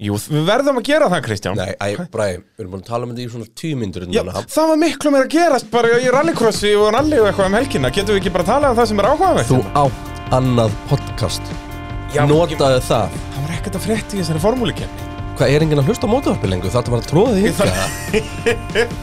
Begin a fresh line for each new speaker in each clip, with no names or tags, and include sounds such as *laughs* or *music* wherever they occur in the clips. Jú, við verðum að gera það, Kristján
Nei, æ, Bræði, við erum búin að tala um þetta í svona tímyndur
Já, það var miklu meira að gerast bara í rallycrossi og rally og eitthvað um helgina Getum við ekki bara að tala um það sem er áhugavert?
Þú átt annað podcast
Já,
Notaðu það
Það var ekkert að frétta í þessari formúlikefni
Hvað er enginn að hlusta á mótavarpi lengur? Það er bara að tróða því
Ég þarf-
ykka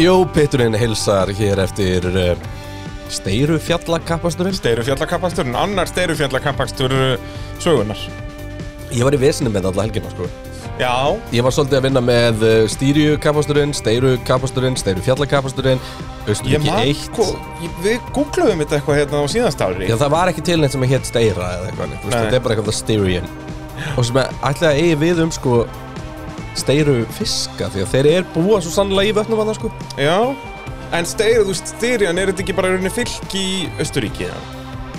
Jó, Peturinn hilsar hér eftir uh, Steiru fjallakappasturinn
Steyrufjallakampaksturinn, annar steyrufjallakampakstur uh, sögunar
Ég var í vesinu með alla helgina sko
Já,
Ég var svolítið að vinna með uh, stýriu kapasturinn, steiru kapasturinn, steiru fjallakapasturinn,
ég
austuríki
man
eitt.
sko, ég- Við googluðum þetta eitthvað hérna á síðast ári
Já, það var ekki til neitt sem að hétt steira eða eitthvað, neitt, þú veist,
Nei.
þetta er bara eitthvað styrian. Og sem að ætla að eigi við um sko steiru fiska, því að þeir eru búa svo sannlega í vötnum að það sko.
Já En steyru, þú veist, styrjan, er þetta ekki bara í rauninni fylg í Östuríki? eða?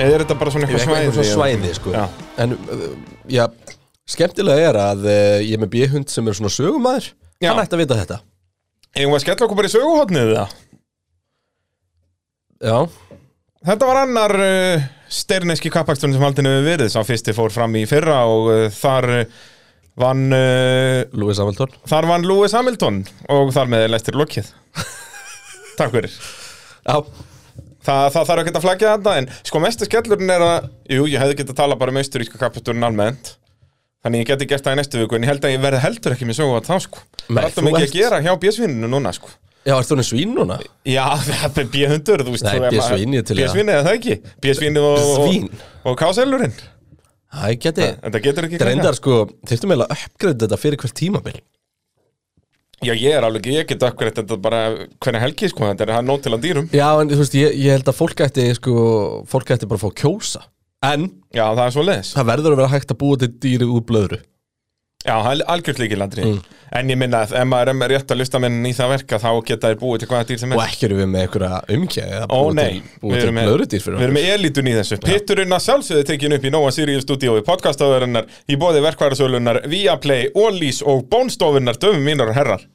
Eða er þetta bara svona eitthvað svæði?
Eitthvað svona svæði sko.
Já.
En, uh, já, skemmtilega er að uh, ég er með bíhund sem er svona sögumæður,
Já.
hann ætti að vita þetta.
Eigum við að skella okkur bara í söguhotnið það?
Já,
Þetta var annar uh, styrneski kappaksturinn sem haldin hefur verið sá fyrsti fór fram í fyrra og uh, þar uh, vann uh,
Lúi Samvaldón.
þar vann Lewis Hamilton og þar með er lestir lokið *laughs* Takk fyrir
Já,
Það, það þarf ekkert að flagja þetta en sko mestu skellurinn er að jú, ég hefði getað að tala bara um austuríska kappaksturinn almennt Þannig ég geti gert það í næstu viku en ég held að ég verði heldur ekki með sögu að þá sko Það
Nei,
er alltaf
þú
mikið
ert-
að gera hjá bjösvininu núna sko
já, ert þú henni svín núna?
Já, *laughs* það er bjöhundur, þú veist
Nei,
þú er maður-
B-svín, ég til í það.
B-svín eða það ekki Bjösvinu og,
Svín.
og, og káselurinn
Það geti,
Þetta getur ekki
Þetta er
klikkað.
endar sko, þyrftum eiginlega að uppgreita þetta fyrir hvert tímabil
Já, ég er alveg, ég get akkurat þetta bara hvernig helgi, sko, þetta er það er nóg til að dýrum
Já, en þú veist, ég, ég held að fólk ætti sko, fólk ætti bara að fá að kjósa En
Já, það er svo leðis Já,
það verður að vera hægt að búa til dýri úr blöðru
það er algjörð líkilandri En ég minna að ef maður er með rétt að lusta minn í það verka þá geta þér búið til hvaða dýr sem
Og
er
ekki erum við með einhverja umkjæði eða
Ó
búa
nei,
til, búa til
með,
blöðrudýr
við
fyrir
erum með elitun í þessu Pitturinn að sjálfsögðu tekin upp í Nóa Sirius stúdíói podcastaðurinnar, í bóði verkværasölunar Viaplay, Ólís og Bónstofunar döfum mínar og herrar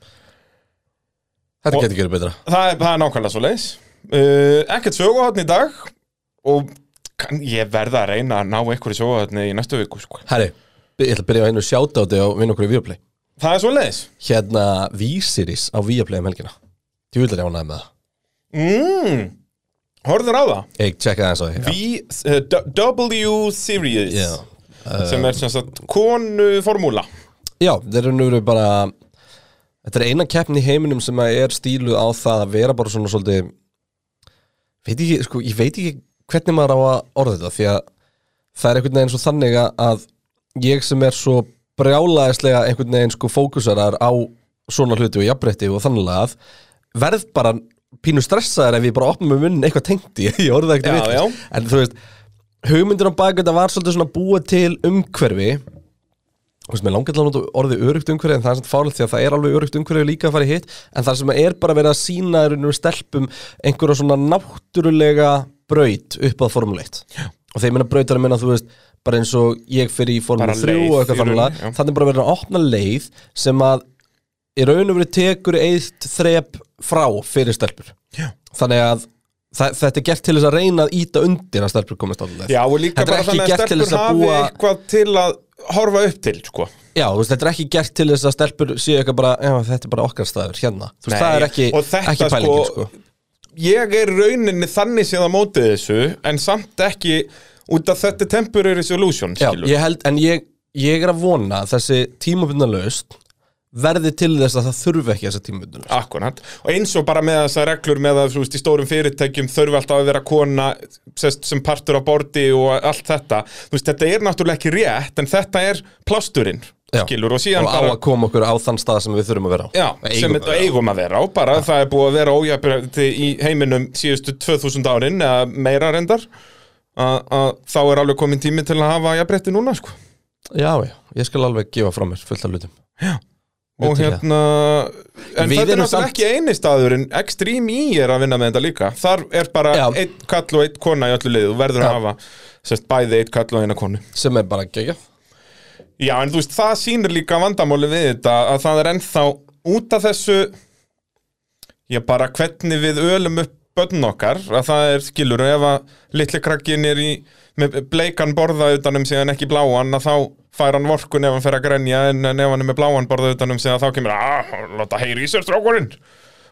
Þetta
og-
getur gerð betra
Það er, það er nákvæmlega svo leiðis uh, Ekkert söguhotn í dag og kann, ég verða að reyna að ná einhverju söguhotni í næstu viku sko.
Herri, ég ætla að byrja að hennu sjáta á þetta og vinna okkur í Viaplay
Það er svo leiðis
Hérna, Vísiris á Viaplay um helgina Ég vil að ránaði með það
mm, Horður á það
Ég tjekka það eins og því
v, uh, D- W Series
Já,
sem er sem sagt konuformúla
Já, þeir eru nú bara Þetta er eina keppni í heiminum sem að er stíluð á það að vera bara svona svolítið veit ekki, sko, ég veit ekki hvernig maður á að orða þetta því að það er einhvern veginn svo þannig að- að ég sem er svo brjálaðislega einhvern veginn sko fókusarar á svona hluti og jafnbreytti og þannig að verð bara pínu stressaðar ef ég bara opna með munnin eitthvað tengt í, *laughs* ég orða
Já,
ekkert
já.
veit en þú veist, hugmyndir á baka þetta var svolítið svona búa til umhverfi Þú veist, mér langar til að nota orðið örugt umhverfi en það er samt fárlega því að það er alveg örugt umhverfi líka að fara í hitt en það sem er bara verið að sína raunum stelpum einhverja svona náttúrulega braut upp að formuleitt og þeir minna brautar að minna þú veist bara eins og ég fyrir í
Bara
formule 3
leið
og
í
eitthvað
rauninni, já.
þannig þannig bara verið að opna leið sem að í raun og verið tekur eitt þrep frá fyrir stelpur
Já.
þannig að þa- Þetta er gert til þess að reyna að íta undir að stelpur komast alltaf
Já, og líka
Þetta er
bara
ekki
þannig að
gert til
stelpur
þess að
hafi
búa
eitthvað til að horfa upp til sko.
Já, þú veist, þetta er ekki gert til þess að stelpur séu eitthvað bara, já, þetta er bara okkar staður hérna Þú veist,
Nei,
það er ekki,
og þetta,
ekki pælingin, sko,
sko- Ég er í rauninni þannig séð að mótið þessu en samt ekki út af þetta er temporary solution
Já,
skilur.
ég held, en ég, ég er að vona að þessi tímabundna laust verði til þess að það þurfi ekki þessa tímabundna laust
Akkurat, og eins og bara með þessar reglur með að þú veist í stórum fyrirtækjum þurfi alltaf að vera kona sest, sem partur á bordi og allt þetta þú veist þetta er náttúrulega ekki rétt en þetta er plásturinn
Já.
skilur og síðan
og á
bara
að koma okkur á þann stað sem við þurfum að vera á
Já,
Eigum
sem
að
þetta
vera á.
eigum að vera á bara það er búið að vera ójafnbreyti í heiminum síðustu 2000 árin eða meira reyndar að að þá er alveg komin tími til að hafa jafnbreytti núna sko.
Já, já, ég skal alveg gefa frá mér fullt af hlutum
og
Vitið
hérna en þetta er
Við erum
náttúrulega
samt-
ekki eini staðurinn Extreme E er að vinna með þetta líka þar er bara
Já.
einn kall og einn kona í öllu liðu þú verður að hafa sest, bæði einn kall og eina konu
Sem er bara gegja
já en þú veist það sýnir líka vandamáli við þetta að það er ennþá út af þessu já bara hvernig við ölum upp börn okkar að það er skilur ef að litli krakkin er í með bleikan borða utanum sig en ekki bláan að þá fær hann vorkun ef hann fer að grenja en, en ef hann er með bláan borða utanum sig að þá kemur að láta heyri í sér strákurinn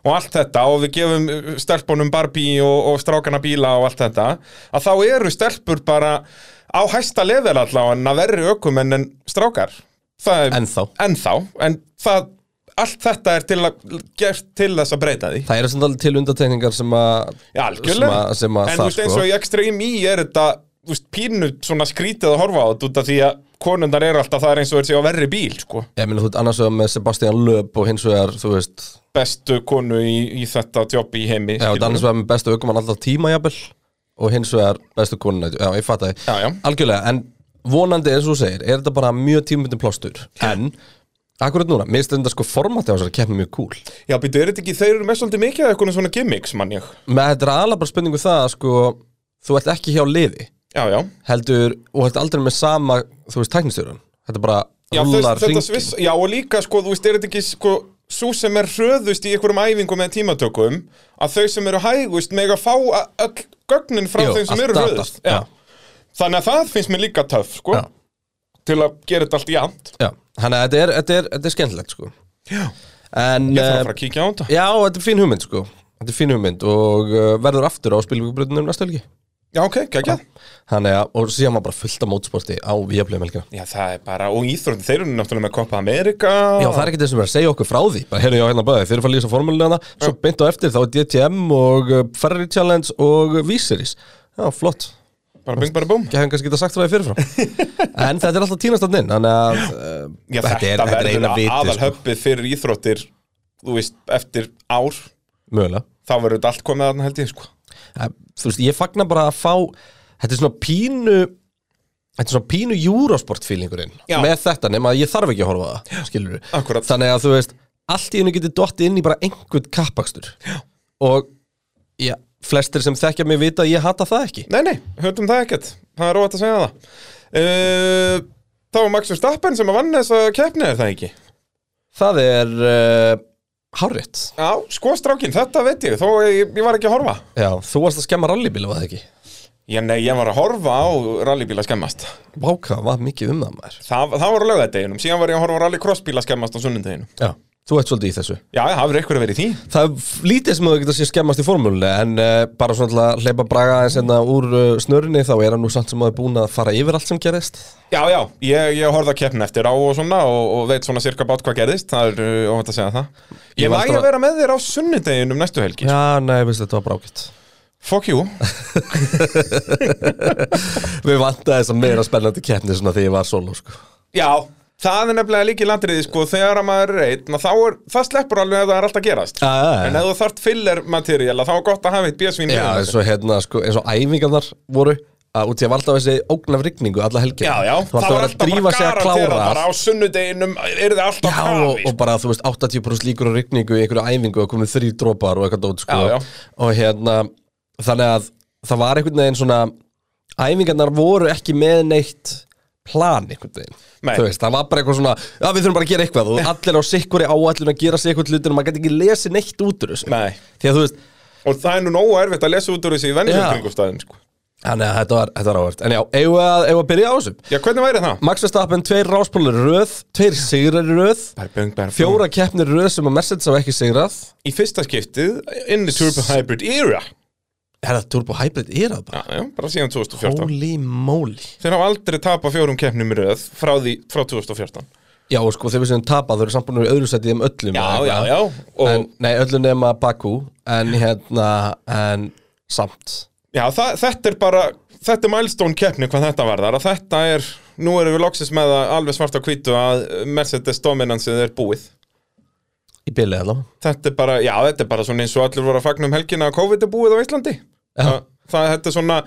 og allt þetta og við gefum uh, stelpunum Barbie og, og strákana bíla og allt þetta að þá eru stelpur bara á hæsta level allavega að verri ökumenn en strákar það er
Ennþá.
ennþá en það, allt þetta er til að gert til þess að breyta því
Það eru samt alveg til undatekningar sem að
Já, algjörlega
sem að- sem að
En þú
það
veist eins og
sko
í Extreme E er þetta þú veist, pínu svona skrítið að horfa á þetta út af því að konundar eru alltaf það er eins og er sig á verri bíl sko.
Ég meina þú ert annars vegar með Sebastian Löb og hins vegar, þú veist
bestu konu í, í þetta jobbi í heimi
Já, þú ert
skilurðu.
annars vegar með bestu aukumann alltaf tíma jafnvel og hins vegar bestu konuna Já, ég fatt að
Já, já.
Algjörlega, en vonandi eins og þú segir er þetta bara mjög tímabundin plástur En, akkurat núna, mér stundar sko formati á þessari keppni mjög cool
Já, býtu, er þetta ekki, þeir eru með svolítið mikið af eitthvað svona gimmicks, mann ég
Með þetta er aðalega bara spurningu það að sko þú ert ekki hjá liði
Já, já
heldur, og ert aldrei með sama þú veist, tæknistjórun þetta bara
Já,
rúlar
þess, þetta
hringinn.
sviss, já, og líka, sko, þú veist, er þetta ekki, sko Sú sem er hröðust í einhverjum æfingum eða tímatökum Að þau sem eru hægust mega fá a- öll gögnin frá
Jú,
þeim sem
allt
eru
data,
hröðust
já.
Þannig að það finnst mér líka töff, sko
Já.
Til að gera þetta allt jafnt
Já, þannig að þetta er, þetta er, þetta er skemmtilegt sko
Já,
En,
ég þarf að
eh,
fara að kíkja á þetta
já, þetta er fín hugmynd sko Þetta er fín hugmynd og uh, verður aftur á spilvíkubröðunum næstu helgi
Já, ok, kækja
Þannig að, og síðan var bara fullt af mótsporti á Viaplay um helgina
Já, það er bara, og íþróttin, þeir eru náttúrulega með Copa America
Já, það er ekki þessum að segja okkur frá því Bara heyrðu já hérna bæði, þeir eru að fara að lýsa formúluna Svo beint á eftir, þá er DTM og uh, Ferrari Challenge og Vísiris Já, flott,
Bara bing, bara búm
ekki hefum kannski geta sagt frá því
*laughs*
fyrirfram En þetta er alltaf tínastann inn Þannig að uh,
Já, þetta,
er, þetta er
verður
eina viti
aðal
sko,
höppið fyrir íþróttir Þú veist, eftir ár
Mögulega
Þá verður þetta allt komið þarna held ég, sko
Það- þú veist, ég fagna bara að fá þetta er svona pínu þetta er svona pínu júrasport feelingurinn
Já.
með þetta nema að ég þarf ekki að horfa á það skilur
Akkurat.
þannig að þú veist, allt í hennu getur dottið inn í bara einhvern kappakstur já. og já, flestir sem þekkja mig vita að ég hata það ekki
Nei, nei, höfum það ekkert Það er rót að segja það uh, Það var Max Verstappen sem að vann þess að keppni er það ekki
það er uh, hárrétt
Já, sko strákin, þetta veit ég Þó eh, ég, ég var ekki að horfa
já, þú varst að skemma rallybíla var það ekki
Já, nei, ég var að horfa á rallybíla skemmast
váka, var mikið um það maður
Það, það var á laugardeginum, síðan var ég að horfa á rallycrossbíla skemmast á sunnundeginum.
já. þú ert svolítið í þessu
Já, það hafður eitthvað verið í því.
Það er f- lítið sem þú getur að sé skemmast í formúlunni en uh, bara svona til að hleypa braga aðeins hérna úr uh, snörinni þá er hann nú samt sem að er búin að fara yfir allt sem gerist
Já, já, ég, ég horfði að keppna eftir á og svona og, og veit svona sirka bát hvað gerðist, það er uh, óvænt að segja það.
Ég
Ég
var
næg
alltaf
að
að-
vera með þér á sunnudeginum næstu helgi.
Já, nei, veist þetta var brákitt
Fuck you.
Við vantaði þess að meira spennandi keppni svona þegar ég var solo sko.
Já, það er nefnilega líki landriði sko, þegar að maður er einn, þá er, það sleppur alveg að það er allt að gerast.
Já, Ah, já, já.
En ef þú þart filler materiala, þá er gott að hafa eitt bjösvín.
Já, eins og hérna, sko, eins og æfingarnar voru að út í að var alltaf þessi ógnaf rigningu alla helgina
já, já,
Það var alltaf að vera að drífa sig að
garantera
klára
bara á sunnudeginum, er þið alltaf
Já, og,
sko.
og bara, þú veist, 80% líkur á rigningu í einhverju æfingu og komið þrý dropar og eitthvað dót, sko
Já, já.
og hérna, þannig að það var einhvern veginn svona æfingarnar voru ekki með neitt plan einhvern veginn
Nei.
þú veist, það var bara eitthvað svona, já við þurfum bara að gera eitthvað og allir á sikkuri áallin að gera sikkurt hlutin og maður gæti ekki lesið neitt út úr þessu
Nei.
því að þú veist,
Og það er nú nógu erfitt að lesa út úr þessu í venjum
Já.
kringumstæðum sko.
þannig að þetta var, þetta var áhvert en já, eigum við að, eigum við að byrja á þessu
Já, hvernig væri það?
Max Verstappen, tveir ráspólur röð, tveir sigrar í röð
Bara bjöng, bara bjöng.
fjóra keppnir í röð sem að Mercedes hafa ekki sigrað
Í fyrsta skiptið, in the turbo hybrid era
Er það Turbo Hybrid er það bara?
Já, já, bara síðan 2014
Holy moly
Þeir hafa aldrei tapað fjórum keppnum í röð frá, því, frá 2014
Já, og sko, þegar við séum tapað, þau eru samt búin í öðru sæti í þeim öllum
Já,
eða
já,
eitthvað.
já og,
en, Nei, öllum nema Bakú En hérna, en samt
Já, það, þetta er bara Þetta er milestone keppni hvað þetta varðar að Þetta er, nú erum við loksins með að alveg svart á hvítu að Mercedes dominansið er búið
Í bylið alveg
Þetta er bara, já, þetta er bara svona eins og allir voru að fagna um helgina að COVID er búið á Íslandi
Já.
Það, það þetta er svona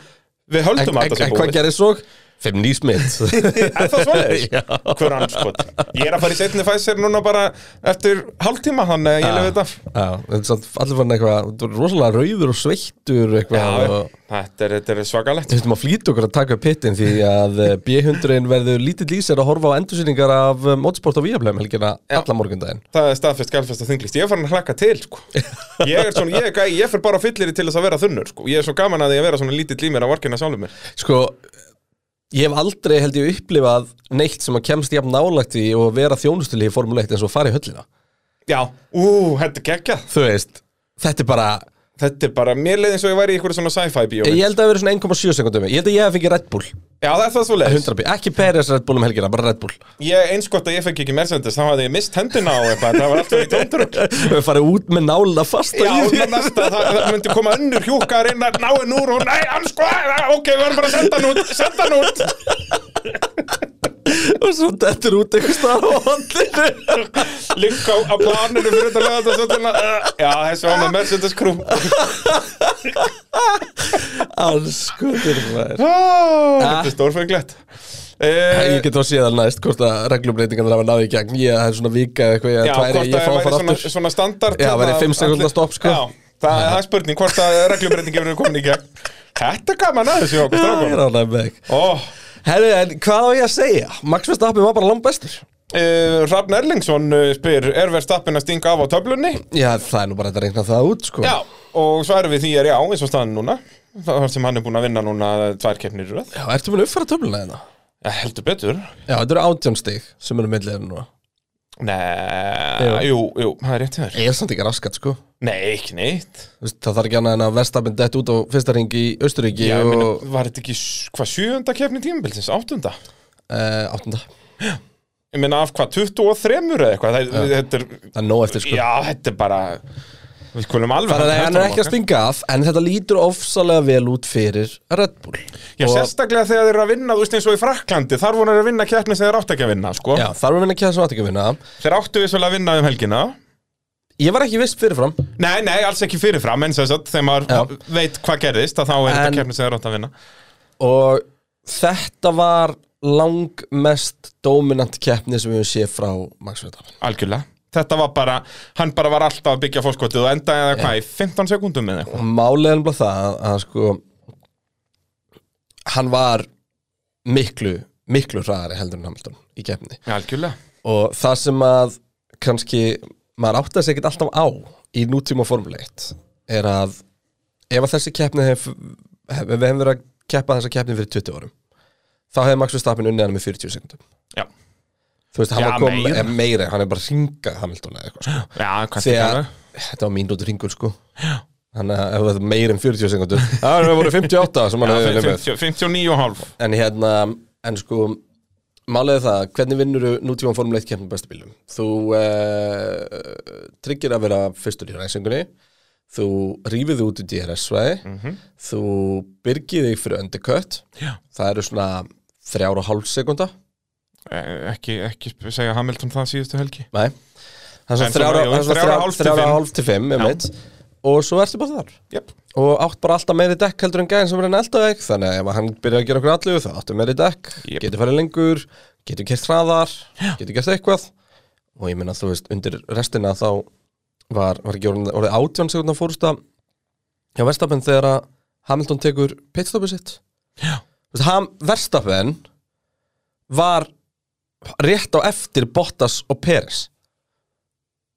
Við höldum
En,
að
en,
þetta sé
en hvað
*laughs* búið
gerir svo? Feminismit
Er það svoleiðis?
Já.
Hver anskot? Ég er að fara í setni Pfizer núna bara eftir hálftíma þannig að ég lef þetta af.
*laughs* Já, þetta er samt allir fann eitthvað þú ert rosalega rauður og sveittur eitthvað
Já,
og
þetta er, þetta er svakalegt
Þú veistum að flýta okkur að taka upp pittin því að eh, B100 verður lítið lýsir að horfa á endursýningar af eh, mótorsport á Víaplæm helgina alla morgundaginn.
Það er staðfest, galfest og þunglist Ég er farin að hlaka til, sko Ég er svona, ég, er gæi- ég fer bara á fyllir til þess að vera þunnur, sko Ég er svo gaman að ég vera svona lítill í mér að vorkina sjálfum mér
Sko, ég hef aldrei held ég upplifað neitt sem að kemst jafn nálægt í og vera þjónustulíði formuleitt eins og fara í höllina.
Já Ú, þetta er geggjað
Þú veist, þetta er bara,
Þetta er bara, mér leið eins og ég væri í ykkur svona sci-fi bíó
ég held að það vera svona 1,7 sekundum. Ég held að ég hef fengið Red Bull,
Já, það er það svo leið
100 bí, ekki Peres Red Bull um helgina, bara Red Bull.
Ég eins gott að ég fekk ekki Mercedes, þá hafði ég mist hendina á eitthvað Það var alltaf í tóndur
Við farið út með nála
*laughs*
fast
Já, það, næsta, það, það myndi koma önnur hjúka að reyna að ná henn úr og nei, hann sko, ok, við erum bara að senda hann út, senda hann út
*laughs* og svo dettur út einhvers staðar á handlinu.
Ligg á, á planinu fyrir þetta lögða þetta svona uh, Já, þessi var með Mercedes Crew
Alls, skutur maður.
Þetta er stórfenglegt uh,
Ég get þá séð alveg næst hvort að reglumbreytingan er að náði í gegn Ég er svona vika eða eitthvað, ég
Já,
er
hvort
tværi,
að
ég
það
fá að
væri
fara
svona,
aftur
svona standard
Já, væri
hérna,
fimm sekúndna
allir-
stopp, sko.
Já, það, það er spurning hvort að reglumbreytingin verður komin í gegn Þetta er gaman aðeins í okkur
Já, Ég
strákunum
er ánægð með þig
Ó,
Herri, en hvað á ég að segja? Max Verstappen var bara langbestur
uh, Rafn Erlingsson uh, spyr Er verð stappin að stinga af á töflunni?
Já, það er nú bara þetta að reyna það út, sko
Já, og svarið við því er já, eins og staðan núna Það sem hann er búin að vinna núna tvær keppnir í röð
Já, ertu búin að uppfæra töfluna hérna?
Eh, Heldur betur
Já, þetta eru átján stig sem eru millir núna
Nei, jú, jú, það er rétt hjá þér
Ég er samt ekki raskat, sko
Nei, ekki neitt
Þú veist, Það þarf ekki annað en að Verstappen dett út á fyrsta ring í Austuríki
Já, og...
og
minna, var þetta ekki s- hvað sjöunda keppni tímabilsins, áttunda?
uh, áttunda
Ég meina af hvað, 23 eða eitthvað það, þetta er,
Það er nóg eftir, sko
Já, þetta er bara Við skulum alveg
Þannig að
halda
hann er
höndunum
ekki að
okkar.
stinga af En þetta lítur ofsalega vel út fyrir Red Bull
Já,
Og-
sérstaklega þegar þeir eru að vinna, þú veist eins og í Fraklandi Þar voru þeir að vinna keppni sem þeir áttu ekki að vinna, sko
Já, þarf að vinna kjæða sem átti ekki að vinna
Þeir áttu vissulega að vinna um helgina
Ég var ekki viss fyrirfram
Nei, nei, alls ekki fyrirfram, en sem sagt, þegar maður
Já.
veit hvað gerðist að þá er
En-
þetta keppni sem þeir áttu að vinna
Og þetta var langmest dominant keppni sem við höfum séð frá Max Verstappen
Algjörlega Þetta var bara, hann bara var alltaf að byggja fórskotið og endaði það hvað, í 15 sekúndum eða eitthvað
Og málið er bara það að, að sko Hann var miklu, miklu hraðari heldur en Hamilton í keppni
Algjörlega
Og það sem að kannski maður átti að segja ekkert alltaf á í nútíma Formule 1 er að ef að þessi keppni hef, hef, við hefum verið að keppa þessa keppni fyrir 20 árum þá hefði Max Verstappen unnið hann með 40 sekundum
Já,
þú veist, hann
Já,
var kom
meira.
meira. meira, hann er bara hringað Hamilton eða eitthvað sko.
já kannski
þegar,
Þegar...
þetta var mínútur hringur sko þannig að ef það er meira en 40 sekundur það hefur voru 58 sem hann hefði unnið með
59,5
en hérna, en sko málega það, hvernig vinnur nútíma Formule 1 keppnum bestu bílum þú uh, tryggir að vera fyrstur í ræsingunni þú rífið þig út í DRS-svæði
Mhm.
þú byrgið þig fyrir undercut
Já.
það eru svona þrjára og hálf sekunda
Eh, ekki, ekki segja Hamilton það síðustu helgi
Nei Það
En
er
svo
þrjára
bara, jú, þrjár og hálf til
og
fimm.
hálf til fimm um eitt, Og svo ertu bara þar
yep.
Og átt bara alltaf meiri dekk heldur en gæðin sem er enn eldaveik Þannig að ef hann byrjar að gera okkur allu þá áttu meiri dekk
Jep.
Getur farið lengur, getur kert hraðar Getur gert eitthvað Og ég meina þú veist, undir restina þá Var, var ekki orðin- orðið átján sekundar fórsta Já, Verstappen þegar að Hamilton tekur pitstopið sitt
Já.
Þú veist, Ham, Verstappen Var rétt á eftir Bottas og Peres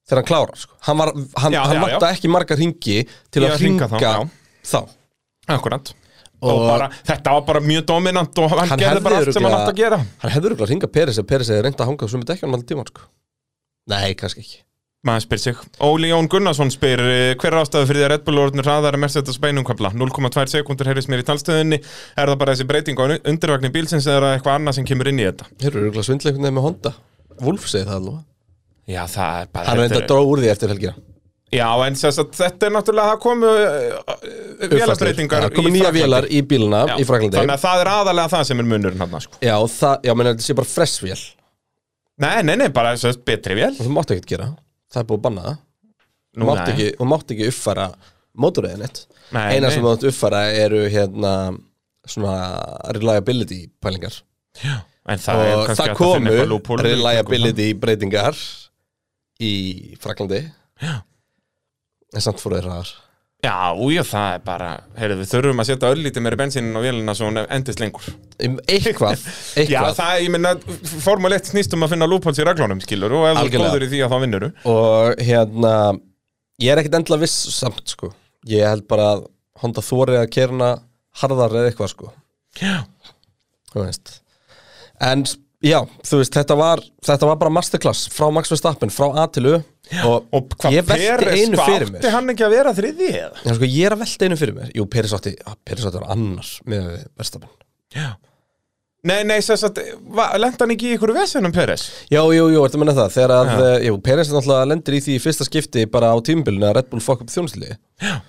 þegar hann klárar sko. hann, var, hann,
Já,
hann
já, já.
vanta ekki marga ringi
Í
til að
að hringa
ringa
þá,
þá,
já. Akkurat og,
Og-
bara, þetta var bara mjög dominant og hann,
Hann
gerði
hefði
bara allt sem hann
örugglega-
átt að gera
hann hefur örugglega að ringa Peres ef Peres hefði reynd að hanga svo með dekkjanum allir tíma sko. nei, kannski ekki
maður spyr sig Óli Jón Gunnarsson spyr eh, hver er ástæðu fyrir því að Red Bull orðinu hraðar að Mercedes beinumkabla 0,2 sekundur heyrðis mér í talstöðunni er það bara þessi breyting á un- undirvagnin bílsins eða er það eitthvað annað sem kemur inn í þetta
þeir eru örugglega að svindla einhvern veginn með Honda Wolf segi það alveg
Já, það er bara
hann reyndi að dróða úr því eftir helgina
Já, en þess að þetta er náttúrulega það komu eh,
Uppfærslur.
vélabreitingar
það komi
í
nýja
Frakklandi.
vélar í bíluna
Já,
í Fraklandi
Þannig að það er aðalega það sem er munurinn hann sko.
já, það, já, menn þetta sé bara fressvél
Nei, nei, nei, bara þess að betri vél
og þú mátt ekkert gera það er búið að banna það
Nú,
þú mátt
nei.
ekki, þú mátt ekki uppfæra mótoröðin eitt
Nei,
eina
nei.
sem þú mátt uppfæra eru hérna svona reliability pælingar
En það er
og
kannski
það
hægt að finna eitthvað
komu
loophole. sko.
reliability breytingar í Fraklandi
Já.
en samt fóru þeir ræðar
Já, újá, það er bara, heyrðu, við þurfum að setja öllítið meiri bensinin á vélina svo hún endist lengur.
Um,
*laughs*
eitthvað,
Já,
eitthvað.
það, ég minna, Formule 1 snýst um að finna loopholes í reglunum, skilur, og ef þú
Algjörlega.
góður í því að þá vinnur
og hérna ég er ekkert endilega viss samt sko ég held bara að Honda þórið að kerna harðar eða eitthvað sko
Já.
þú veist en já, þú veist, þetta var þetta var bara masterclass frá Max Verstappen frá A til U og,
Og hvað,
ég velti
Peres,
einu
hvað
fyrir
átti
mér
hann ekki að vera þriðið eða?
Já, sko, ég er að velta einu fyrir mér Jú, Peris átti, að, Peris átti var annar með Verstappen
Já. Nei, nei, sess að, lenda hann ekki í ykkur vesenum, Peres?
Já, jú, jú, ertu að menna það Þegar að, eh, jú, Peris náttúrulega lendir í því í fyrsta skipti bara á tímbilinu að Red Bull fokk upp þjónustili Já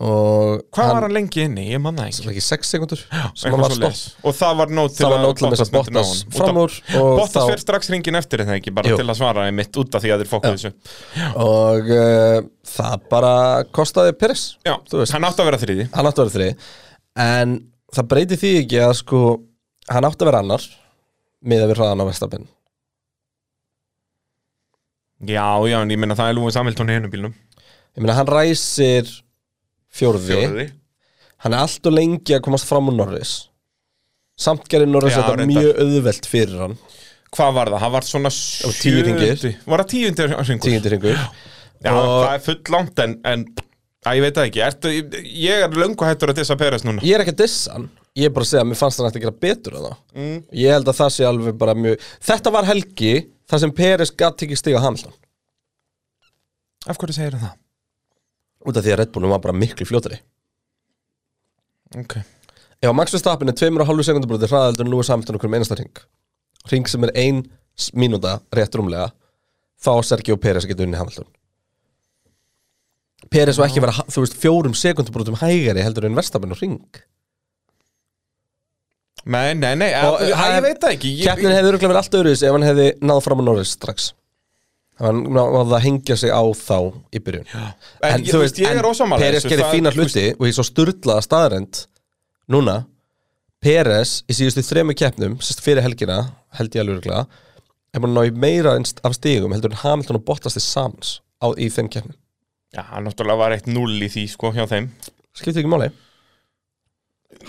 Og
Hvað var hann lengi inni? Ég manna ekki.
Svona ekki 6 sekundur sem hann
Eitthvað
var stopp
svoleiðis. Og það var nót til
Það var nóg til þess að
myndi ná
Bottas
honum.
fram
Út
úr
af-
og
Bottas
þá-
fyrir strax ringin eftir þetta ekki, bara
Jú.
til að svara einmitt út af því að þeir fokkuðu þessu.
og uh, það bara kostaði Peris
Já,
Þú veist.
hann átti að vera þriði.
hann átti að vera þri en það breyti því ekki að sko hann átti að vera annar miða við hraðan á Vestapinn
Já, já, en ég minna það er Lúi Samhildón í hennum bílnum.
ég meina hann ræsir fjórði,
Fjórði.
hann er allt og lengi að komast fram úr Norris samt gerir Norris
Já,
þetta
reyndar.
mjög auðvelt fyrir hann
Hvað var það? Hann var svona
Og tíu hringir.
sjöndi. Var það tíundir hringur?
tíundir yngur
Já,
Og-
það er full langt en, en að, ég veit það ekki. Ertu, ég er löngu hættur að dissa Peres núna.
ég er ekki að dissa hann ég er bara að segja að mér fannst hann eftir að gera betur að það mm. ég held að það sé alveg bara mjög þetta var helgi þar sem Peres gatt ekki stiga Hamilton
Af hverju segir það?
út af því að Red Bullum var bara miklu fljótari
Ok.
ef að Max Verstappen er 2,5 sekundur broti hraðaldur en nú er Hamilton okkur með einasta ring ring sem er ein s- mínúta rétt rúmlega þá á Sergio Peres getur unni Hamilton Peres var ekki að vera ha- þú veist fjórum sekundur brotum hægari heldur en Verstappen og ring
Nei, nei, nei,
Og,
að, ég,
hann-
ég veit það ekki. Ég,
Keppnin hefði örgulega verið allt öðruðis ef hann hefði náð fram á Norris strax ef hann náði að hengja sig á þá í byrjun Já.
En ég- þú veist, ég er ósammála
Peres
þessu,
gerir
það-
fína hluti og ég svo sturdlaða staðarend núna Peres í síðustu þremu keppnum sérst fyrir helgina, held ég alveg örgulega er búin að ná í meira en st- af stigum heldur en Hamilton og Bottas þið samans á, í þeim keppnum
Já, hann náttúrulega var eitt null í því, sko, hjá þeim.
skiptir ekki máli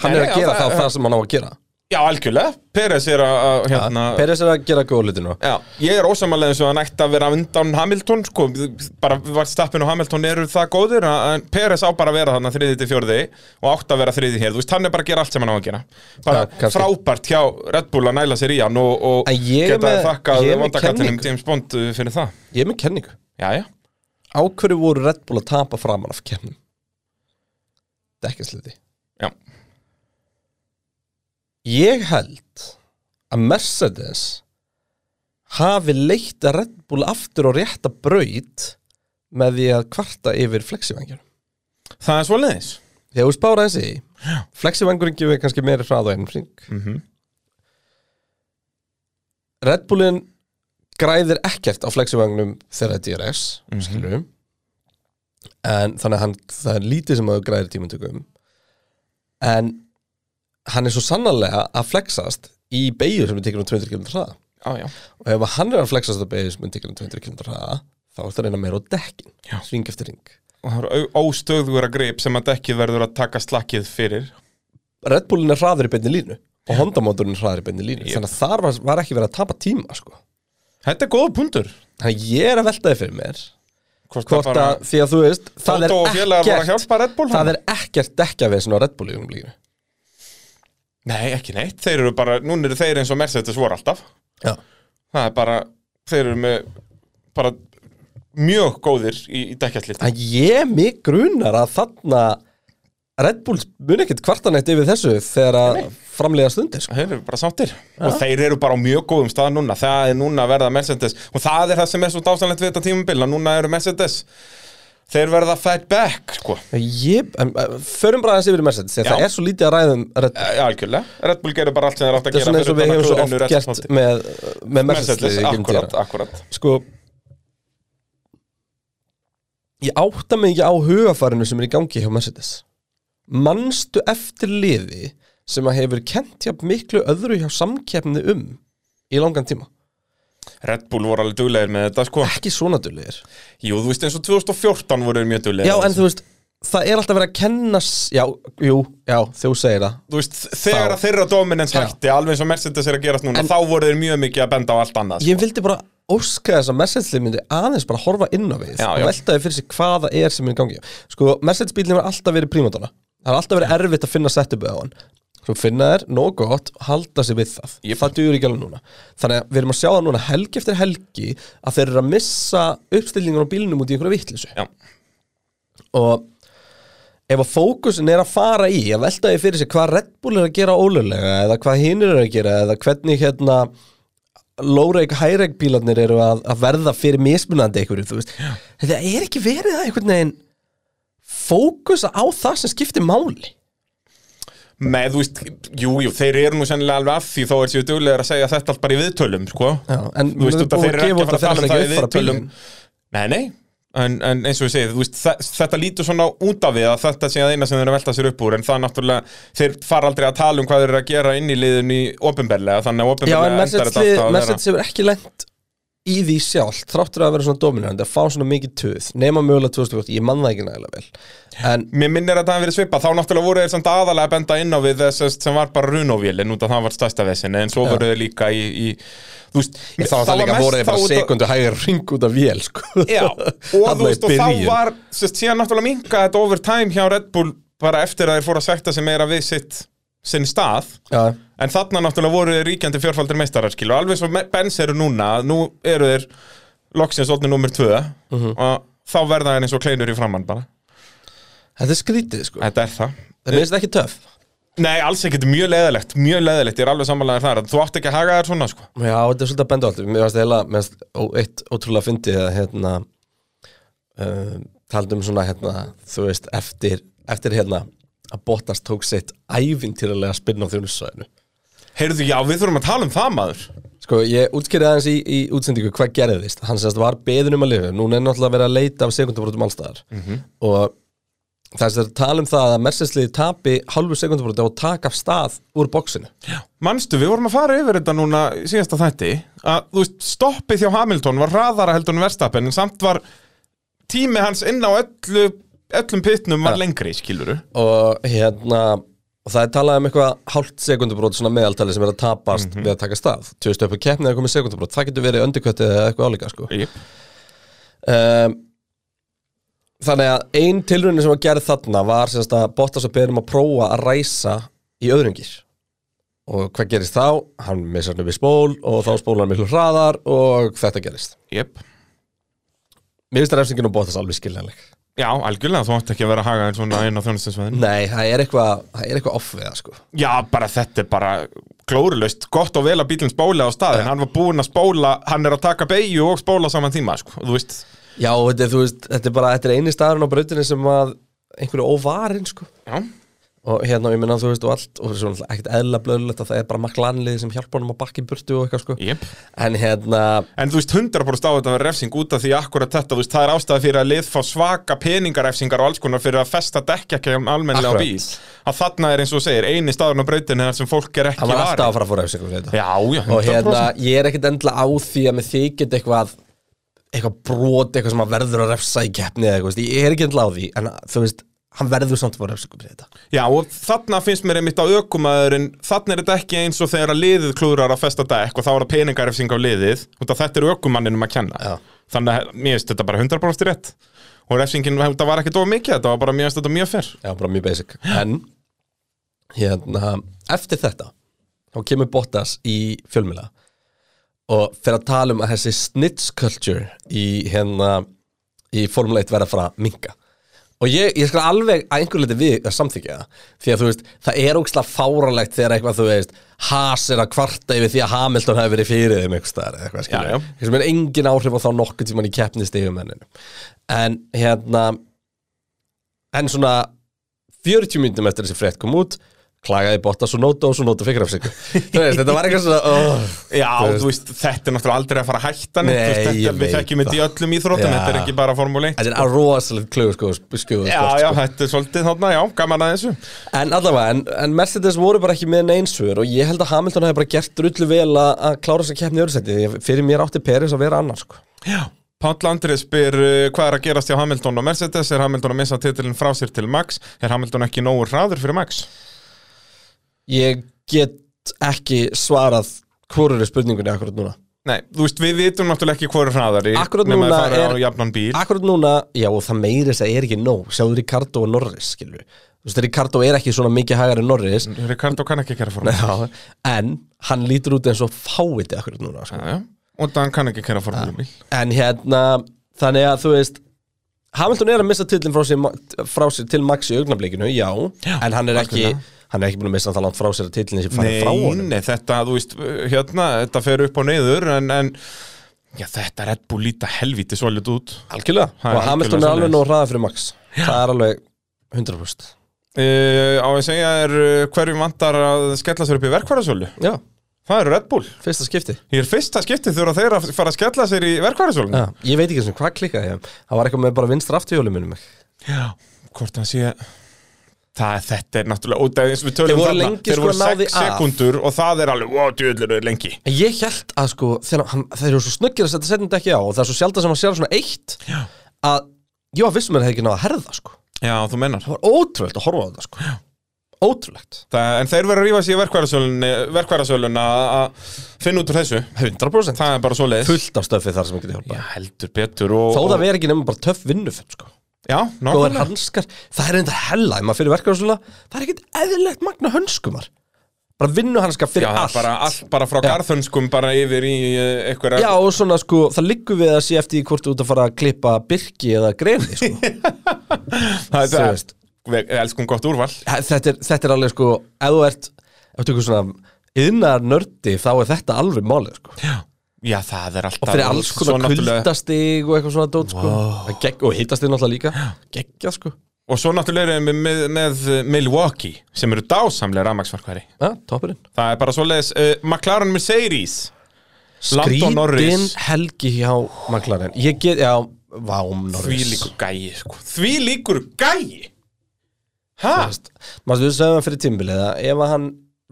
hann
Nei,
er
nei,
að gera
já,
það,
það-
það sem hann á að gera
Já, algjörlega. Peres er að, að, hérna...
Peres er að gera góða hluti nú
Já, ég er ósamalega eins og hann ætti að vera undan Hamilton, sko, bara var stappin og Hamilton eru það góðir, að- en Peres á bara að vera þarna þriði til fjörði og átt að vera þriði hér, þú veist, hann er bara að gera allt sem hann á að gera bara
Já, kannski.
frábært hjá Red Bull að næla sér í hann og, og
En ég er
geta
með-
þakkað
ég er með
vandakattinum
kenningu.
James Bond uh, fyrir það
ég er með kenningu
Já, já,
á hverju voru Red Bull að tapa framan af keppnum dekkinsluti
já,
ég held að Mercedes hafi leitt að Red Bull aftur og rétta braut með því að kvarta yfir flexivangjurum
það er svoleiðis
þegar þú spára þessi í flexivangurinn gefur kannski meiri hrað á einum hring
mm
Red Bullin græðir ekkert á flexivagnum þegar þetta er DRS skilurðu. en þannig að hann, það er lítið sem að þú græðir í tímundtökum en hann er svo sannarlega að flexast í beigju sem er tekur um 200 km hraða
Já, já,
og ef að hann er að flexast á beigju sem er tekur um 200 km hraða þá er það reyna meira á dekkin
Já.
ring eftir ring
og það eru ó- óstöðugra grip sem að dekkið verður að taka slakkið fyrir
Red Bullin er hraður í beinni línu og Honda mótorinn er hraður í beinni línu
Yep.
þannig að þar var, var ekki verið að tapa tíma sko.
Þetta er góða pundur
þannig að ég er að velta þið fyrir mér
Hvort,
hvort
bara-
að, því að þú veist það er
Tóta og félagar voru að
ekkert,
hjálpa Red Bull
það er ekkert dekkjavesin á Red Bull í umlíkinu
Nei, ekki neitt, þeir eru bara, núna eru þeir eins og Mercedes voru alltaf
já,
Það er bara, þeir eru með bara mjög góðir í, í dekkjalliti
að ég mig grunar að þarna Red Bull mun ekkert kvartanætt yfir þessu þegar að framlega stundir sko.
Þeir eru bara sáttir og þeir eru bara á mjög góðum stað núna það er núna að verða Mercedes og það er það sem er svo dásanlegt við þetta tímabil að núna eru Mercedes þeir verða fight back sko.
ég, en, en, förum bara aðeins yfir í Mercedes því
Já.
að það er svo lítið að ræða um Red Bull
Já, algjörlega, Red Bull gerir bara allt sem þeir átt að
þetta er
gera
svona eins og
fyrir utan að
við hefum
klúðrinu
svo oft
í
gert
resten af
með, með Mercedes
Mercedes,
liðið í gegnum
akkurat,
tíðina.
akkurat
sko ég átta mig ekki á hugafarinu sem er í gangi hjá Mercedes mannstu eftir liði sem að hefur kent hjá miklu öðru hjá samkeppni um í langan tíma
Red Bull voru alveg duglegir með þetta sko
ekki svona dullir
Jú, þú veist eins og 2014 voru þeir mjög duglegir
já en þú veist það er alltaf verið að kenna s- já, jú, já, þú segir það
Þú veist, þegar
Þá-
að þeirra dominans
Já.
hætti, alveg eins og Mercedes er að gerast núna,
En-
þá voru þeir mjög mikið að benda á allt annað sko.
ég vildi bara óska þess að Mercedes myndi aðeins bara horfa inn á við
Já, já.
og veltaði fyrir sig hvaða er sem er í gangi sko, Mercedes bílinn var alltaf verið prímadonna það er alltaf verið erfitt að finna setupið á hann svo finna þær, nóg gott, halda sig við það
Jep.
það dugur ekki alveg núna þannig að við erum að sjá það núna helgi eftir helgi að þeir eru að missa uppstillingar á bílinum út í einhverju vitleysu
Já,
og ef að fókusin er að fara í að velta því fyrir sig hvað Red Bull er að gera ólulega eða hvað hinir er að gera eða hvernig hérna lóreik, hæreik bílarnir eru að, að verða fyrir mismunandi einhverju, þú veist þetta er ekki verið að einhvern veginn fókusa á það sem skiptir máli
með, þú veist, jú, jú, þeir eru nú sennilega alveg að því þó er séu duglegir að segja þetta allt bara í viðtölum, sko
Já, en
Þú veist,
við
út af
erum búin
þeir eru ekki að
gefa
fara að tala
út
um
þeir
það í
ætla ekki uppfara
viðtölum
bílinn.
Nei, nei, en, en eins og ég segi, þú veist, þe- þetta lítur svona út af við að þetta sé að eina sem þeir eru að velta sér upp úr en það náttúrulega, þeir fara aldrei að tala um hvað þeir eru að gera inn í liðinu í opinberlega þannig að
Já,
opinberlega
en
endar þetta alltaf að vera
Mercedes hefur ekki lent í því sjálf þráttur að vera svona dominant að fá svona mikið töð nema mögulega 2008, ég man það ekki nægilega vel en
Mér minnir að það hafi verið svipað, þá náttúrulega voru þeir samt aðalega að benda inn á við þess að- sem var bara runovélin út af það var stærsta vesinni en svo
Já.
voru þeir líka í, í þú veist,
Ég, þá var það líka
mest
voru þeir
þá
bara
út af-
sekundu hægir ring út af vél sko. *laughs*
Já, og þú
Þarna í
veist, og þá
byrjun.
var sérst, síðan náttúrulega minka þetta over time hjá Red Bull bara eftir að þeir fóru að sekta sig meira við sitt sinn stað,
Já,
en þarna náttúrulega voru þeir ríkjandi fjörfaldir meistararskil og alveg svo Benz eru núna, að nú eru þeir loksins orðnir nummer 2
Mhm.
og þá verða þeir eins og kleinur í framann bara,
Þetta er skrítið sko
þetta er það
Það minnst ekki töf
Nei, alls ekki, þetta er mjög leðilegt, mjög leðilegt, ég er alveg samanlegaður þar, þú átt ekki að haga þér svona, sko.
Já, þetta er svolítið að benda á allt Mér varst heila, mér varst ó- eitt ótrúlega fyndið að hérna uh, taldum svona hérna þú veist, eftir, eftir hérna að Bottas tók sitt ævintýralega spinn á þjónusvæðinu
Heyrðu, já, við þurfum að tala um það, maður.
Sko, ég útskýrði aðeins í, í útsendingu hvað gerðist. Hann sérst var beðin um að lifa. Núna er náttúrulega verið að leita af sekundabrótum allstaðar. Og það er að tala um það að Mercedesliði tapi hálfu sekundabróti og taka af stað úr bóksinu.
Manstu, við vorum að fara yfir þetta núna í síðasta þætti, að, þú veist, stoppið hjá Hamilton var hraðara heldur en verstappen, en samt var tími hans inn á öllu, öllum pitnum var lengri, skiluru.
Og hérna, og það er talað um eitthvað hálft sekundabrót, svona meðaltali sem er að tapast við að taka af stað. Tjóðstu upp að keppni eða komið sekundabrót. Það getur verið öndurköttið eða eitthvað álíka, sko.
Jip.
um, Þannig að ein tilraunin sem var gerð þarna var semst að Bottas og Berum að prófa að ræsa í öðrungir og hvað gerist þá? Hann missar hann upp í spól og þá spólar hann miklu hraðar og þetta gerist
Jip.
Mér finnst refsingin og Bottas alveg skiljanleg
Já, algjörlega, þú átt ekki að vera að haga þér svona inn á þjónustinsveðin.
Nei, það er eitthvað, það er eitthvað off við það sko
Já, bara þetta er bara glórulaust, gott og vel að bílinn spóla á staðin, hann var búinn að spóla, hann er að taka beigju og spóla saman tíma, sko, þú veist.
Já, og þetta, er, þú veist, þetta er bara, þetta er eini staðurinn á brautinni sem að einhverju óvarinn sko
Já.
og hérna, og ég minna, þú veist, og allt og svona ekkert eðla blöðlulegt að það er bara maklanlið sem hjálpa honum að bakka í burtu og eitthvað sko
Jep.
En hérna,
En þú veist, 100% á þetta að vera refsing út af því akkurat þetta, þú veist, það er ástæða fyrir að lið fá svaka peningarefsingar og alls konar fyrir að festa dekk ekki um almennlega
Akkurat.
bíl að þarna er eins og þú segir, eini staðurinn á brautinu þar sem fólk er ekki
hann var alltaf
varið.
að fara að fóra efsir þetta
Já, já, 100%
og hérna, ég er ekkert endla á því að mér þykir eitthvað eitthvað brot, eitthvað sem að verður að refsa í keppni eða eitthvað, veist, ég er ekki endla á því en þú veist, hann verður samt að fara refsingu fyrir þetta
Já, og þarna finnst mér einmitt á aukumæðurinn þarna er þetta ekki eins og þegar að liðið klúrar að festa dekk og þá er það peningarefsing á liðið út af þetta er aukumæninum að kenna
Já.
þannig að mér finnst þetta bara 100% rétt og refsingin, þetta var ekki dóa mikið þetta var bara, mér finnst þetta mjög fyrr
Já, bara mjög basic en, hérna, eftir þetta þá kemur Bottas í fjölmila og fer að tala um að þessi snitch culture í hérna í Formule 1 verða að fara að minka og ég, ég skal alveg að einhver liti við að samþykja það því að þú veist, það er ógslag fáralegt þegar eitthvað þú veist Haas er að kvarta yfir því að Hamilton hafi verið fyrir þeim einhvers staðar eða eitthvað
Já, já.
skilur þessum er engin áhrif á þá nokkuð tíman í keppnistegum enninu en hérna en svona 40 myndum eftir þessi frétt kom út klagaði Bottas og Nóta og svo Nóta fikk
*laughs*
refsingu Þú veist, þetta var eitthvað svona oh.
Já,
Þú veist-
þú veist, þetta er náttúrulega aldrei að fara að hætta neitt,
Nei,
þú veist,
ég
þetta, Við
veit
þekkjum þetta í öllum íþróttum,
Já.
þetta er ekki bara formúli 1
Þetta er að rosalegt klögu sko, skjóðu
Já, já, þetta er svolítið þarna, já, gaman að þessu
En allavega, en, en Mercedes voru bara ekki með neinsur og ég held að Hamilton hefði bara gert drullu vel að, að klára þess að keppni öðursætti því að fyrir mér átti Peris að vera annar sko.
Já Páll Andrið spyr uh, hvað er að gerast hjá Hamilton og Mercedes, er Hamilton að missa titilin frá sér til Max, er Hamilton ekki nógu hraður fyrir Max?
Ég get ekki svarað hvorur er spurningunni akkurat núna
Nei, þú veist, við vitum náttúrulega ekki hvað er hraðari
Akkúrat
nema
núna
að fara
er-
á jafnan bíl
Akkurat núna, já og það meiri þess að er ekki nóg sjáðu Ricardo og Norris, skilju Þú veist, Ricardo er ekki svona mikið hægar en Norris
Ricardo kann ekki kæra formúli
já, en hann lítur út eins og fáiði akkurat núna sko.
Já, já. og hann kann ekki kæra formúli
en hérna, þannig að þú veist Hamilton er að missa titlinn frá, sér- frá sér til Max í augnablikinu, já, en hann er ekki hann er ekki búin að missa það langt frá sér að titlinn sem fann
Nei,
frá honum
nei, þetta, þú veist, hérna, þetta fer upp og neyður en, en já, þetta Red Bull líta helvítið svolít út
algjörlega,
Það er
og Hamilton
algjörlega
er
svoleiðis.
alveg nóg hraða fyrir Max það er alveg 100%
uh, Á að segja er uh, hverjum vantar að skella sér upp í verkvarðasölu
já,
Það eru Red Bull
fyrsta skipti
Ég er fyrsta skiptið þegar þeir að fara að skella sér í verkvarðasölu
já, ég veit ekki sem hvað klikkaði ég það var eitthvað með bara vinstra afturhjóli minnum mig
Já, hvort hann sé Það er þetta er náttúrulega út af eins og við tölum
Þeir voru
þarna,
lengi
Þeir
sko
voru
náði
6
af.
sekundur og það er alveg, wow, djöðlur er lengi
En Ég held að sko, þegar hann, þeir eru svo snuggir að setja setjandi ekki á og það er svo sjaldan sem hann sér svona eitt
Já.
að ég var vissum að það hefði ekki náða að herða sko.
Já, þú mennar
Það var ótrúlegt að horfa á þetta sko. Ótrúlegt.
Það, en þeir verður að rífa sér verkvarðasölun að finna út úr þessu
100%.
Það er bara svo leiðis
Fullt af stöfið þar sem ekki hjálpa.
Já, heldur betur og,
Þó
og,
það veri ekki nefnum bara töff vinnuföld sko.
Já,
Góðar
nákvæmlega
hanskar. Það er enda hella, ef maður fyrir verkaðarsvöla, það er ekkit eðlilegt magna hönskumar. Bara vinnuhanskar
Já,
fyrir
það er
allt.
bara allt bara frá garðhönskum bara yfir í uh, einhverja
Já, og svona sko, það liggur við að sé eftir því hvort þú ert að fara að klippa birki eða greni sko.
*laughs* það,
þú
það,
veist.
Við elskum gott úrval
þetta er, þetta er alveg sko ef þú ert, ef þú ert svona yðnar nördi þá er þetta alveg málið sko.
Já, það er alltaf
og fyrir alls
svo
konar
náttúrulega-
kuldastig og eitthvað svona dót sko. wow. gegg, og hittastig náttúrulega líka geggja sko,
Og svo náttúrulega erum við með, með eh, Milwaukee sem eru dásamlega rafmagsfarkværi
ja, toppurinn
Það er bara svo leiðis uh, McLaren Mercedes Landon
skrítin
Norris.
helgi hjá maklarinn ég get, já, vám
Því
Norris
líkur gæi sko. Því líkur gæi Hæ?
maður við sögum hann fyrir tímbilið að ef að hann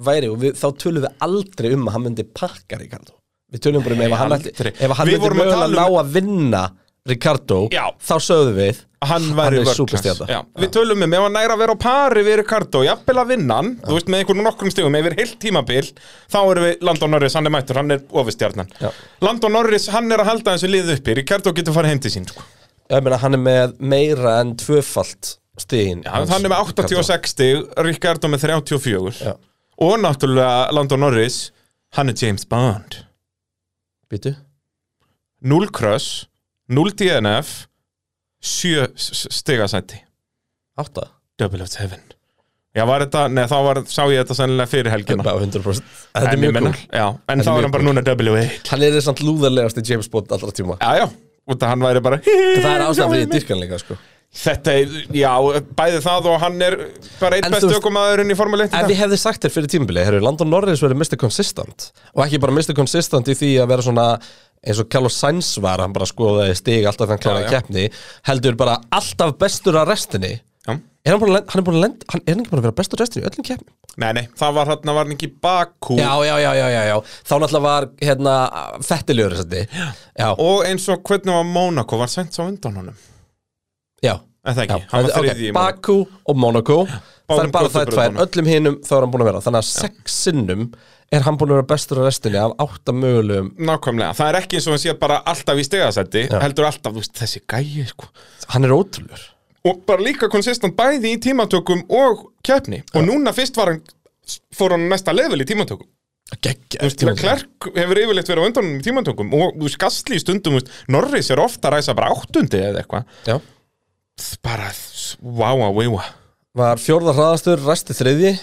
væri og við, þá tölum við aldrei um að hann myndi pakka Ricardo við tölum bara um ef að hann, ætti-
aldrei.
ef að hann
Við
myndi
vorum að
mögulega
tala um-
ná að vinna Ricardo,
Já.
þá sögðum við
hann væri
er
world
superstjarna.
class. Já, Við tölum um, ef hann næra að vera á pari við Ricardo, jafnvel að vinna hann, þú veist, með einhvern nokkrum stigum, yfir heilt tímabil, þá erum við Landon Norris, hann er mættur, hann er ofistjarnan.
Já.
Landon Norris, hann er að halda þessu lið uppi, Ricardo getur farið heim til sín, sko.
Ég meina, hann er með meira en tvöfalt stíðin
Hann, hann er með 86 stig, Ricardo með 34.
Já.
Og náttúrulega Landon Norris, hann er James Bond.
Býtu?
0 cross, 0 DNF, 7 stigasæti.
8
Double of seven. Já, var þetta, neða, þá var, sá ég þetta sennilega fyrir helgina.
Bara 100% Þetta er
En ég
mjög
meina,
cool
Já, en
er
þá
mjög
er hann bara núna W
Hann er þessant lúðarlegasti James Bond allra tíma
Já, já, út að hann væri bara
Það er ástæðan fyrir dyrkan líka sko
Þetta, er, já, bæði það og hann er bara
En
einn
þú
bestu
veist-
ökumæðurinn í Formule 1 í
Ef
dag.
ég hefði sagt þér fyrir tímabili Herru, Landon Norris verið Mr. Consistent Og ekki bara Mr. Consistent í því að vera svona eins og Carlos Sainz var, hann bara skoðaði stig alltaf þegar hann kláraði
Já, já.
keppni heldur bara alltaf bestur að restinni
Já.
er hann, búin að lenda, hann, er búin að lenda, hann er hann ekki búin að vera bestur að restinni í öllum keppnum
Nei, nei, það var hann var hann ekki í Bakú
Já, já, já, já, já, já. Þá náttúrulega var hérna fettilegur þessandi Já,
Og eins og hvernig var Mónako var sent á undan honum
já,
En það
já.
ekki, hann var
Ok,
þriði í Mónako
Bakú og Monaco Það er
Báðum
bara það tvær,
götubrautunum.
öllum hinum þá er hann búin að vera Þannig að sex sinnum er hann búin að vera bestur á restinni af átta mögulegum
Nákvæmlega, það er ekki eins og hann sé bara alltaf í stegasætti Heldur alltaf, þú veist, þessi gæi sko.
Hann er ótrúlur
Og bara líka konsistant bæði í tímatökum og keppni Og núna fyrst var hann, fór hann á næsta level í tímatökum
Gekkja
Þú veist, Leclerc hefur yfirleitt verið á undanum í tímantökum og þú veist, Gasly í stundum, þú veist, Norris er ofta að ræsa bara áttundi eða eitthvað
Já
bara, wow, wow, wow
Var fjórða hraðastur, resti þriði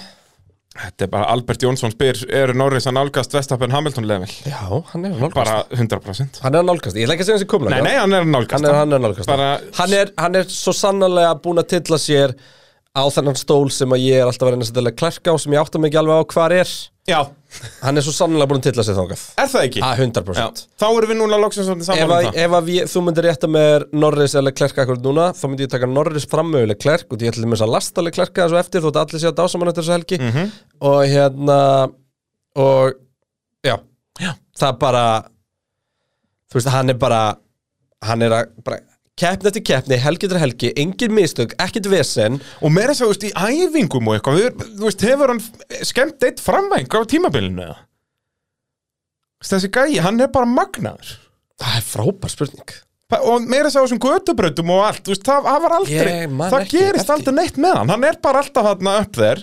Þetta er bara Albert Jónsson spyr er Norris að nálgast Vestapen Hamilton level
Já, hann er að nálgast
bara 100%
Hann er að nálgast, ég ætla ekki að segja hans í
Nei,
komlega
nei, hann er að
hann
nálgast
er, hann er nálgast
Bara-
hann, er, hann er svo sannarlega búin að tilla sér á þennan stól sem að ég er alltaf að reyna að setja að klerka á sem ég átta mig ekki alveg á hvar er
Já,
hann er svo sannlega búin að tilla sig þangað
er það ekki?
að 100%
Já, Ah, þá erum við núna loksins orðin
ef,
saman
að,
um það
ef að við, þú myndir rétta með Norris eða Leclerc akkur núna, þá myndi ég taka Norris frammöguleg klerk og því ég ætla með þess að lasta Leclerc þessu eftir þótt allir sé að dása mann eftir þessu helgi og hérna og já, já. það er bara þú veist, hann er bara hann er að bara, keppni eftir keppni, helgi eftir helgi engin mistök, ekkert vesen
Og meira svo, þú veist, í æfingum og eitthvað við, Þú veist, hefur hann skemmt eitt framvæng á tímabilinu eða? Þú veist, Þessi gæi, hann er bara magnaður
það er frábær spurning
Pa- Og meira svo þessum götubrautum og allt Þú veist, það, það var aldrei
Ég man
Það
ekki
gerist
eftir.
aldrei neitt með hann Hann er bara alltaf þarna upp þér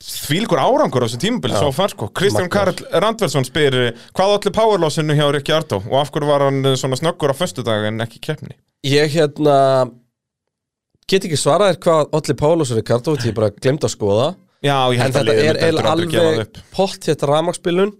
Þvílgur árangur á þessu tímabili svo far sko Kristján
Magnaður.
Karl Randversson spyr eh, Hvað olli powerlossinu hjá Rikki Ardó Og af hverju var hann eh, svona snöggur á föstudag en ekki í keppni
ég hérna get ekki svarað þér hvað Olli Pálus og Ricardo, því ég bara glemt að skoða
Já, ég
En
held að
þetta
liðið
er
myndi heldur
eiginlega
aldrei gefa það
alveg
upp
pott þetta rafmagnsbylun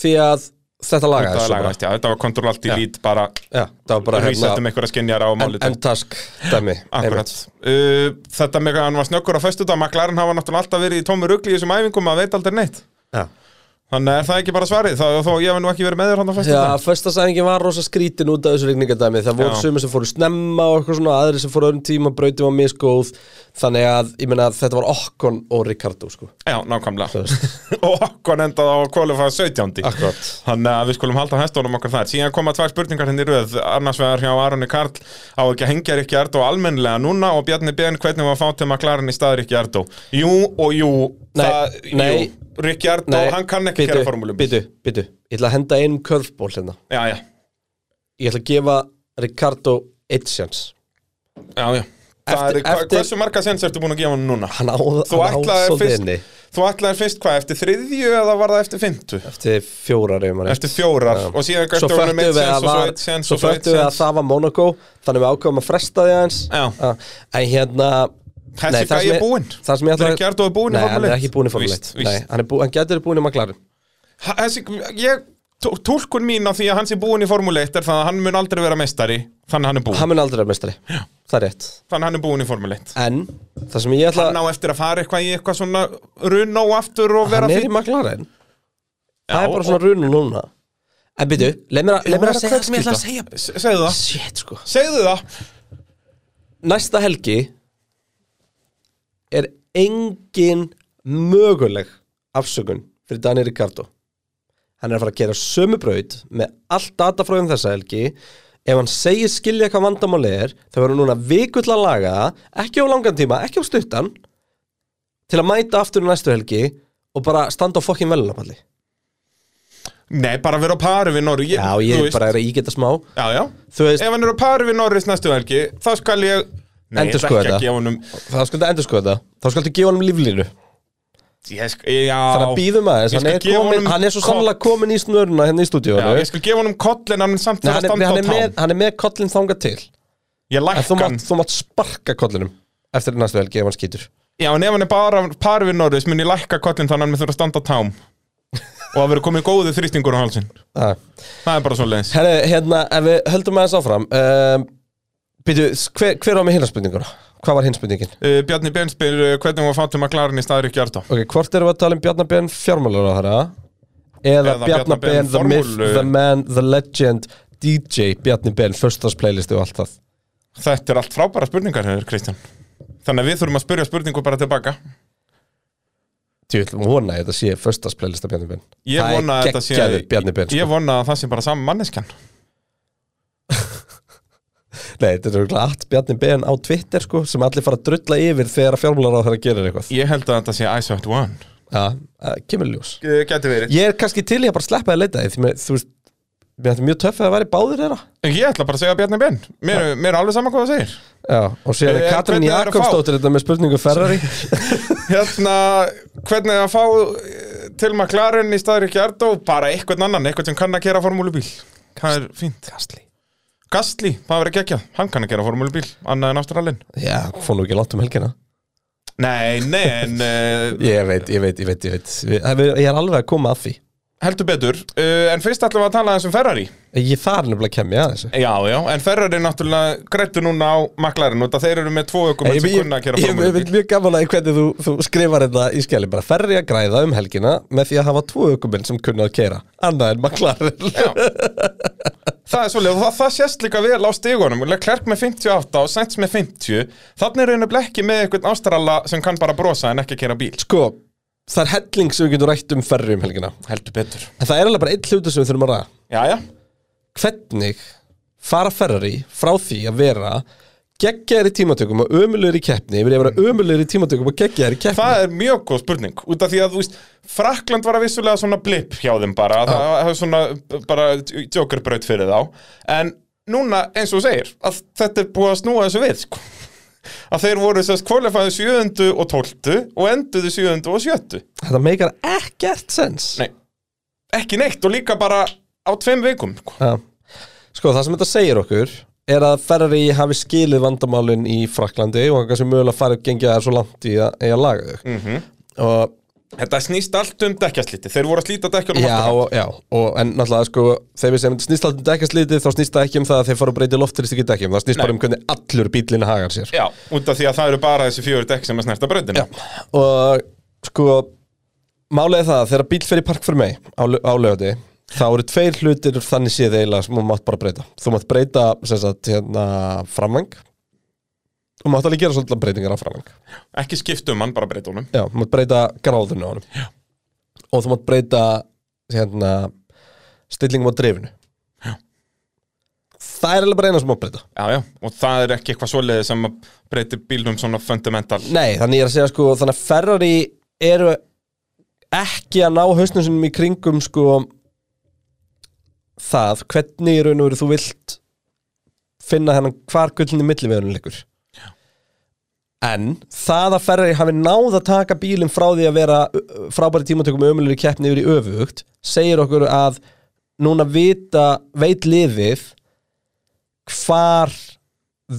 því að þetta lagaði
Þetta
svo bara.
lagaðist, já, þetta var kontroll allt í
Já.
lít bara
Já, það var bara
resettum
hérna
einhverja skinjar á
en-
málið sko.
end task dæmi.
Akkurat. Uh, þetta með að hann var snökkur á föstudag McLaren hafa náttúrulega alltaf verið í tómi rugli í þessum æfingum að veit aldrei neitt
einmitt.
Þannig er það ekki bara svarið, þá, þá ég hef nú ekki verið með þér hann á
Já,
föstudag
föstasæðingin var rosa skrítin út af þessu rigningadæmi Það voru
Já.
sumir sem fóru snemma og eitthvað svona aðri sem fóru öðrum tíma, brautum var misgóð Þannig að, ég meina, þetta var Okkon og Ricardo, sko *laughs*
Já, nákvæmlega *laughs* Og okkur endaði á kvalifað 17.
Akkurat
Þannig að við skulum halda hestónum okkar þar Síðan koma tvær spurningar henni í röð Annars vegar hjá Aroni Karl Á ekki að hengja Rikki Ardó almennlega núna Og Bjarni Ben hvernig var að fá til McLaren í stað Rikki Ardó Jú og jú
Nei,
það,
nei.
jú, Rikki Ardó, hann kann ekki
bíddu,
kæra formúlum
Bíddu, bíddu, ég ætla að henda einum körfból hérna
Já, já,
Ég ætla að gefa Ricardo eitt sjans
já, já. Það
Eftir-
er, eftir,
eftir-
Hversu marga sens ertu búin að gefa hann núna?
Hann á,
Þú
hann á
ætlaðir
svolítið
fyrst-
inni
Þú ætlaðir fyrst hvað, eftir þriðju eða var það eftir fymtu?
Eftir fjórar ef maður
Eftir fjórar og síðan
Svo
gæstu honum
föttu
eitt
við
sens
að,
og svo
var,
eitt sens
svo
og svo eitt
föttu við að
sens
það var Monaco Þannig við ákveðum að fresta því aðeins
Já.
En hérna
Þessi
það sem
gæi er
ég-
búinn.
Það sem ég ætla
Ricciardo er búinn í
Nei,
Formúlu
hann er
1.
ekki búinn í Formule
Víst,
1
víst.
Nei, hann, er bú, hann getur búinn í McLaren
Ha- þessi, ég, tó- túlkun mín á því að hann sé búin í Formule 1 er það að hann mun aldrei vera meistari þannig að hann er búin,
Hann mun aldrei vera mestari Það er rétt
þannig að hann er búin í Formule 1
En það sem ég ætla
hann á eftir að fara eitthvað í eitthvað svona run á aftur og vera
Hann er
fínn.
í McLaren Það
Já,
er bara svona runu núna En byrju, leið mér að- leið
Já,
mér að segja það sem ég ætla að
kveikskýta.
segja
Se- segðu það,
Shit sko
segðu það
Næsta helgi er engin möguleg afsökun fyrir Dani Ricardo. Hann er að fara að gera sömu braut með allt datafröðum þessa helgi. Ef hann segir skilja hvað vandamáli er, þá verður hann núna vikull að laga það, ekki á langan tíma, ekki á stuttan, til að mæta aftur í næstu helgi og bara standa á fokkin velunapalli.
nei, bara vera á pari við Norri
Já, ég er bara að ígeta smá.
já, já.
Þú veist,
ef hann er á pari við Norris næstu helgi þá skal ég nei, ég ætla
Endurskoða
ekki
þetta.
að gefa honum
þá skaldu endur skoða það. Þá skaldu gefa honum líflínu.
ég sk- já,
Þannig að býðum aðeins,
Ég
hann
skal
er,
gefa
komin,
honum
hann er svo
koll.
sannlega komin í snöruna hérna í stúdíónu
já, ég skal gefa honum koll en hann er samt
Nei,
þarf
hann,
að
er,
standa á
hann, er
tám
með, hann er með kollin þangað til
ég
En þú
lækka hann
mátt, þú mátt sparka kollinum Eftir næstu helgi ef hann skýtur
Já, en ef hann er bara par við Norris mun ég lækka kollin þannig að hann mun þurfa að standa á tám og að vera komið góðu þrýstingur á halsin
ah.
Það er bara svo leiðis
Herri, hérna, ef við höldum aðeins áfram um, Býtu, hver, hver var með hinna spurninguna? Hvað var hinn spurningin?
uh, Bjarni Ben spyr uh, hvernig var fátum að klara hann í staðrykki Ardó
Ok, hvort erum við að tala um Bjarnar Ben fjármálar á þeirra? Eða,
Eða Bjarna
Bjarnar
Ben
Ben, the myth,
formúlu-
the man, the legend DJ Bjarni Ben, förstasplaylist og allt það
Þetta er allt frábæra spurningar hefur Kristján Þannig að við þurfum að spyrja spurningu bara tilbaka
Þú ætlum vona að þetta sé förstasplaylist af Bjarni Ben
Ég
Það er
vona að þetta sé
geggjaður Bjarni Ben, sko.
Ég vona að það sé bara saman manneskjan
Nei, þetta er örugglega allt Bjarni Ben á Twitter sko, sem allir fara að drulla yfir þegar að fjármálar á þeirra gerir eitthvað
Ég held að þetta sé Isot One
Já, uh, kemur ljós
uh, Gæti verið
Ég er kannski til í að bara sleppa að leita því því mér- þú veist, mér þetta er mjög töff að það væri báðir þeirra
Ég ætla bara að segja Bjarni Ben Mér, mér er alveg saman hvað það segir
Já, og sér
Eh,
er Katrín
hvernig er að
Jakobsdóttir þetta með spurningu
*laughs*
Ferrari
hérna, hvernig að fá eh, til McLaren í staður ekki Ardó bara einhvern annan, einhvern sem kann að gera formúlubíl það er fínt
Kastli
Gastli, það verður geggjað, hann kann að gera formúlubíl annað en Ástralin
Já, fór nú ekki langt um helgina
nei, nei, en eh, uh, *laughs*
Ég veit, ég veit, ég veit, ég veit Við- það- við- Ég er alveg að koma að því
heldur betur uh, En fyrst ætlum við að tala aðeins um Ferrari
Ég þar nefnilega kem ég að þessu
Já, já, en Ferrari náttúrulega grættu núna á maklarinn út að þeir eru með tvo ökum
Ég,
sem
ég,
kunna að
ég,
gera
ég vil
framöðu
mjög gaman að hvernig þú, þú skrifar þetta í skjæli bara ferri að græða um helgina með því að hafa tvo ökumenn sem kunna að kera annað en maklarinn
Það er svolítið, og það, það sést líka vel á stigunum Klerk með 58 og Sainz með 50 Þannig eru henni blekki með einhvern ástrala sem kann bara brosa en ekki kera bíl
*laughs* Sko, það er helling sem við getum rætt um ferri um helgina
Heldur betur
en það er alveg bara einn hlutu sem við þurfum að ræða
Jæja,
hvernig fara Ferrari frá því að vera geggjaðir í tímatökum og ömulegur í keppni yfir í að vera ömulegur í tímatökum og geggjaðir í keppni
það er mjög góð spurning út af því að, þú veist, Frakland var að vissulega svona blip hjá þeim bara, það það var svona b- bara jokerbraut fyrir þá en núna, eins og þú segir að þetta er búið að snúa þessu við sko. að þeir voru sérst kvalifæðu 7. og 12. og enduðu 7. og 7.
Þetta meikar ekkert sens
Nei, ekki neitt og líka bara á tveim vikum sko.
ja. Sko, það sem þetta segir okkur er að Ferrari hafi skilið vandamálin í Fraklandi og kannski mögulega farið að gengja það svo langt í að, í að laga þau og
þetta snýst allt um dekkjasliti þeir voru að slíta dekkjunum
Já, og, já, og en náttúrulega sko þegar við segjum snýst alltaf um dekkjaslitið þá snýst það ekki um það að þeir fara að breyta loftrist ekki dekkjum það snýst
Nei.
bara um hvernig allur bílinn hagar sér
Já, út af því að það eru bara þessi fjögur dekk sem að snerta brautina
og sko málið er það að þegar bíl fer í park fyrir mig á, lau- á lögati þá eru tveir hlutir þannig séð eiginlega sem þú mátt bara breyta þú mátt breyta sem sagt hérna framvang og mátt alveg gera svolítið breytingar á framvang
ekki skipt um hann, bara breyta honum
já, þú mátt breyta gráðunni á honum já. og þú mátt breyta hérna stillingum á dreifinu já. það er alveg bara eina sem mátt breyta
Já, já, og það er ekki eitthvað svoleiði sem að breyti bílnum svona fundamental
Nei, þannig ég er að segja sko þannig að Ferrari eru ekki að ná hausnum sinum í kringum sko það, hvernig í raun og veru þú vilt finna hennan hvar gullinni milliveðunum liggur en það að Ferrari hafi náð að taka bílinn frá því að vera ö, ö, frábæri tímatökum með ömulegri keppni yfir í öfugt segir okkur að núna vita, veit liðið hvar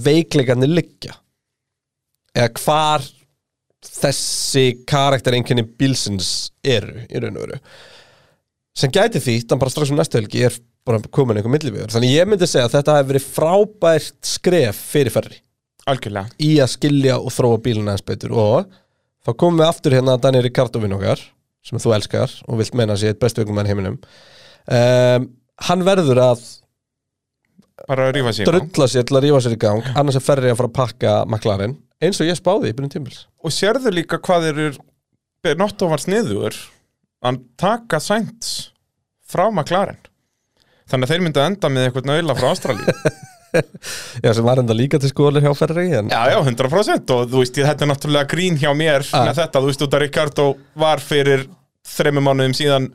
veikleikarnir liggja eða hvar þessi karaktereinkenni bílsins eru í raun og veru sem gæti því, þannig bara strax um næstu helgi er bara komin einhver millivíður þannig ég myndi segja að þetta hefur verið frábært skref fyrir ferri
Algjörlega
í að skilja og þróa bílina eins betur og þá komum við aftur hérna að Daniel Ricardo vinn okkar sem þú elskar og vilt meina að sé eitt bestu ökumann í heiminum um, hann verður að
Bara að rífa sig í gang.
drulla sér til að rífa sér í gang annars er ferri að fara að pakka maklarinn eins og ég spáði í byrjun tímbils
Og sérðu líka hvað þeir eru Benotto var sniður Hann taka sænt frá McLaren Þannig að þeir myndu að enda með eitthvað nöðla frá Ástralíu
Já, sem var enda líka til skoðalir hjá Ferrari en...
Já, já, 100% og þú veist, ég- þetta er náttúrulega grín hjá mér
Ah.
með þetta, þú veist, út að Ricardo var fyrir þreymum mánuðum síðan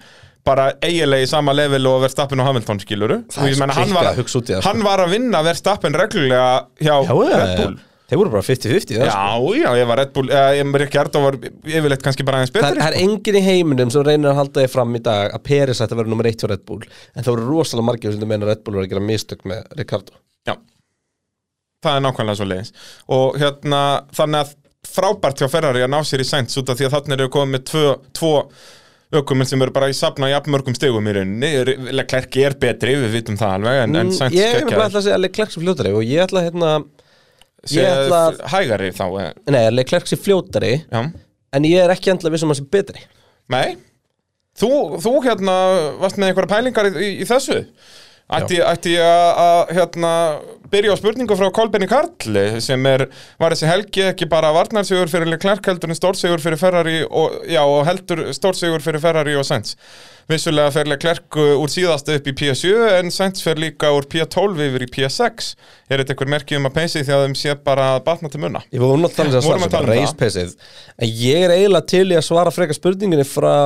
bara eiginlega í sama level og Verstappen og Hamilton skiluru
Það er
Ég meina,
svo
hann
klikkað
var,
að hugsa út í það, sko.
hann var að vinna Verstappen reglulega hjá Red Bull
Þeir voru bara 50-50 það, sko.
Já, já, ég var Red Bull, eh, ég- Ricardo var yfirleitt kannski bara aðeins
Það er,
betri sko.
það er enginn í heiminum sem reynir að halda þig fram í dag að Peris ætti að vera nummer eitt hjá Red Bull en það voru rosalega margir sem þú meina að Red Bull var að gera mistök með Ricardo
Já, það er nákvæmlega svo leiðis Og hérna, þannig að frábært hjá Ferrari að ná sér í Sainz út af því að þannig eru komið með tvö, tvo ökuminn sem eru bara í safna í mörgum stegum í rauninni Leclerc er betri, við vitum það alveg en, en Sainz
Mm, Ég er bara
gekkjaður.
ætla að segja að Leclerc sé fljótari og ég ætla að hérna
Sé
ég ætla að-
Hægari þá, eh,
Nei, að Leclerc sé fljótari
já
en ég er ekki endla vissum að hann sé betri
Nei, þú, þú hérna varst með einhverja pælingar í, í, í þessu Ætti, ætti ég að- að hérna, byrja á spurningu frá Kolbenni Karli sem er, var þessi helgi ekki bara varnarsigur fyrir Leclerc heldur en stórsigur fyrir Ferrari og, já, og heldur stórsigur fyrir Ferrari og Sainz Vissulega fer Leclerc úr síðasta upp í P7 en Sainz fer líka úr P12 yfir í P6 Er þetta einhver merki um að peysi því að þeim sé bara að batna til munna?
Ég voru
Vorum
náttúrulega þannig að svara
að
sem
tala
bara
um
race paceið en ég er eiginlega til í að svara frekar spurninginni frá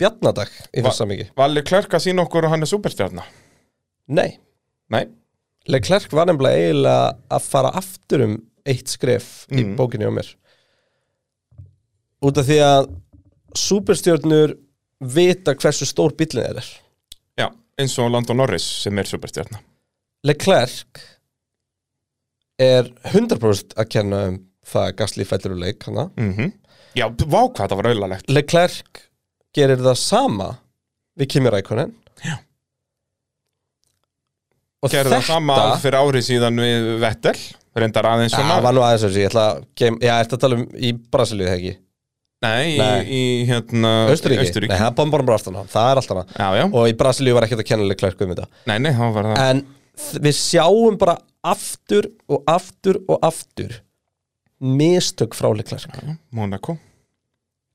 Bjarnadag í
Va-
þess að mikið
Var Leclerc að sína okkur og hann er superstjarnar?
Nei
Nei,
Leclerc var nefnilega eiginlega að fara aftur um eitt skref í
Mm.
bókinni á mér út af því að superstjörnur vita hversu stór bíllinn þeirra er
Já, eins og Landon Norris sem er superstjarna
Leclerc er 100% að kenna um það að Gasly fellur úr leik hana.
mm -hmm. Já, vá hvað það var auðalegt
Leclerc gerir það sama við Kimi Rækonen
Já.
og
gerði það sama
þetta
fyrir ári síðan við Vettel reyndar aðeins
Já,
svona
var nú aðeins þessi, ég ætla að geim, Já, ertu að tala um í Brasilíu þegar ekki
nei,
Nei.
Í, í hérna
Östuríki? Nei,
Östuríki.
það er bara- bara bara aftan á, það er allt annað
já, já,
Og í Brasilíu var ekkert að kennileg klærku um þetta
nei, nei, þá var það
En þ- við sjáum bara aftur og aftur og aftur Mistök frá Leclerc
Monaco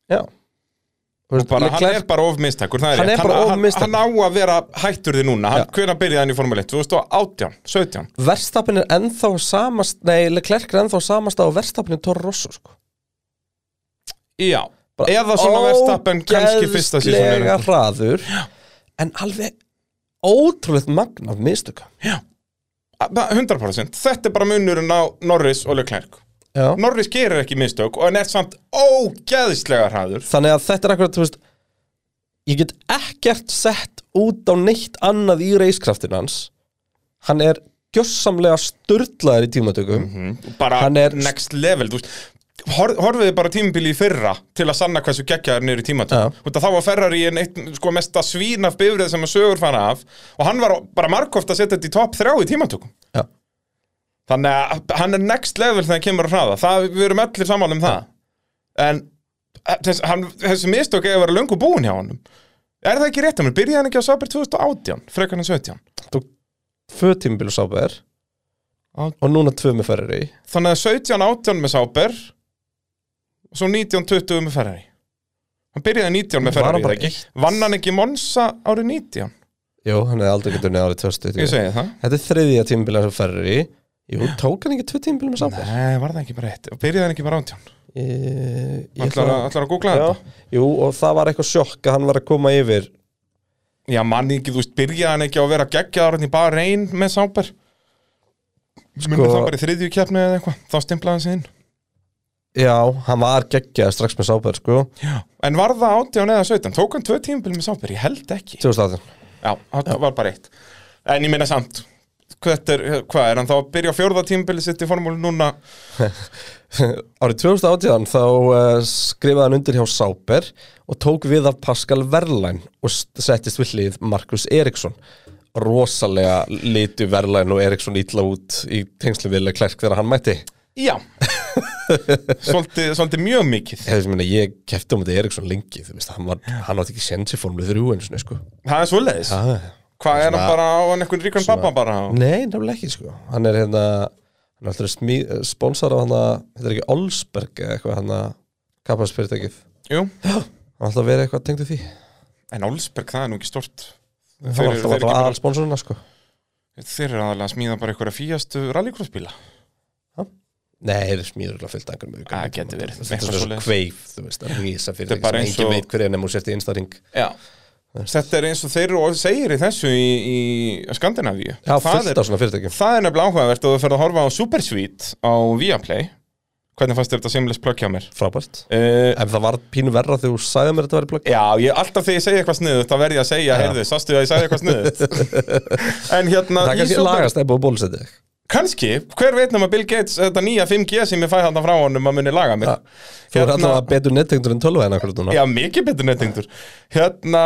Já
og bara, hann er bara of mistakur það er
Hann
rétt.
er bara of
hann,
mistækur.
hann á að vera hættur því núna hann, hvenær byrjaði hann í Formule 1 2018, 17
Verstapin er ennþá samast Nei, Leclerc er ennþá samast á Verstapin er Toro Rosso sko.
já, eða svona verðstappen kannski fyrsta sísoninu
Ógeðslega hraður En alveg ótrúlegt magn af mistöka
Já, Ba- 100% Þetta er bara munurinn á Norris og Leclerc
Já.
Norris gerir ekki mistök og hann er samt ógeðslega hraður
Þannig að þetta er akkurat, þú veist Ég get ekkert sett út á neitt annað í reiskraftin hans Hann er gjössamlega sturdlaður í tímatökum
bara
Hann er-
next level þú veist. Hor, horfiði bara tímabili í fyrra til að sanna hversu geggjaður niður í tímatökum ja. þá var Ferrari en eitt sko, mesta svín af bifrið sem að sögur fara af og hann var bara markoft að setja þetta í topp þrjá í tímatökum
Já.
þannig að hann er next level þegar hann kemur að hraða það, við erum allir sammála um það en eh, þess, hann, þessi mistök eða vera löngu búin hjá honum er það ekki rétt að mér, byrjaði hann ekki á Saber 2018 frekar en 17
Tók Tvö tímabil og sáber
Á-
Og núna tvö með Ferrari
þannig að 17 18 með Saber og svo 19 20 með Ferrari hann byrjaði 19 með
Var hann
Ferrari
bara
eða ekki?
eitt?
vann hann ekki Monsa árið 19
Jú, hann hefði aldrei getur neðarið tjóðstu
ég segi það
Þetta er þriðja tímabil sem Ferrari Jú, tók hann ekki tvö tímabil með sáber
Nei, var það ekki bara eitt? Byrjaði hann ekki bara 18?
Ég, ég
Ætlar
ætla
að, ætlar að googla
Já,
þetta?
Jú, og það var eitthvað sjokk að hann var að koma yfir
Já, mann ekki, þú veist, byrjaði hann ekki á að vera geggjaður hann í bara reyn með Sáber sko... Myndi það bara í þriðju keppni eða eitthvað, þá stimplaði hann sig inn
Já, hann var geggjað strax með sáber sko
Já. En var það 18 eða 17? Tók hann tvö tímabil með Sáber? Ég held ekki
2018
Já, það var bara eitt En ég meina samt, hvað er, hvað er hann þá að byrja á fjórða tímabili sitt í formúlu núna?
Árið 2018 þá uh, skrifaði hann undir hjá Sáber og tók við af Pascal Verlain og s- settist við hlið Markus Eriksson rosalega litu Verlain og Eriksson ítla út í tengslum vilja klærk þegar hann mætti *laughs*
Já Svolítið, svolítið mjög mikið
Ég, minna, ég kefti um þetta Eriksson lengi þú veist, hann, var, hann átti ekki séns í formlu þrjú einu sinni sko
Það er svoleiðis
ah.
Hvað er hann
Svona-
bara á hann einhvern ríkan pappa bara?
Nei, nefnilega ekki sko Hann er hérna hann er alltaf eh, sponsor af hann þetta er ekki Olsberg eða eitthvað hann að kappaspyrtækið
Jú,
Hann er alltaf verið eitthvað tengdu því
en Olsberg, það er nú ekki stort
Það var
Þeir-
alltaf
þeir ekki
bara
bara-
aðal sponsorina sko
Þeir eru aðalega að smíða bara einhverja fíjastu rallycrossbíla
Nei, þeir smíður alltaf fyllt einhverjum aukum
Það gæti verið,
Þetta er
eitthvað
svona
svoleiðis.
kveif, þú veist, að rísa fyrir
Þetta er bara
sem
eins
engin
og-
veit hver er nefnum og sért í instaring
Já Þetta er eins og þeir eru og segir í þessu í, í Skandinavíu
Já,
það,
fullt
er,
af svona fyrirtækjum
það er nefnilega áhugavert og þú ferð að horfa á Supersweet á Viaplay Hvernig fannst þér þetta seamless plug hjá mér?
Frábært
Uh,
Ef það var pínu verra þegar þú sagði mér að þetta var í blogg
já, ég, alltaf þegar ég segi eitthvað sniðut þá verð ég að segja, heyrðu, sástu að ég segi eitthvað sniðut
*laughs*
En hérna
Það
í
kannski
Super-
lagast ef búið bólusetið
Kannski, hver veit nema Bill Gates þetta nýja 5G sem ég fæ hann frá honum að muni laga mér
Þú er alltaf betur nettengdur en 12 en akkur núna
Hérna- Já, mikið betur nettengdur Hérna,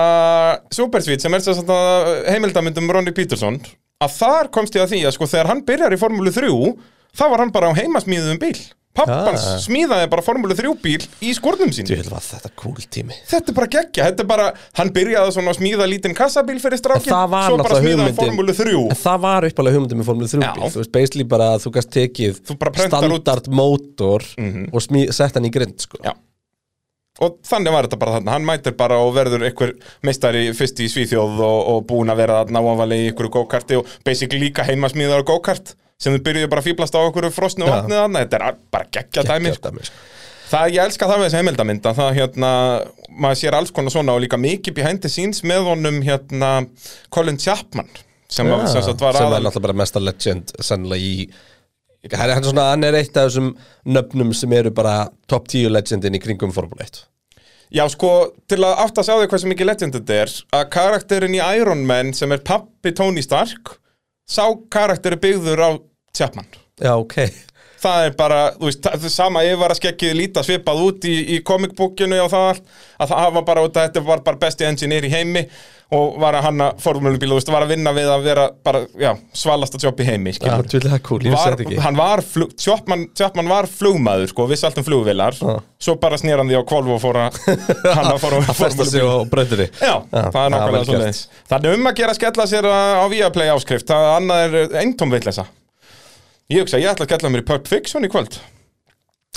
Supersweet sem er sem sagt að heimildamöndum Ronny Peterson að þar komst ég að því að sko þegar hann byrjar í Formúlu 3 þá var hann bara á heimasmíðum bíl Pappans
Ah.
smíðaði bara Formúlu 3 bíl í skórnum sín
Þú var þetta cool tími
Þetta er bara geggja, þetta er bara, hann byrjaði svona að smíða lítinn kassabíl fyrir strákin
það var
Svo bara
náttúrulega
smíðaði
hugmyndin.
Formúlu 3
En það var uppalega hugmyndin með Formule 3
Já.
bíl Þú veist, basically bara að þú gast tekið
Þú bara prentar út- Mhm.
standard mótor og smí, sett hann í grind sko.
Já Og þannig var þetta bara þarna, hann mætir bara og verður einhver meistari fyrst í Svíþjóð og, og búin að vera þarna ofanlega í einhverju go-karti og basically líka heimasmíðar á go-kart sem þau byrjuðu bara að fýblast á einhverju frosnu
Já.
vatnið þarna, þetta er bara geggja dæmi sko.
Dæmi, sko.
Það, ég elska það með þessi heimildamynda, það hérna, maður sér alls konar svona og líka mikið behind the scenes með honum hérna Colin Chapman sem, ja, sem, sagt var
sem er
aðal
náttúrulega bara mesta legend sennilega í hann er, hann, er svona, hann er eitt af þessum nöfnum sem eru bara top 10 legendin í kringum Formule 1
Já, sko, til að átt að sjá þig hversu mikið legend þetta er að karakterin í Iron Man sem er pappi Tony Stark sá karakter er byggður á Chapman
Já, ok
Það er bara, þú veist, það það er sama yfir að skekkið líta svipað út í, í komikbúkinu og það allt að það hafa bara út að þetta var bara besti engineer í heimi og var að hanna formúlubíl og þú veist, var að vinna við að vera bara, já, svalasta jobb í heimi
Það
skilur.
er tvillega cool, ég vissi
var,
þetta ekki
hann var flug, Tjópmann, Tjópmann var flugmaður sko, vissi allt um flugvilar
Já.
svo bara snýr hann því á kvolvu og fór að
*laughs*
hann að fór að
Að festa sig á breytri
Já, það er nákvæmlega
vel
svo
gert.
leiðis Þannig um að gera að skella sér uh, á Viaplay áskrift það annað er eintóm vitleysa Ég hugsa, ég ætla að skella mér í Pulp Fiction í kvöld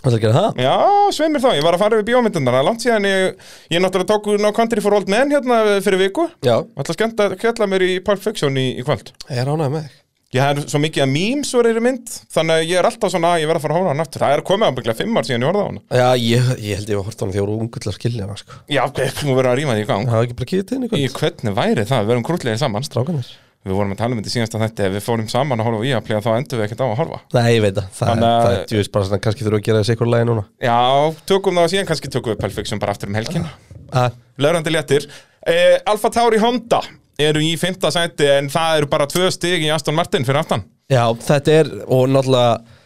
Það er að gera það
Já, sveimir þá, ég var að fara yfir bíómyndunar langt síðan ég, ég náttúrulega tók úr ná country for old men hérna fyrir viku
Já,
Ég ætla að skella, skella mér í Pulp Fiction í, í kvöld
ég er ánægð með þig
Ég hef svo mikið að memes úr þeirri mynd Þannig að ég er alltaf svona að ég verð að fara að hóra hann aftur Það er komið ábygglega fimm ár síðan ég horfði á hann
Já, ég, ég held ég var hort á hann því að voru ungull að skilja hana, sko.
Já, ok, nú verður að rýma því í gang
Það er ekki bara kýðið til
Í
einhvern,
hvernig væri það, við verum krútlegir saman
strákanir.
Við vorum að tala um þetta í síðasta þetta Ef við fórum saman að horfa á Viaplay þá endur við ekkert á að horfa
Nei, ég veit það. Það,
Þannig
Þann,
að-
það er djúvist bara svona, kannski þurfum við að gera þessi eitthvað lagi núna.
Já, tökum það síðan kannski tökum við Pulp Fiction bara aftur um helgina
Að,
Lörandi léttir eh, Alfa Tauri Honda eru í fymta sæti en það eru bara tvö stig í Aston Martin fyrir aftan
já, þetta er, og náttúrulega,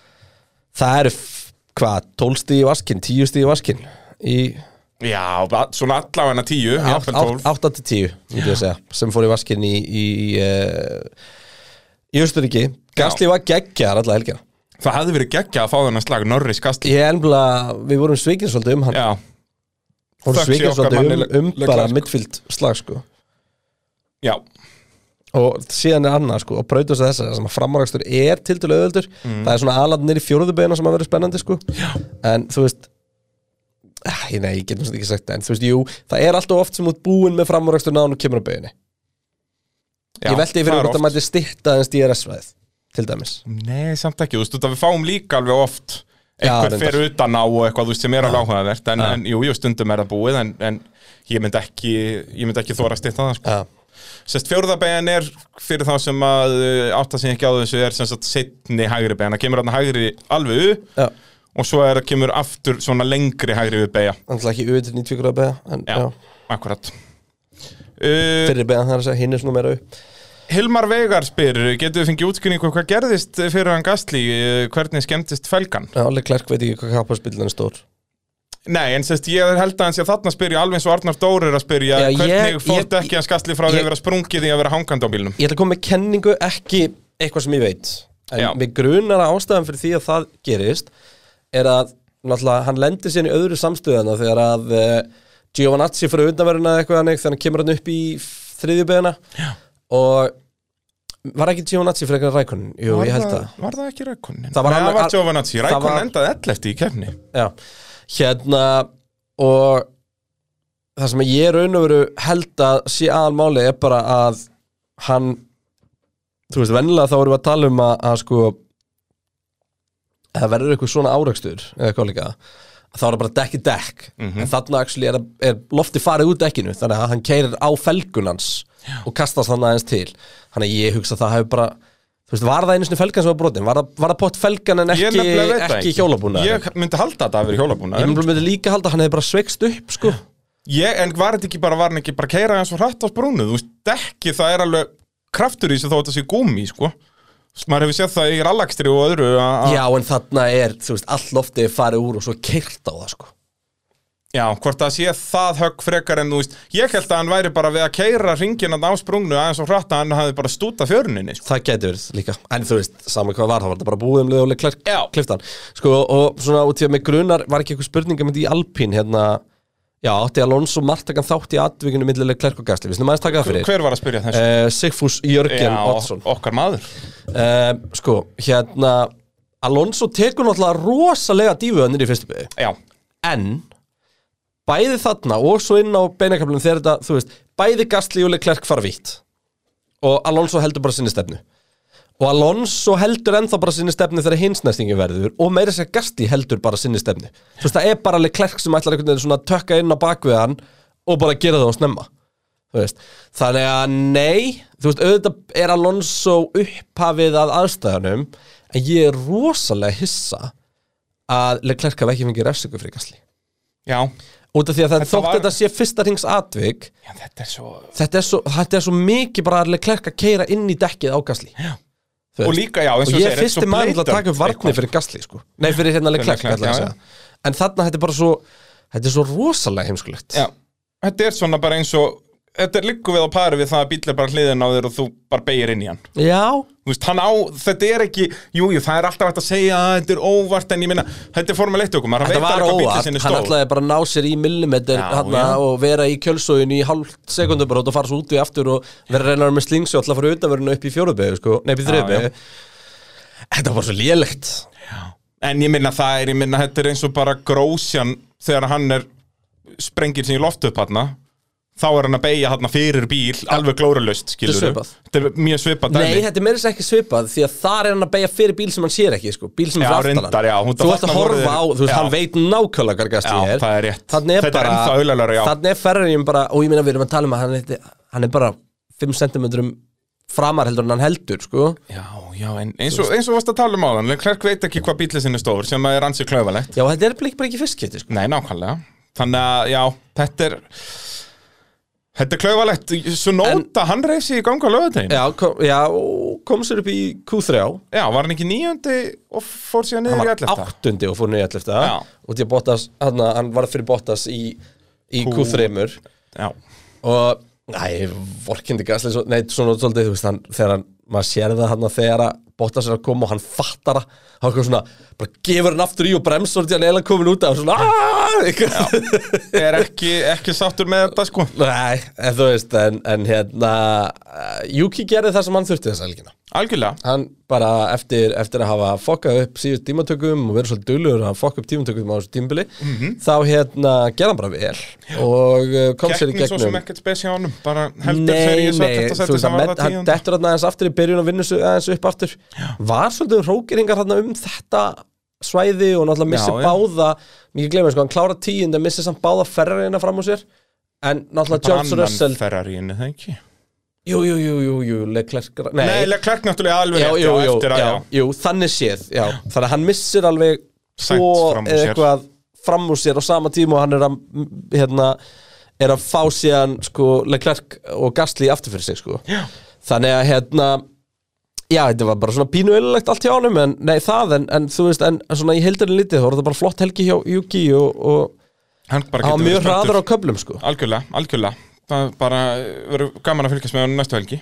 það eru, f- hvað, 12 stíð í vaskinn, 10 stíð í vaskinn, í
Já, ba- svona allavegna tíu
átt-
jafnvel
átt-
tólf.
8 til 10, myndi ég að segja, sem fór í vaskinn í, í, í, í Östuríki. Gasli var geggjar alla helgina.
Það hefði verið geggja að fá þennan slag Norris Gasly
Ég ennbla, við vorum svikin svolítið um hann,
Já,
vorum
þökk sé
svikin
okkar manni
svolítið
Le-
um, um
Leclerc.
bara midfield slag, sko.
já,
og síðan er annað sko og brautur þess að þessar, framrækstur er til til auðvöldur það er svona aðlandinir í fjóruðubeina sem að vera spennandi sko Mm. Já. en þú veist æ, nei, ég getum þetta ekki sagt en þú veist, jú, það er alltaf oft sem út búin með framrækstur náðan og kemur á bauðinni
já
ég
það
veldi fyrir
er
hvort
oft.
að maður stitta en DRS-væð til dæmis
Nei, samt ekki, þú veist, út að við fáum líka alveg oft einhver
reyndar.
fer utan á og eitthvað, þú veist, sem er alveg áhugavert en,
Já.
en jú, jú, stundum er það búið en, en ég myndi ekki, ég myndi ekki þóra að stýta það sko.
ja.
Sest fjórðabegin er fyrir þá sem að uh, átta sig ekki á þessu er sem sagt setni hægri begin, það kemur hann hægri alveg upp
Já.
og svo er, kemur aftur svona lengri hægri við beja
Þannig ekki auðvitað 90 gráða beða en,
Já,
já.
akkurat uh,
Fyrir beðan það er að segja hinn er svona meira upp
Hilmar Vegar spyr, getur við fengið útskynningu hvað gerðist fyrir hann Gastli, hvernig skemmtist felgan?
Já, alveg klærk veit ekki hvað kapparspillin er stór
Nei, en sérst, ég held að hans ég þarna spyrja alveg eins og Arnar Dóri er að spyrja
Já, ég-
hvernig fórt
ég-
ekki að skastli frá því
ég-
að vera sprungið í að vera hangandi á bílnum
ég ætla að koma með kenningu ekki eitthvað sem ég veit en
Já.
Já. mig grunar að ástæðan fyrir því að það gerist er að náttúrulega hann lendir sér í öðru samstöðana þegar að uh, Giovanazzi fyrir undanverðina eða eitthvað þannig þegar hann kemur hann upp í þriðjuböðina og var ekki Giovanazzi fyrir eitthvað rækunn jú, ég held það
Var það ekki Rækonin?
Það var
Nei,
alveg-
það var Giovanazzi,
það
Rækonin
var-
endaði 11 í kefni
Já. hérna og það sem ég raun og veru held að sé aðalmáli er bara að hann þú veist, vennilega þá erum við að tala um að, að sko að það verður eitthvað svona árakstur eða eitthvað líka að þá er það bara dekk í dekk
Mhm.
en þarna actually er, er lofti farið út dekkinu þannig að hann keirir á felgun hans og kastast hann aðeins til þannig að ég hugsa að það hefur bara þú veist, var það einu sinni felgan sem var brotin var það, var það pott felgan en
Ég
ekki,
nefnilega veit það
ekki hjólabúna
Ég myndi halda að það að vera
Ég
hjólabúna
nefnilega myndi líka halda að hann hefði bara sveikst upp sko.
ég, En var þetta ekki bara, var hann ekki bara keira eins og hratt á sprúnu Þú veist, ekki það er alveg kraftur í þessu þó þetta sé gúmi, sko Þú veist, Maður hefur séð það í rallakstri og öðru að- að-
Já, en þarna er, þú veist, allt loftið er farið úr og svo keirt á það sko.
Já, hvort það sé það högg frekar en þú veist Ég held að hann væri bara við að keira ringin á sprungnu aðeins og hratt að hann hafði bara stúta fjöruninni, sko
Það gæti verið líka, en þú veist, saman hvað var það var þetta bara búið um leiðuleg klart
Já.
kliftan sko, og svona út í að með grunar var ekki eitthvað spurninga myndi í Alpín hérna Já, átti Alonso Martakan þátt í atvikinu millileg klærk og gasli, við snum aðeins taka það fyrir
Hver var að spyrja þessu?
uh, Sigfús Jörgen Oddsson
okkar maður
uh, Sko, hérna Alonso tekur náttúrulega rosalega dífuðanir í fyrstu byggu
Já,
en bæði þarna og svo inn á beinakaflunum þegar þetta, þú veist, bæði Gastli og Leclerc fara vitt og Alonso heldur bara sinni stefnu og Alonso heldur ennþá bara sinni stefnu þegar hinsnestingi verður og meira sér Gastli heldur bara sinni stefnu þú veist, það er bara Leclerc sem ætlar einhvern veginn svona að tökka inn á bakvið hann og bara gera það og snemma þú veist, þannig að nei þú veist, auðvitað er Alonso upphafið að aðstæðanum en ég er rosalega hissa að Leclerc hafi ekki fengið refsingu fyrir Gastli
já
út af því að það
Þetta
þótt
var-
þetta sé fyrsta rings atvik
Já, þetta er svo
þetta er svo, þetta er svo mikið bara að klerk að keira inn í dekkið á gasli
Og líka, já, eins
og
og segir,
ég er
þetta er
fyrsti
svo
maður til að
blatant
taka upp varni
eitthvað.
fyrir gasli sko. nei fyrir hérna
Leclerc,
Leclerc ætla ég
já,
að segja. en þarna þetta er bara svo þetta er svo rosalega heimskulegt
Já, þetta er svona bara eins og þetta er líku við á pari við það að bíll er bara hliðin á þér og þú bara beigir inn í hann
Já
Þú veist, hann á, þetta er ekki, jújú, jú, það er alltaf hægt að segja að þetta er óvart en ég minna, þetta er formulegt okkur, maður
Þetta
veit
var
alveg hvað
óvart,
bíllinn sinni
hann
stóð
ætlaði bara að ná sér í millimetr
Já,
hann
já.
og vera í kjölsóðinu í hálft sekundum bara og fara svo út í aftur og vera reynar með slingsjó alltaf fyrir utanverðinu upp í fjóruðbegu sko, nei, upp
já.
í þriðbegu Þetta var bara svo lélegt
En ég minna það er, ég minna þetta er eins og bara grósjan þegar hann er sprengir sinni í loft upp hann þá er hann að beigja hann fyrir bíl alveg glóralaust, skilur
svipað.
Þetta er mjög svipað
Nei,
dæmi
þetta er meira sér ekki svipað því að þar er hann að beigja fyrir bíl sem hann sér ekki sko, bíl sem
Já,
er fyrir
reyndar,
aftan
já,
hann
hún-
Þú ert að
þarna voru
horfa á,
þeir-
þú veist,
Já.
hann veit nákvæmlega hvar gasti
Já,
er
það er rétt.
Þannig er
Þetta er
bara,
ennþá auðveldara, já.
Þannig er ferðarinn bara, og ég meina við erum að tala um að hann, er- hann er bara 5 cm framar heldur en hann heldur sko.
Já, já, en eins og, eins og varst að tala um áðan Klerk veit ekki hvað bílinn sinni stóður sem að er ansið klauvalegt
Já, þetta er bara ekki- bara ekki fyrstkitti sko.
Nei, nákvæmlega Þannig að, já, þetta er Þetta er klauvalegt Sunóta, hann reysi í ganga lögutegin já.
Já, kom, já, og kom sér upp í Q3
var hann ekki níundi og fór síðan
Hann
niður í
var
allefta
áttundi og fór niður allir eftir
Já.
Og því að Bottas, hann, hann varð fyrir Bottas í, í
Q-
Q3
Já,
Og, næ, vorkindi gasli svo, Nei, svona svolítið, þú veist, hann, þegar hann maður sér það hann að þegar að Bottas er að koma og hann fattar að hann kom svona, bara gefur hann aftur í og bremsur því hann er eiginlega komin út af og svona "Aah!" eitthvað.
*laughs* er ekki, ekki sáttur með þetta, sko
*laughs* Nei, en þú veist, en, en hérna eh, Yuki gerði það sem hann þurfti þessa helgina
Algjörlega
hann bara eftir, eftir að hafa fokkað upp síðust tímatökum og verið svolítið duglegur að fokka upp tímatökum á þessu tímbili
Mhm.
þá hérna gerði hann bara vel og uh, kom sér í
Kekkni svo sem
gegnum
ekkert spes hjá honum Bara heldur
Nei,
serið svo
nei,
þetta
þú
sætti
veist
sem
hann,
var
met-
það
hann
tíund
dettur hann aðeins aftur í byrjun og vinnur sig aðeins upp aftur var svolítið hrókeringar hann um þetta svæði og náttúrulega missi
Já, já.
báða mikið glemur sko, hann klára tíund en missi samt báða ferrarina fram úr sér en náttúrulega George Russell
Annan Ferrarínu, það ekki
jú, jú, jú, jú, jú, Leclerc
Nei, Klerk náttúrulega alveg
já,
rétt,
jú, jú,
eftir að,
já, jú, þannig séð já. þannig að hann missir alveg
Sænt
tvo
fram úr
eða
sér.
eitthvað fram úr sér á sama tíma og hann er að m, hérna, er að fá síðan sko, Leclerc og Gasly aftur fyrir sig sko.
já.
þannig að hérna já, þetta var bara svona pínu eililegt allt hjá honum en nei, það, en, en þú veist en en svona í heildarinn lítið, þá var þetta bara flott helgi hjá Juki og, og
Hann bara
hann
getur
var
verið
mjög
spenntur.
hraður á köflum sko.
Algjörlega, algjörlega Það er bara eh, verður gaman að fylgjast með hann næstu helgi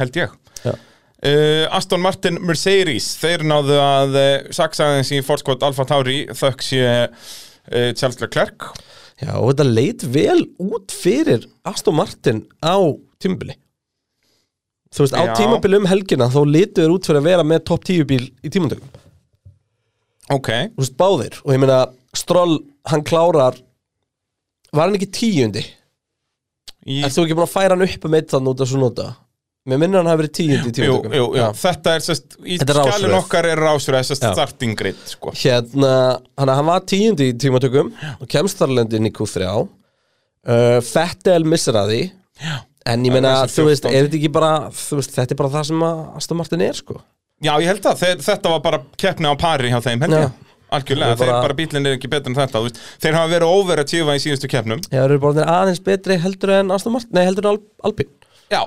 Held ég
Já.
Uh, Aston Martin Mercedes þeir náðu að uh, saksaðins í fórskot Alfa Tauri þökk sé uh, Charles Leclerc
já, og þetta leit vel út fyrir Aston Martin á tímabili þú veist, á
Já.
tímabili um helgina þá litu þeir út fyrir að vera með topp 10 bíl í tímundökum,
ok,
þú veist, báðir og ég meina, Stroll, hann klárar var hann ekki tíundi?
í,
Er þú ekki búin að færa hann upp um eitt þann út af svo nota? Mér minnir hann hafi verið tíundi í
jú,
tímundökum
jú, jú. þetta er sest, í
Þetta er rásröð.
skjálun okkar er rásröð sest,
Já.
starting grid sko.
hérna, hann, hann var tíundi í tímatökum og kemst þarlendi inn í Q3 uh, Fettel missir að því
já.
en ég
Það er
meina,
þessi
þú veist,
14.
er þetta ekki bara þú veist, þetta er bara það sem að Aston Martin er sko.
já, ég held að þeir, þetta var bara keppni á pari hjá þeim, held
Já.
ég algjörlega,
Þeir bara-
þeir bara bílinn er ekki betur en þetta þú veist. þeir hafa verið overachieva í síðustu keppnum
Já, eru bara þeir aðeins betri heldur en Aston Martin, nei, heldur en Al Alpin
Já,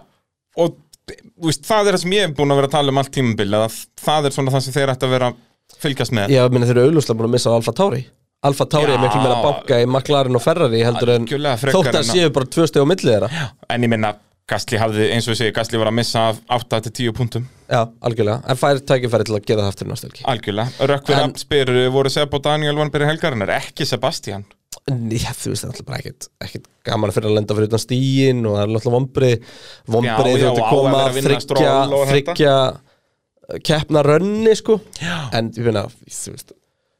og þú veist, það er það sem ég hef búin að vera að tala um allt tímabil að það er svona það sem þeir ætti að vera að fylgjast með
Já, ég meina þeir eru auðlúslega búin að missa á Alfa Tauri Alfa Tauri er
Já.
miklu meira að banka í McLaren og Ferrari heldur en
Algjörlega frekar
þótt
en
að
að-
séu bara tvö steg á milli þeirra Já,
En ég minna, Gastli hafði, eins og ég segi, Gastli var að missa af 8-10 punktum
algjörlega, en fær tækifæri til að gera það aftur í næstu helgi
Algjörlega, Rökkvið
En-
en... spyr, voru Seb og Daniel Vanbyrði helgarinnar, ekki Sebastian
En Já, þú veist, það er alltaf bara ekkit, ekkit gaman fyrir að lenda fyrir utan stíin og það er alltaf vombri
Já,
vombri
já,
þú ert
og á
að
að
koma
vera að
að
vinna
þryggja
Stroll og þetta.
þryggja keppna rönni sko
Já.
en ég meina, þú veist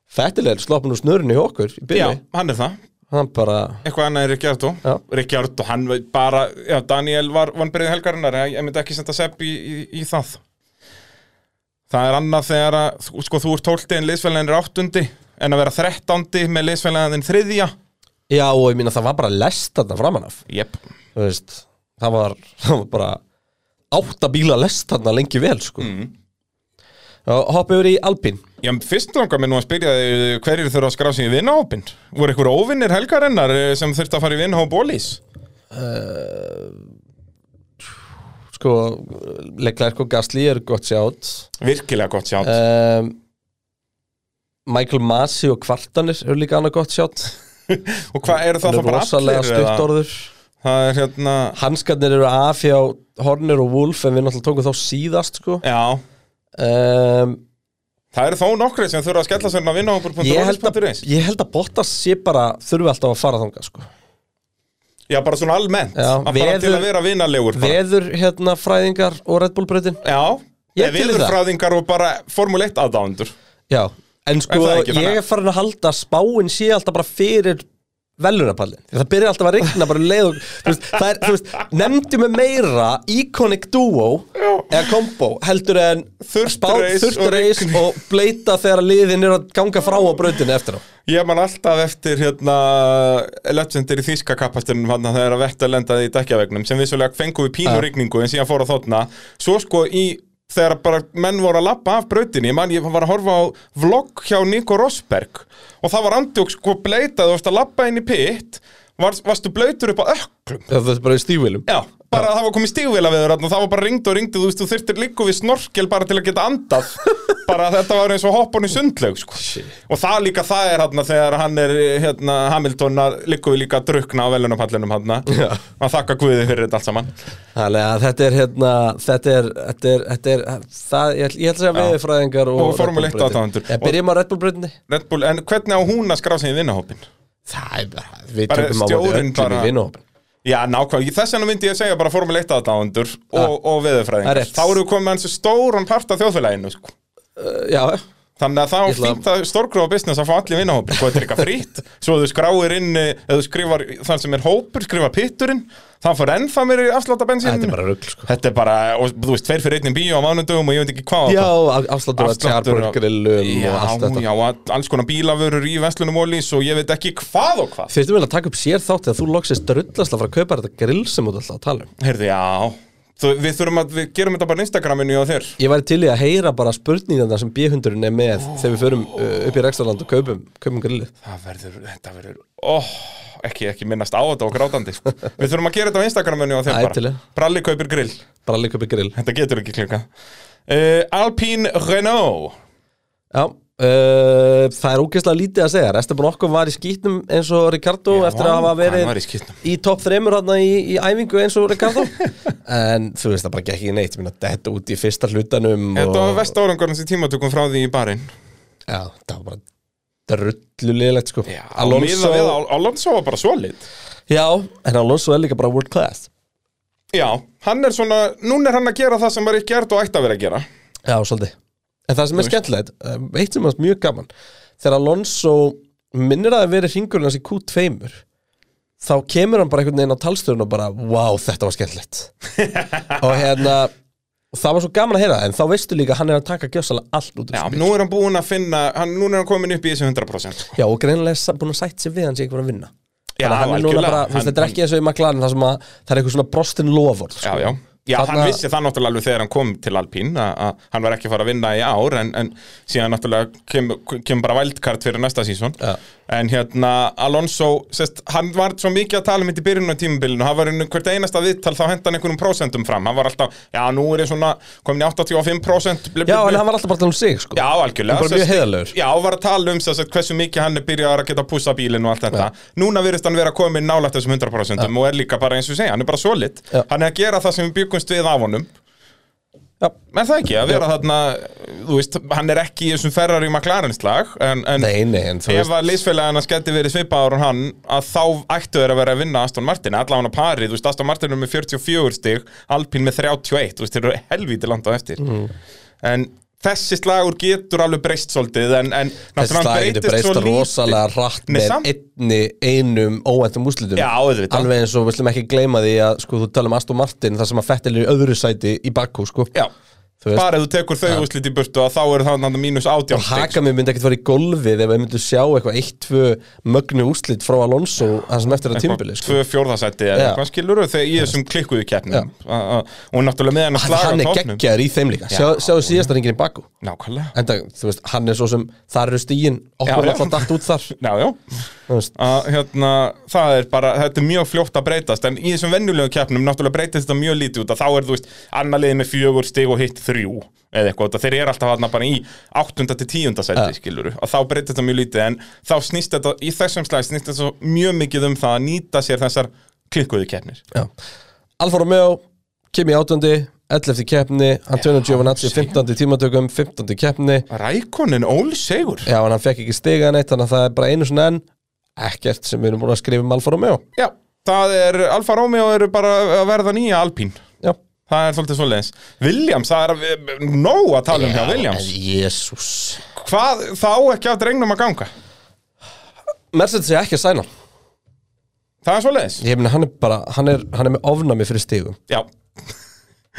Fettilegur sloppin úr snurinu hjá okkur í
Já,
byrju,
hann er það,
hann bara
eitthvað annað er Ricciardo
Já.
Ricciardo, hann var bara, já, Daniel var Vanbyrði helgarinnar, ég, ég myndi ekki senda Seb í, í, í það Það er annað þegar að, þú- sko, þú ert 12 en liðsfélagin er 8 en að vera 13 með liðsfélagin þriðja
Já, og ég meina það var bara lest þarna framan af
Jep,
Þú veist, það var, *laughs* það var bara átta bíla lest þarna lengi vel sko. mm. Hoppa yfir í Alpín
Mhm. Já, fyrst langar mér nú að spyrja þig eh, hverjir þurfa að skrá sig í vinnahópin? Voru einhver óvinnir helgarinnar eh, sem þurfti að fara í vinnahóp Ólís?
Eh, sko, Leclerc og Gasly eru gott sjátt
Virkilega gott sjátt.
um, Michael Masi og Kvartanir eru líka annað gott sjátt
og hvað eru það
Það
þá
er
bara
rosalega
eða?
stutt orður
það er hérna
Hanskarnir eru af hjá Horner og Wolf en við náttúrulega tókum þá síðast sko
já,
um,
það eru þó nokkri sem þurfa að skella sérna að vinna
ég, held að,
okkur.org.is
ég held að Bottas sé bara þurfi alltaf að fara þangað sko
já, bara svona almennt,
Já,
að bara til
veður-
að vera vinalegur bara.
Veður hérna fræðingar og Red Bull breytin Ég
já,
er til í það.
viðurfræðingar og bara Formule 1 aðdándur
Já, en sko
Er það ekki þannig?
ég er farin að halda að spáin sé alltaf bara fyrir velunapallin Það byrja alltaf að rigna bara um leið og þú veist, það er, þú veist, nefndu mig meira Iconic Duo eða Combo heldur en
Þurrt race og
þurftreis og, og bleita þegar liðin eru að ganga frá á brautinu eftir á
Ég man alltaf eftir hérna legendir í þýska kappastunum hann þegar að Vettel lendaði í dækjavegnum sem vissulega fengum við pínu
Já.
rigningu en síðan fór að þóttna svo sko í þegar bara menn voru að lappa af brautinni ég man ég var að horfa á vlogg hjá Nico Rosberg og það var andjók sko bleitað þú varst að lappa inn í pitt var, varstu blautur upp á öklum
Já, Það er bara í stífvilum
Já, bara að það var komið stígvila við þér og það var bara ringd og ringd þú veist, þú þyrftir líku við snorkel bara til að geta
*laughs*
andað bara þetta var eins og hoppan í sundlaug sko. og það líka það er hann þegar hann er hérna, Hamilton að líku við líka að drukna á velunapallinum hann
Já.
að þakka guði fyrir þetta allt saman
Þannig að þetta er hérna þetta er, þetta er, þetta er það, ég, ætl- ég ætla að segja veðurfræðingar og,
Og Formule 1
brautin.
aðdáendur.
Já, Byrjum á Red Bull breytinni
Red Bull, en hvernig á hún að skrá sig í vinnahópin?
Það er bara, við
Bara
tökum á móti
stjórinn
öllum
bara-
í vinahópin
Já, nákvæmlega, þess vegna myndi ég segja bara Formule 1 aðdáðundur og, og
Það er
veðurfræðingar
rétt.
þá eru við komið með eins og stóran part af þjóðfélaginu sko.
Uh, Já,
Þannig að
Ég
þá
ætla-
fínt að stórgrófa business að fá allir vinnahópin Sko þetta er eitthvað frýtt Svo þú skráir inn, eh, eða þú skrifar þann sem er hópur, skrifa pitturinn Það fór ennþá mér í afslátt af
þetta er
bensín
bara rugl sko
Þetta er bara, og þú veist, tveir fyrir einnig bíó á mánudögum og ég veit ekki hvað
Já, afsláttur að
Afsláttur
tjarbúr
á-
grillum
Já,
og allt þetta
já, að alls konar bílavörur í Vestlunum Ólís og ég veit ekki hvað og hvað
Þurftum við að taka upp sér þátt þegar þú loksist drullast að fara að kaupa þetta grill sem þú ert alltaf að tala um
Heyrðu, já, þú, við þurfum að, við gerum þetta bara á Instagraminu og þér
Ég væri til í að heyra bara spurningarna sem B-hundurinn er með þegar við förum uh, upp í Rexaland og kaupum, kaupum grillið
Það verður, þetta verður, óh, ekki, ekki minnast á þetta og grátandi
*laughs*
sko. Við þurfum að gera þetta á Instagraminu og þér
Æ, til
bara
í.
Bralli kaupir grill
Bara líka upp í grill
Þetta getur ekki klika uh, Alpine Renault
Já, uh, það er ógeðslega lítið að segja Esteban Okko var í skýtnum eins og Ricardo eftir að hafa
Hann var
verið
í skýtnum
í topp þreymur hann í, í æfingu eins og
*laughs*
Ricardo En þú veist það bara gekk ekki neitt Minna detta út í fyrsta hlutanum
Þetta var
og...
vest árangurinn sem tímatökum frá því í barinn
Já, það var bara drullulilegt sko
Alonso
Alonso
við, Al- Alonso var bara solid
Já, en Alonso er líka bara world class
Já, hann er svona, núna er hann að gera það sem var ekki gert og ætti að vera að gera
Já, svolítið En það sem er skemmtilegt, um, eitt sem er mjög gaman Þegar Alonso minnir að það verið hringurinn hans í Q2 þá kemur hann bara einhvern veginn á talstöðun og bara, wow, þetta var skemmtilegt
*laughs*
og hérna og það var svo gaman að heyra það, en þá veistu líka að hann er að taka gjössalega allt út úr
Já,
þessu bíl.
nú er hann búin að finna, hann, núna er hann komin upp í þessu 100% sko.
Já, og greinilega er sa- búin að sætt sér við hans ég var að vinna
Já,
Þannig að hann er núna
algjörlega.
bara, þú veist,
Hann-
þetta er ekki eins og í McLaren það sem að það er eitthvað svona brostin loford sko.
Já, já Já,
Þarna-
hann vissi það náttúrulega alveg þegar hann kom til Alpín að hann var ekki að fara að vinna í ár en, en síðan náttúrulega kemur kem bara vældkart fyrir næsta sísón
Já.
en hérna Alonso sest, hann var svo mikið að tala um þetta í byrjunum á tímabilinu hann var einu, hvert einasta viðtal þá henda hann einhverjum prósentum fram hann var alltaf, já nú er ég svona komin í 85% blub, blub,
Já,
blub.
en hann var alltaf bara til um sig sko.
Já, algjörlega
Hann bara
sem
mjög
sagt,
heiðarlegur.
Já, var að tala um sess, hversu mikið hann er byrjaður að geta að pússa bílinn og allt þetta Núna virðist hann vera komin nálægt þessum 100% og er líka bara eins og ég segja, hann er bara solid
Já.
Hann er að gera það sem við byggumst við af honum
Já.
En það ekki, að vera þarna, þú veist, hann er ekki í þessum Ferrari McLaren slag En, en
Nei, nei, en þú
ef að leysfélagana skemmti verið svipaður en hann Að þá ættu þeir að vera að vinna Aston Martin Alla hann að pari, þú veist, Aston Martin er með 44 stig Alpine með 31, þú veist, þeir eru helvíti landa eftir
Mm.
En þessi slagur getur alveg breyst svolítið En, en
Þessi
náttúrulega hann
slag getur
breytist
breyst
svo lítið.
rosalega rætt
Nei,
með
samt-
einni, einum óvæntum úslitum
Já, auðvitað.
Alveg eins og við slum ekki gleyma því að sko, þú tala um Aston Martin þar sem að Fettil er í öðru sæti í Bakú sko.
Já,
Þú veist,
bara ef þú tekur þau úrslit í burtu að Þá eru þannig mínus 18 stig
haka mig myndi ekkert fara í golfið ef við myndum sjá eitthvað eitt, tvö mögnu úslit frá Alonso þar sem eftir að tímbili sko.
tvö fjórðasætti eða
Já.
eitthvað skilur þegar ég þessum klikkuðu keppnum og náttúrulega með hann að slaga á
Hann er
toppnum.
geggjaður í þeim líka
Já,
Sjá- Sjáðu síðasta ringin í Bakú
nákvæmlega,
Enda, þú veist, hann er svo sem þar eru stíin
Já,
okkur
já.
alltaf dætt út þar
já, já
Þú veist,
að, hérna, það er bara, þetta er mjög fljótt að breytast en í þessum venjulegu keppnum náttúrulega breytist þetta mjög lítið út að þá er þú veist annar liðið með fjögur stig og hitt þrjú eða eitthvað, þeir eru alltaf hann bara í áttunda til tíunda seti, skilur og þá breytist þetta mjög lítið en þá snýst þetta í þessum slæð snýst þetta svo mjög mikið um það að nýta sér þessar klikkuðu keppnir
Já. Alfa Romeo, Kimi átöndi 11. keppni, Antonio Giovinazzi 15. tímatökum, 15. keppni
Rækonin ólsegur
Já, en hann fekk ekki stiga neitt þannig að það er bara einu svona enn ekkert sem við erum búin að skrifa um Alfa Romeo
Já, það er Alfa Romeo eru bara að verða nýja Alpín
Já,
Það er svolítið svoleiðis Williams, það er eh, nóg að tala um hjá Williams
Jésús
Hvað þá ekki að drengnum að ganga?
Mercedes er ekki að sæna
Það er svoleiðis
Ég meina, hann er bara, hann er, hann er með ofnami fyrir stigum
Já *laughs*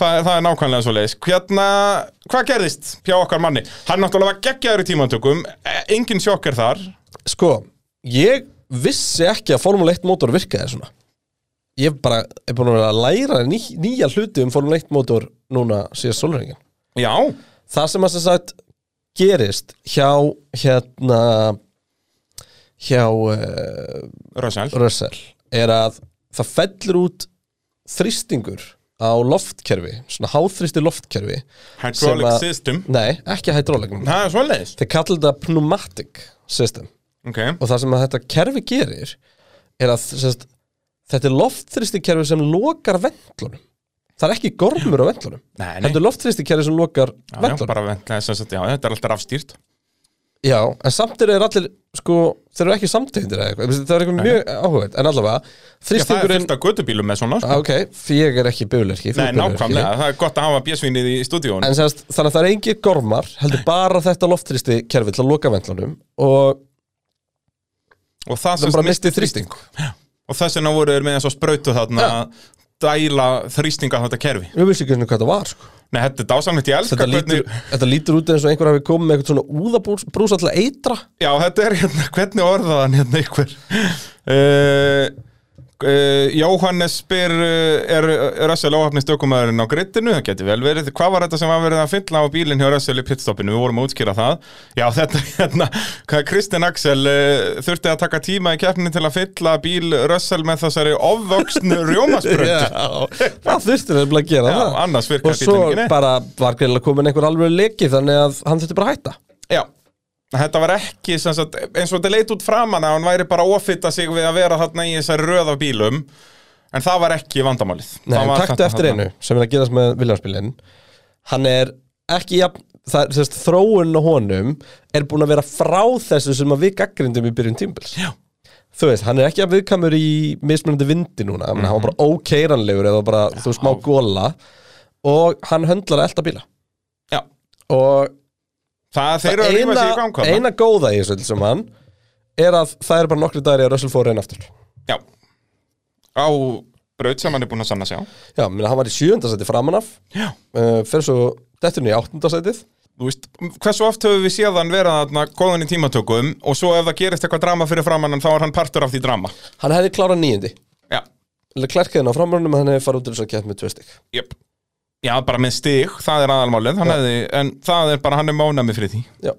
Það er, það er nákvæmlega svo leiðis Hérna, hvað gerðist hjá okkar manni? Hann náttúrulega var geggjaður í tímantökum e- Engin sjokk er þar
Sko, ég vissi ekki að Formule 1 mótor virkaði svona Ég bara er búin að vera að læra ný, nýja hluti um Formule 1 mótor núna síðast sólurringin
Já,
það sem að sem sagt gerist hjá hérna hjá uh,
Rössal
Russell er að það fellur út þrýstingur á loftkerfi svona háþrýsti loftkerfi sem
Hydraulic
að-
system
nei, ekki hydrolikum
Það er svo leiðis
þeir kallar þetta pneumatic system
okay.
og það sem að þetta kerfi gerir er að sem sagt, þetta er loftþrýsti kerfi sem lokar vendlunum það er ekki gormur á vendlunum
Nei, nei,
þetta er loftþrýsti kerfi sem lokar
já, já,
vendlunum
bara ventla þess að já, þetta er alltaf rafstýrt
Já, en samt eru þeir allir sko, þeir eru ekki samtegndir eða eitthvað það er eitthvað mjög áhugað, en allavega
Já, það er
þrýstingurinn,
fullt af gödubílum með svona sko.
ah, ok, því ég er ekki bjögulerki
Nei, nákvæmlega, það er gott að hafa bjösvinnið í stúdíón
en semast, þannig að það er engir gormar heldur bara þetta loftþrýsti kerfi til að loka vendlanum og
Og það
það
sem
bara misti þrýsting
Og þess vegna voru þeir með þess að sprautu þarna
Já.
að dæla þrýstinga þetta kerfi
við vissi ekki einu sinni hvað það var sko.
Nei, þetta er dásamlegt, ég elska
þetta, lítur, þetta lítur út eins og einhver hafi komið með eitthvað svona úðabrúsa til að eitra
Já, þetta er hérna, *laughs* hvernig orðaðan hérna ykkur uh, uh, Jóhannes spyr uh, er Russell óhafnist ökumæðurinn á grittinu, það geti vel verið hvað var þetta sem var verið að fylla á bílinn hjá Russell í pitstoppinu, við vorum að útskýra það Já, þetta er hérna, hvað Kristinn Axel uh, þurfti að taka tíma í keppni til að fylla bíl Russell með þessari
*laughs*
ofvöxnu rjómasbröndu
það þurfti nefnilega að gera
Já,
það
annars virkar
og svo
bíllinn ekki neitt.
bara var greinilega komin einhver alveg leki þannig að hann þurfti bara að hætta
Já, þetta var ekki sem sagt, eins og þetta leit út framan að hann væri bara að ofita sig við að vera þarna í þessari röð af bílum en það var ekki vandamálið
Nei,
Það
en
var
taktu
þarna-
eftir
þarna.
einu sem er að gerast með Viljámspilin Hann er ekki jafn, það er sérst þróun á honum er búin að vera frá þessu sem að við gaggrindum í byrjun tímbils
Já.
Þú veist, hann er ekki að viðkamur í mismunandi vindi núna, mm hann var bara
Mhm.
ókeiranlegur eða bara, þú veist, smá góla og hann höndlar að elta bíla
Já,
og
það þeir eru að rífa
eina,
sig í gang þarna.
eina góða í þessu öllu sem hann er að það eru bara nokkri dagar í að Russell fór einn aftur
Já, á braut sem hann er búinn að sanna sig á
Já, minna, hann var í sjöundasæti framanaf
Já.
uh, fyrir svo dettur niður í áttundasætið
Þú veist, hversu oft höfum við séð hann vera þarna góðan í tímatökum og svo ef það gerist eitthvað drama fyrir framan hann þá er hann partur af því drama
Hann hefði klárað níundi
Já,
Klerkiðin á framrönum hann hefði farið út til þess að kætt með tvö stygg
jöp Já, bara með stig, það er aðalmálið hann hefði, en það er bara, hann er mánami fyrir því
Já,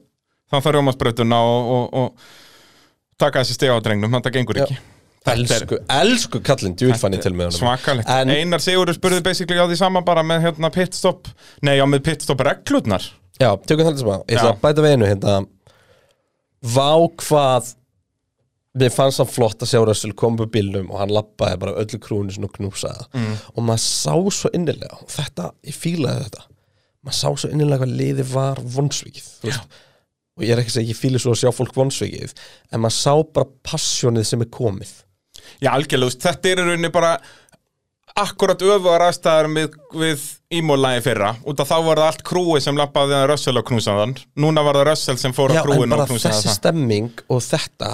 þannig þarf rjómasbrautuna og, og, og taka þessi stiga á drengnum, þetta gengur ekki Þetta er-
elsku, elsku kallinn djúlfann í til með honum
svakalegt
En-
Einar Sigurður spurði basically á því sama bara með hérna, pitstop, nei já með pitstop reglurnar
Já, tökum það sem að Ég ætla
Já.
að bæta við einu hérna Vá hvað Mér fannst hann flott að sjá Russell koma upp bílnum og hann lappaði bara öllu krúinu svona og knúsaði mm. og maður sá svo innilega og þetta, ég fílaði þetta maður sá svo innilega hvað liði var vonsvikið þú veist. og ég er ekki að segja, ég fíli svo að sjá fólk vonsvikið en maður sá bara passjónið sem er komið
Já algjörlega, þú veist, þetta er í rauninni bara akkurat öfugar aðstæðar við, við ímólægi fyrra út að þá var það allt krúi sem lappaði að Russell og knúsaðan núna var það Russell sem fór
Já,
að
en
krúin
bara
og knúsaði
þessi
það
stemming og þetta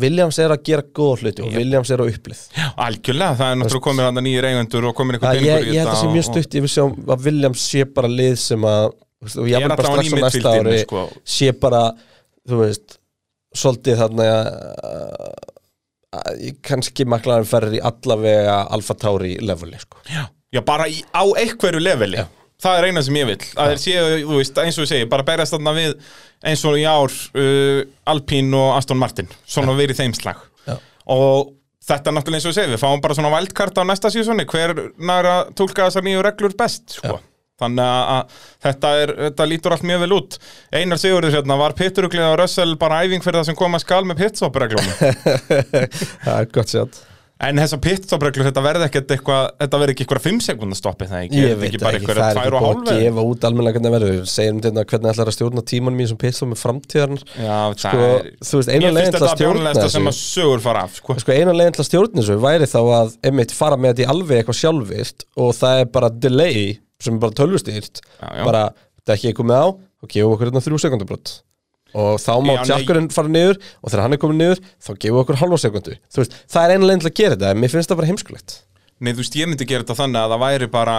Williams er að gera góð hluti og Williams er á upplið
Algjörlega, það er náttúrulega komin þarna nýjir eigendur og komin
Það
eitthvað
ég, ég held að
þetta
það sé
og-
mjög stutt ég vil sjá að Williams sé bara lið sem að þú veist, og
Ég
ég
er
vil bara
alltaf á
strax á næsta
nýmiðfildinni,
ári
sko.
sé bara, þú veist svolítið þarna uh, uh, kannski maklarinn ferri allavega Alfa Tauri leveli sko.
Já, bara í, á einhverju leveli Það er eina sem ég vil að þeir séu, þú veist, eins og ég segi, bara berjast þarna við eins og í ár uh, Alpín og Aston Martin, svona verið þeim slag
Já.
og þetta er náttúrulega eins og ég segi, við fáum bara svona vældkart á næsta sísoni, hver nær að tólka þessar nýju reglur best, sko Þannig að- að þetta, er, þetta lítur allt mjög vel út Einar Sigurður hérna var pitturuglið á Russell bara æfing fyrir það sem koma skal með pitstop reglum
það er gott sjátt
En þessar pitstoppreglur, þetta verði ekkert eitthvað, þetta verði ekki eitthvað 5 sekundar stoppið það ekki,
Ég
Er þetta
veit
ekki
það
bara
ekki,
eitthvað
það
2 og
er ekki búið
hálf
að
eða-
gefa út almennilega hvernig það verður Segjum þetta hvernig ætlar að stjórna tímanum í þessum pitstofum framtíðarinn
Já, það
Sko,
er
þú veist, eina
Mér
leiðin
finnst
til að
þetta
stjórna
bjórnlegasta sem
þessu
að sögur fara af, sko
Sko, eina leiðin til að stjórna þessu væri þá að einmitt fara með þetta í alveg eitthvað sjálfvirt og það er bara delay sem er bara tölvustýrt
Já, já.
bara, þetta er ekki komið á og gefum okkur hérna þrjú sekundabrot og þá má
Já, nei.
tjakkurinn fara niður og þegar hann er komið niður þá gefum við okkur halva sekundu þú veist, það er eina leiðin til að gera þetta en mér finnst það bara heimskulegt
Nei, þú veist, ég myndi gera þetta þannig að það væri bara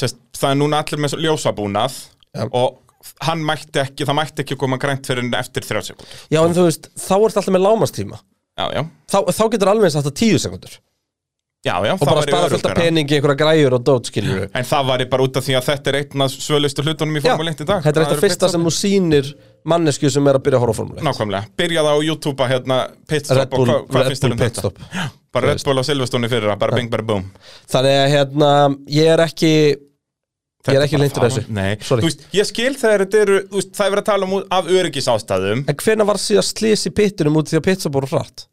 sérst, það er núna allir með ljósabúnað
Já.
og hann mætti ekki, það mætti ekki koma grænt fyrir en eftir 3 sekund
já, en þú veist, þá er þetta alltaf með lámastíma
Já, já,
þá, þá getur alveg eins að þetta tíu sekundur
já, já
og bara spara fullt af peningi, einhverja græjur og dót skilur
En það væri bara út af því að þetta er einn af svölustu hlutunum í
Já,
Formule 1 í dag
þetta er
Það
eitt af
eru
fyrsta
pitstop.
sem þú sýnir mannesku sem er að byrja að horfa á formule 1.
Nákvæmlega, byrja það á YouTube að hérna pitstop
Red Bull,
og hvað, hvað
Red
finnst þér
Bull
um þetta?
pitstop
Bara Red Bull á Silvestóni fyrir það, bara bing, bara boom
Þannig að hérna, ég er ekki Ég er
Þetta
ekki
bara
hlynntur þessu.
fáum- Nei,
Sorry.
þú veist, ég skil þegar þetta eru, þú veist, það er verið að tala um út- af öryggisástæðum
En hvenær var síðan slís í pittunum út af því að pizza bóru hratt?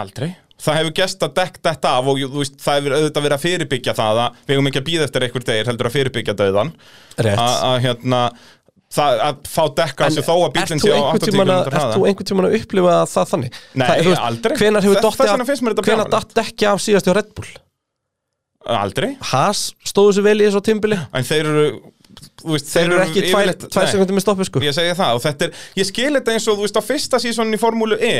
Aldrei Það hefur gest að dekk þetta af og jú, þú veist, það hefur auðvitað verið að fyrirbyggja það að við hefum ekki að býða eftir einhver degir heldur að fyrirbyggja döðan
Rétt
að að, hérna það, að fá dekka þessu þó að bílinn sé á 80 km
Er þú
hraða
einhvern tímann að upplifa það þannig?
Nei,
það, þú
aldrei.
Hvenær
Þess-
hefur dottið
þess
af
vegna finnst mér þetta
Hvenær
bjánalegt.
datt dekki af síðast hjá Red Bull?
Aldrei
Haas stóðu sér vel í þessu á timbili
En þeir eru þú veist,
Þeir eru ekki tvær,
yfirleitt-
tvær
Nei,
sekundum með stoppi sko
Ég segi það og þetta er Ég skil þetta eins og þú veist á fyrsta sísónin í formúlu E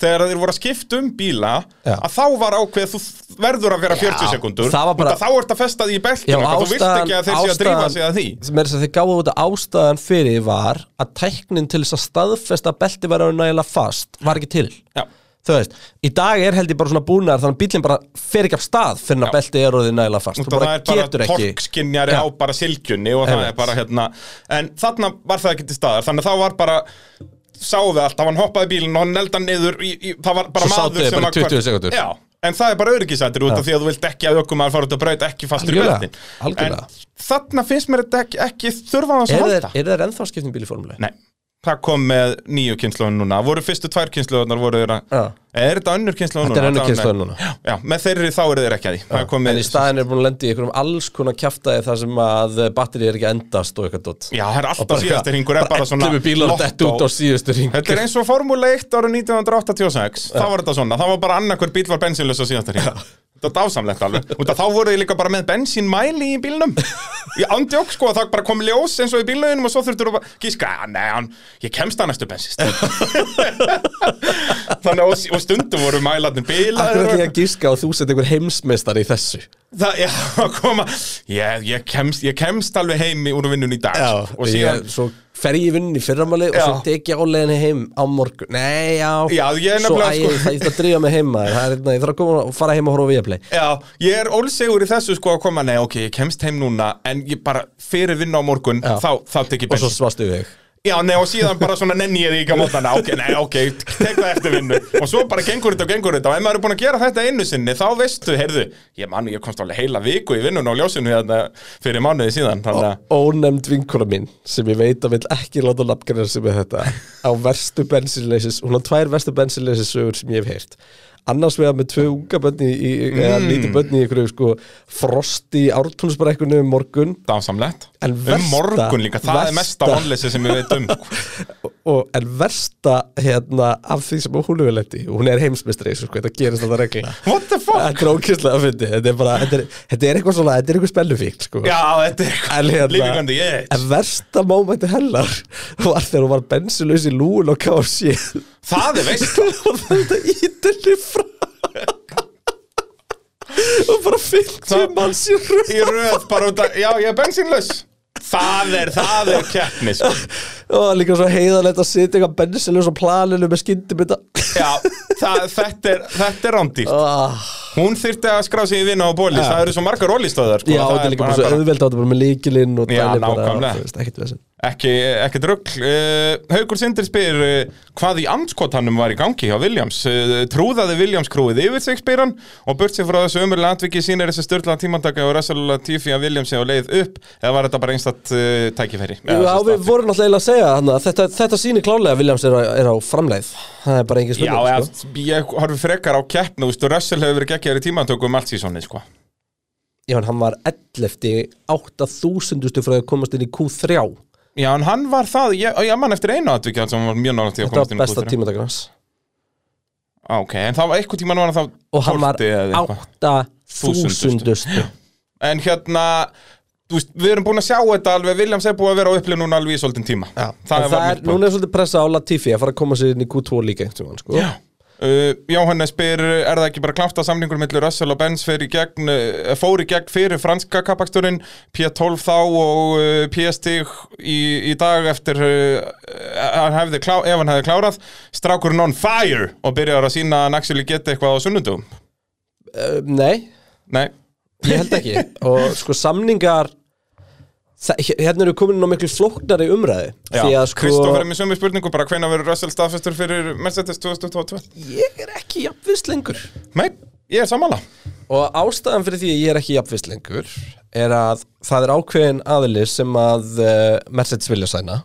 Þegar þeir voru að skipta um bíla
Já.
að þá var ákveð þú verður að vera 40 sekundur
það var bara-
út af þá ert að festa því í beltinu
Já,
eitthvað, þú vilt
ástæðan-
ekki að þeir séu að drífa
ástæðan-
sig að því
sem er þess að þeir gáðu út að ástæðan fyrir var að tæknin til þess að staðfesta að belti var að nægilega fast var ekki til
Já,
þú veist, í dag er held ég bara svona búnaðar þannig að bílinn bara fer ekki af stað fyrir að
Já.
belti er orðið nægilega fast þú
það
bara
er bara
getur ekki
torkskinjari á
Já.
bara silkjunni og það
Einmitt.
er bara hérna En þarna var það ekki til staðar, þannig að þá var bara Sáðu við allt, það var hann hoppaði bílinn og hann neldan niður í, í, Það var bara
Svo sátu
maður
þeir
sem
bara
að hvern-
20 sekúndur.
Já, en það er bara öryggisættir út af því að þú vilt ekki að ökum að fara út að braut ekki fastur
Algjörlega,
í beltin
algjörlega.
En þarna finnst mér þetta ekki, ekki þurfa á þessu
er
að
þeir,
halda
er þeir ennþá skiptum bíl í formuleg?
Nei, það kom með nýju kynnslóðun núna Voru fyrstu tvær kynnslóðunar voru þeirra
Já.
Er þetta önnur kynnslóðun núna?
Þetta er önnur
Það var-
kynslóð núna.
Já, já, með þeirri þá eru þeir ekki að því Það er komið-
en í staðin er búin að lenda í einhverjum alls konar kjaftaði þar sem að batteri er ekki að endast og eitthvað dott
Já, það er alltaf síðastir hringur er bara svona
bílar
lottó.
dett út á síðustu ring
Þetta er eins og Formule 1 ára 1986 þá var þetta svona, það var bara annarkur bíl var bensínlaus á síðastir hring Þetta er dásamlegt alveg Út að þá voru þið líka bara með bensínmæli í bílnum Ég ándjók sko að það bara kom ljós eins og í bílnauginum og svo þurftur þú bara gíska, "Ah, nei, hann, ég kemst að næstu bensist *laughs* Þannig að og stundum voru mælarnir bílar
Akkur ætlum ég að gíska og þú sett einhver heimsmeistar í þessu
Það, já, að koma Ég, ég, kemst, ég kemst alveg heimi úr vinnun í dag sko. og síðan,
ég, Svo fer ég í vunni í fyrramali og
Já.
svo tek ég áleginni heim á morgun Nei, já,
Já, ég er
svo
nefnilega,
æ,
sko.
það ég ætla að drífa mig heima Það er, na, Ég þarf að koma og fara heim og horfa á Viaplay
Já, ég er ólsegur í þessu sko að koma Nei, ok, ég kemst heim núna En ég bara fyrir vinna á morgun
Já.
Þá, þá tek ég
Og svo
bens
svastu við
Já, nei, og síðan bara svona nenni ég því ekki á mótana Ok, nei, ok, tek það eftir vinnu Og svo bara gengur þetta og gengur þetta Og ef maður er búin að gera þetta einu sinni Þá veistu, heyrðu Ég mann, ég komst alveg heila viku í vinnun á ljósinu hérna Fyrir mánuði síðan Þannig að
Ónefnd vinkona mín sem ég veit að vil ekki láta nafngrænir sem er þetta á verstu bensinleysis, hún á tvær verstu bensinleysis sögur sem ég hef heyrt annars vegar með tvö unga bönni í, mm. eða lítið bönni í einhverju sko frosti í ártúnsbrekkunni um morgun
dásamlegt
En
Um
versta-
morgun líka, það er mesta
versta-
vonleysi sem ég veit um
og en versta hérna af því sem hún hefur lett í hún er heimsmestri, sko, þetta gerist alltaf regla
*laughs* What the fuck?
þetta er ókýrslega að fyndi þetta er bara, þetta er, þetta er eitthvað svona, þetta er eitthvað spennufíkt sko.
Já, þetta er
En
eitthvað
hérna-
Lífingandi, ég
En versta mómenti hennar var þegar hún var bensinlaus í lúun og KFC
Það er veist
og þetta ítilli frá og bara 50
Það-
manns í röð
í röð bara út að, já ég er bensínlaus Það er, það er keppni sko.
og það er líka svo heiðanlegt að sitja eitthvað bensinlaus á planinu
*laughs*
með skyndibita
Já, það, þetta er, þetta er rándýrt
ah,
Hún þyrfti að skrá sig í vinna á bólís
Já.
Það eru svo margar ólistöðar sko.
Já,
það
þetta er líka bara svo auðveld á þetta bara með líkilinn og
Já,
dæli bara,
nákvæmlega.
þú veist, ekkert vesen
Ekki, ekki drugl. Uh, Haukur Sindri spyr uh, hvað í anskotanum var í gangi hjá Williams. Uh, trúðaði Williams krúið yfir sig spyr hann og burt sér frá þessu umurlega atviki sínir þessi styrla tímandaka og Russell Latifi að Williams hefur leið upp eða var þetta bara einstatt uh, tækifæri?
Já,
Eða,
við vorum náttúrulega að segja hann, að þetta, þetta sýnir klálega að Williams er á, er á framleið Það er bara engin
Já,
spurning
eða,
sko.
ég horfi frekar á keppnu, þú veist, og Russell hefur verið geggjaður í tímantökum allt sísónið, sko.
Já, en hann var 11. 8000 frá að komast inn í Q3
Já, en hann var það, ég, ég man eftir einu atvikið sem var mjög nálægt í að
Þetta
komast
var
inn í
besta
Q3.
tímatakar hans
Á, Ok, en það var eitthvað tíman var hann þá
Og hann var
12. eða eitthvað.
8000
En hérna, þú veist, við erum búin að sjá þetta alveg Williams er búin að vera á upplið núna alveg í svolítinn tíma Já,
Það,
það
það
var
er,
mitt punkt
núna er svolítið pressa á Latifi að fara að koma sér inn í Q2 líka einhvern veginn, sko.
Já Uh, Jóhannes spyr, er það ekki bara kláft að samningur millir Russell og Benz fer í gegn, uh, fór í gegn fyrir franska kappaksturinn P12 þá og uh, PST í, í dag eftir uh, hann hefði klá, ef hann hefði klárað strákurinn on fire og byrjar að sína að hann actually geta eitthvað á sunnundum
Uh, Nei,
Nei,
ég held ekki Og sko samningar það, Hérna eru komin inn á miklu flóknari umræði
Já,
Því að sko
Kristófer er með sömu spurningu bara hvenær verður Russell staðfestur fyrir Mercedes 2022
Ég er ekki jafnvist lengur
Nei, ég er sammála
Og ástæðan fyrir því að ég er ekki jafnvist lengur Er að það er ákveðin aðili sem að uh, Mercedes vilja sæna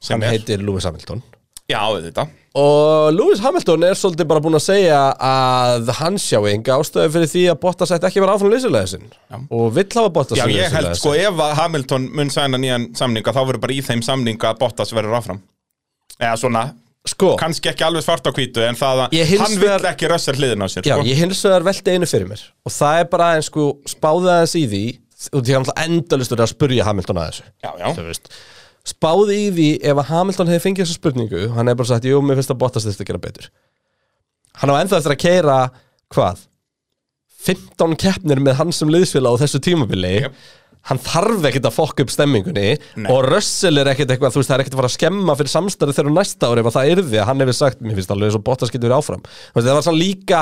Sem
Hann
er?
heitir Lewis Hamilton
Já, auðvitað
Og Lewis Hamilton er svolítið bara búinn að segja að hann sjá enga ástæðu fyrir því að Bottas ætti ekki að vera áfram leysulega sinn og vill hafa Bottas
Já, ég held
leiðsögulega
sko
sinn.
ef að Hamilton mun sæna nýjan samninga þá verður bara í þeim samninga að Bottas verður áfram Eða svona,
sko,
kannski ekki alveg svart á hvítu en það að
Ég hins
hann vill
vegar-
ekki Russell hliðin á sér
já,
sko.
ég hins vegar velti einu fyrir mér og það er bara aðeins sko spáði aðeins í því og því hann endalustur að spurja Hamilton að þessu
já, já,
Þú veist, spáði í því ef að Hamilton hefði fengið þessa spurningu hann hefði bara sagt, jú, mér finnst að Bottas þetta gera betur hann á ennþá eftir að keira hvað? 15 keppnir með hann sem liðsfélag á þessu tímabili
Jep.
hann þarf ekkert að fokka upp stemmingunni
Nei.
og Russell er ekkert eitthvað, þú veist, það er ekkert að fara að skemma fyrir samstarið þegar á næsta ári ef að það yrði að hann hefur sagt, mér finnst alveg eins og Bottas getur verið áfram Þú veist, það var svona líka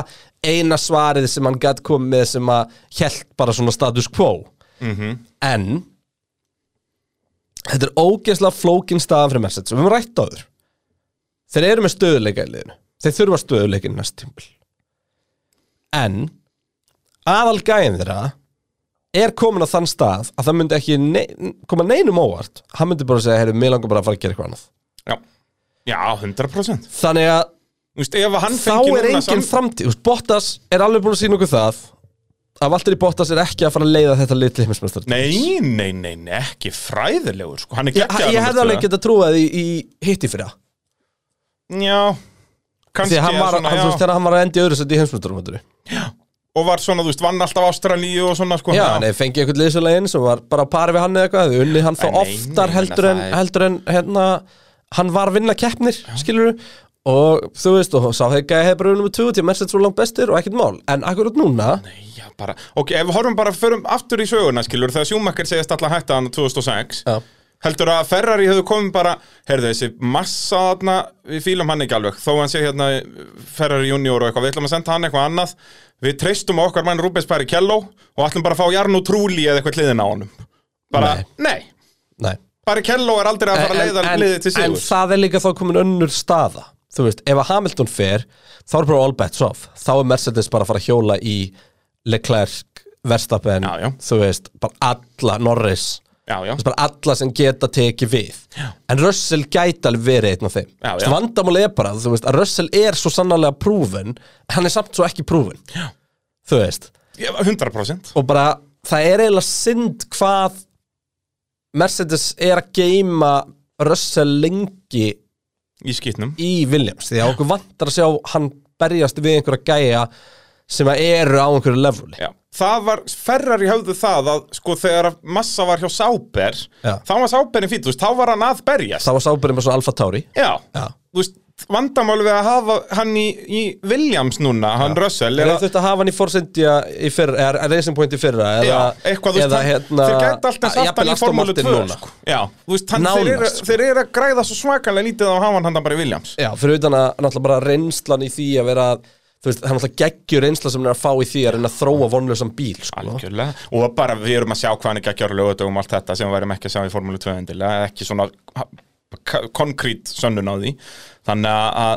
eina svarið sem hann gætt komið með sem að hjælt bara svona status quo
Mhm.
en þetta er ógeðslega flókin staðan fyrir Mercedes og við höfum rætt á þur þeir eru með stöðuleika í liðinu þeir þurfa stöðuleika í næst tímpil en aðal gæðin þeirra er komin á þann stað að það myndi ekki nei, koma neinum óvart hann myndi bara segja, heyrðu, mig langar bara að fara að gera eitthvað annað
já Já, 100%
þannig að
Þú veist, ef að hann
þá
fengi
er
núna sam-
engin framtíð Þú veist, Bottas er alveg búin að sína okkur það að Valtteri Bottas er ekki að fara að leiða þetta lið til heimsmeistar
Nei, nei, nei, nei, ekki fræðilegur sko. Hann er
ég,
geggjaður sko.
ég
númer
hefði
tvö.
alveg getað trúið í, í hitti fyrir það
Já, kannski
Því að hann
er
var,
svona,
hann, þú veist,
já,
þegar hann var að enda í öðru sett í heimsmyndarumönduru
Og var svona, þú veist, vann alltaf Ástralíu og svona sko
Já, hann hefði fengið eitthvað liðsulegin sem var bara á pari við hann eða eitthvað hefði unnið hann þá
Nei, nei,
oftar
nei,
heldur,
nei,
en,
það er-
heldur en hérna, hann var að vinna keppnir, skilur og þú veist, og sá þegar hefði bara unnum með 20 tíma, Mercedes var langt bestur og ekkert mál en akkurat núna,
Nei, já, bara, ok, ef við horfum bara förum aftur í söguna, skilur, þegar Schumacher segist alltaf hætta hann 2006,
Já.
heldur að Ferrari hefðu komið bara, heyrðu þessi massa þarna, við fílum hann ekki alveg, þó hann sé hérna Ferrari junior og eitthvað, við ætlum að senda hann eitthvað annað, við treystum á okkar mann Rubens Barrichello og ætlum bara að fá Jarno Trulli eða eitthvað hliðin á honum. Bara, nei,
nei
Barrichello er aldrei að fara að
en,
leiða
en,
liðið til
en
sigur.
það er líka þá komin önnur staða þú veist, ef að Hamilton fer þá er bara all bets off, þá er Mercedes bara að fara að hjóla í Leclerc Verstappen,
Já, já.
þú veist bara alla, Norris
Já, já,
Þú veist, bara alla sem geta tekið við en Russell gæti alveg verið einn af þeim
Já,
Þú veist,
já.
vandamál er bara þú veist, að Russell er svo sannarlega prúfin hann er samt svo ekki prúfin já. þú veist
Ég- 100%.
og bara það er eiginlega synd hvað Mercedes er að geima Russell lengi
Í skýtnum.
í Williams því að okkur vantar að sjá hann berjast við einhverja gæja sem að eru á einhverju leveli
Já. Það var, Ferrari höfðu það að sko þegar að Massa var hjá Sáber
Já.
þá var Sáberin fýtt, þú veist, þá var hann að berjast
þá var sábæri með svona Alfa Tauri
Já,
Já.
þú veist, vandamál við að hafa hann í, í Williams núna, hann Russell
Þeir
er
hefðu
að,
þurft að hafa hann í Forsendia í fyrra, eða Racing Point í fyrra eða,
já, eitthvað, þú veist,
eða
það-
hérna
þeir gæti alltaf satt hann
jafnvel
í
Aston
Formúlu
Martin
2
núna.
sko. Já, þú veist, hann, þeir,
Nánast,
eru,
sko.
þeir eru að græða svo svakalega lítið á að hafa hann hann bara í Williams
Já, fyrir utan að náttúrulega bara reynslan í því að vera þú veist, það er alltaf geggjur einsla sem hann er að fá í því að reyna að þróa vonlösan bíl sko.
Algjörlega, og bara við erum að sjá hvað hann ekki að gjöra lögutögum allt þetta sem við værum ekki að sjá í Formule 2 endilega, ekki svona ha- k- konkrít sönnun á því þannig að- að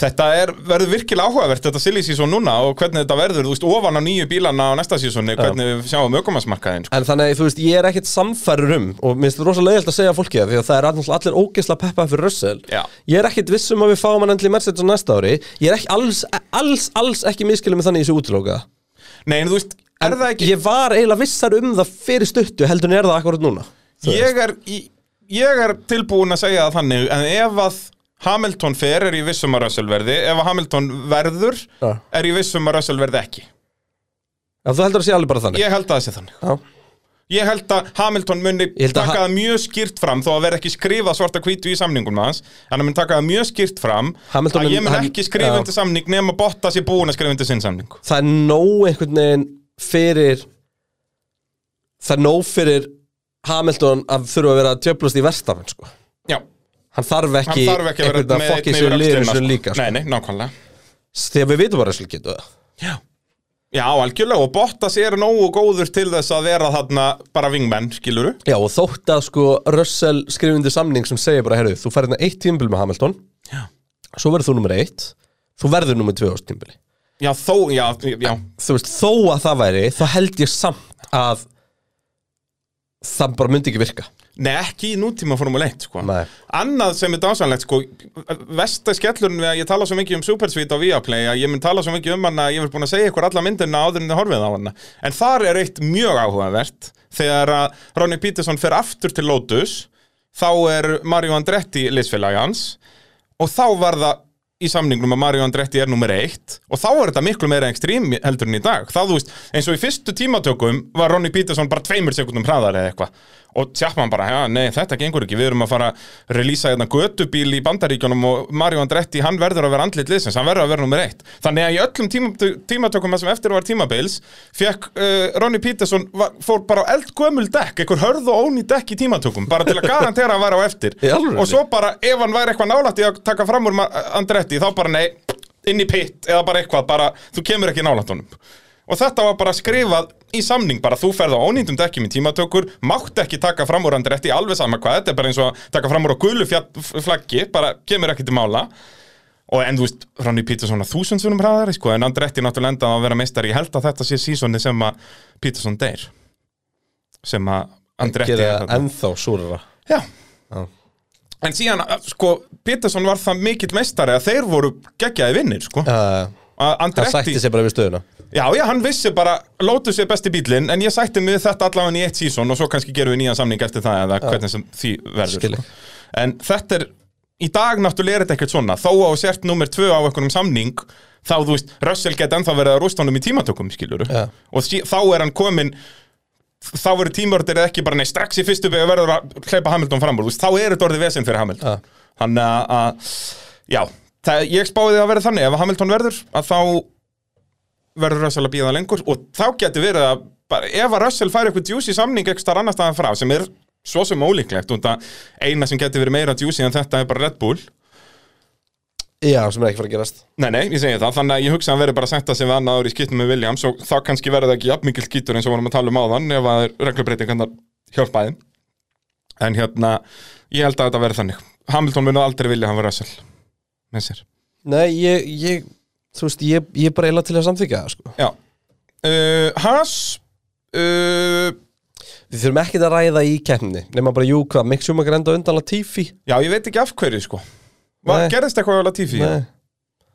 þetta er, verður virkilega áhugavert þetta silly season núna og hvernig þetta verður, þú veist, ofan á nýju bílana á næsta seasoni, hvernig við sjáum ökumannsmarkaðin sko.
En þannig, þú veist, ég er ekkert samfærur um og mér finnst rosa leiðilt að segja fólki það því að það er allir, allir ógeðsla peppað fyrir Russell
Já.
Ég er ekkert viss um að við fáum hann endli Mercedes á næsta ári Ég er ekki, alls, alls, alls ekki miskilum með þannig í þessu útlóka
Nei, en þú veist, er það ekki
Ég var eiginlega vissar um það fyrir stuttu heldur en er það akkurat núna Þú veist.
ég er, í- ég er tilbúin að segja það þannig en ef að Hamilton fer er ég vissum að Russell verði ef að Hamilton verður
Já.
er ég vissum að Russell verði ekki
Já, þú heldur að sé alveg bara þannig
ég held að það sé þannig
Já.
ég held að Hamilton muni
Ég held
taka
að ha-
það mjög skýrt fram þó að verða ekki skrifa svarta hvítu í samningum hans en hann mun taka það mjög skýrt fram
Hamilton
að ég mun
mun- hann-
ekki skrifa
Já.
undir samning nema Bottas sé búin að skrifa undir sinn samning
það er nóg einhvern veginn fyrir það er nóg fyrir Hamilton að þurfa að vera djöflust í verstafinn sko.
já,
hann þarf
hann
ekki
þarf ekki að
einhvern
vera
að fokki
einn
sér
yfir
liður
öxlina,
sér
sko.
líka sko.
nei, nei, nákvæmlega
þegar við vitum bara að geta það
Já. Já, algjörlega, og Bottas er nógu góður til þess að vera þarna bara vingmenn, skiluru
Já, og þótt að sko Russell skrifundi samning sem segir bara, heyrðu, þú færði eitt tímbil með Hamilton
Já.
svo verður þú nummer eitt þú verður nummer tvö ást tímbili
Já, þó, já, já,
þú veist, þó að það væri, þá held ég samt að það bara myndi ekki virka
nei, ekki í nútíma Formule 1, sko
Nei.
Annað sem er dásanlegt, sko Vesta skellurinn við að ég tala svo mikið um Supersvít á Viaplay að ég mun tala svo mikið um hana ég verð búin að segja ykkur alla myndina áður en þið horfið á hana En þar er eitt mjög áhugavert þegar að Ronny Peterson fer aftur til Lotus þá er Mario Andretti liðsfélagi hans og þá var það í samningnum að Mario Andretti er nummer eitt og þá er þetta miklu meira ekstrím heldur en í dag þá þú veist, eins og í fyrstu tímatökum var Ronny Peterson bara tveimur sekundum hraðar eða eitthvað og Chapman bara, já, nei, þetta gengur ekki við erum að fara að relýsa hérna götubíl í bandaríkjunum og Mario Andretti hann verður að vera andlit liðsins, hann verður að vera nummer eitt þannig að í öllum tíma, tímatökum það sem eftir var tímabils, fekk uh, Ronny Peterson, var, fór bara á eldgömul dekk, einhver hörð og óný dekk í tímatökum bara til að garantera að hann væri á eftir
Í alvörunni?
og svo bara ef hann væri eitthvað nálætt í að taka fram úr Ma- Andretti þá bara nei, inn í pitt eða bara eitthvað, bara þú kemur ekki nálætt honum og þetta var bara skrifað í samning bara þú ferð á ónýndum dekkjum í tímatökur mátt ekki taka fram úr Andretti alveg sama hvað, þetta er bara eins og að taka fram úr á gulu fjall- f- flaggi, bara kemur ekki til mála og en þú veist, Ronny Peterson að þúsundsunum hraðari sko, en Andretti náttúrulega endaði á að vera meistari ég held að þetta sé sísoni sem að Peterson deyr sem að Andretti
gera
er
það
þarna.
ennþá súrara
Já.
Já.
En síðan, að, sko, Peterson var það mikill meistari að þeir voru geggjaði vinnir, sko.
uh,
Að
hann
Andretti,
sætti sér bara við stöðuna
já, já, hann vissi bara, Lotus er besti bílinn, en ég sætti mig við þetta allavega í eitt sísón og svo kannski gerum við nýjan samning eftir það eða hvernig sem því verður.
Skil ég.
Sko. En þetta er, í dag náttúrulega er þetta ekkert svona, þó að þú sért nummer tvö á einhvernum samning, þá, þú veist, Russell geti ennþá verið að rústa honum í tímatökum, skiluru.
Já.
Og sí, þá er hann komin þá verður tímörðir eða ekki bara nei, strax í fyrstu beigja verður að hleypa Hamilton fram úr þú veist, þá er þetta orðið vesinn fyrir Hamilton
Ja.
þannig að- að, já það, ég spáði að verða þannig, ef að Hamilton verður að þá verður Russell að býða lengur og þá getur verið að bara, ef að Russell fær eitthvað djúsi samning eitthvað starf annar staðan frá sem er svo sem ólíklegt út að eina sem getur verið meira djúsi en þetta er bara Red Bull
já, sem er ekki fara að gerast
Nei, nei, ég segi það, þannig að ég hugsa að hann verður bara að setja sig við annað ári í skýttum með Williams og þá kannski verður það ekki jafnmikil skýtur eins og vorum að tala um áðan ef að reglubreitingarnar hjálpa þeim En hérna, ég held að þetta verður þannig Hamilton mun aldrei vilja hann vera Russell með sér
Nei, ég, ég þú veist, ég, ég er bara eila til að samþykja það, sko.
Já uh, Haas uh,
Við þurfum ekkert að ræða í keppni nema bara, jú, hvað, Mick Schumacher enda undan Latifi
Já, ég veit ekki af hverju sko Var,
Nei.
Gerðist eitthvað á Latifi?
Nei,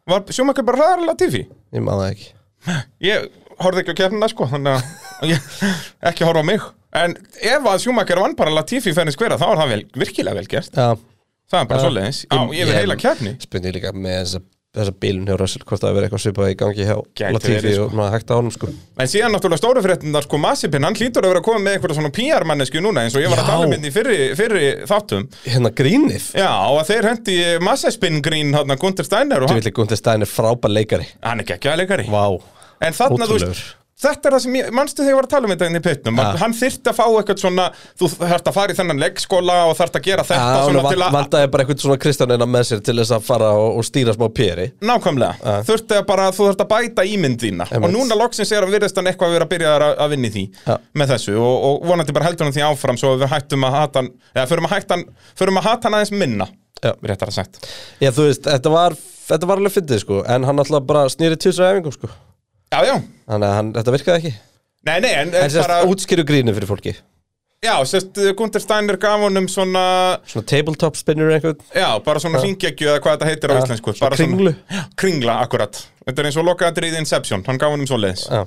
Var sjómakar bara hraðar en Latifi?
ég maður það ekki
Ég horfði ekki á kefnina sko þannig
*laughs*
að ég, ekki horfa á mig En ef að Schumacher vann bara Latifi fenni skvera þá er það vel, virkilega vel gert
Já,
Það er bara
Já.
svoleiðis Já,
Ég-
ég vil
ég-
heila kefni
spynnið líka með þessa, þessa bílun hjá Russell hvort það hefur verið eitthvað svipað í gangi hjá
Gæti
Latifi
verið, sko.
og maður hægt á honum, sko
En síðan náttúrulega stóru fréttindar sko Masipin, hann hlýtur að vera að koma með eitthvað svona PR-mannesku núna eins og ég var að
Já.
tala um hérna í fyrri, fyrri þáttum
Hérna grínið,
Já, og að þeir hendi Masipin grín hérna Gunther Steiner og
þú
hann,
vil ekki um til stæðin er frábær leikari
hann er geggjaða leikari
Vá,
En þarna, þú veist,
ótrúlegur
Þetta er það sem ég, manstu þegar ég var að tala um þetta inn í pittnum,
Ja.
hann þyrfti að fá eitthvað svona, þú þarft að fara í þennan leggskóla og þarft að gera þetta
Já, hún
svona til
vant-
að,
vantaði bara eitthvað svona Kristjánina með sér til þess að fara og, og stýra smá peri
nákvæmlega, þurfti að bara, þú þarft að bæta ímynd þína
Einmitt.
og núna loksins er að virðist hann eitthvað að vera að byrja að, að vinna í því
Ja.
með þessu og, og vonandi bara heldur hann því áfram svo að við hættum að hata hann, eða förum að, hætta hann, förum að hata hann aðeins minna,
Já.
réttar að sagt.
Já, þú veist, þetta var, þetta var alveg fyndið sko En hann alltaf bara snýri tjóðsra æfingum sko
Já, já,
Þannig að hann, þetta virkaði ekki
nei, nei, en,
En
en
sérst,
bara,
útskýru grínu fyrir fólki
já, sérst, Gunther Steiner gaf honum svona,
Svona tabletop spinner eitthvað
já, bara svona hringekju eða hvað þetta heitir á
Ja,
íslensku,
svona
bara svona-
kringlu.
Já, kringla, akkurat. Þetta er eins og lokaðatrið Inception, hann gaf honum svo leiðis.
Já.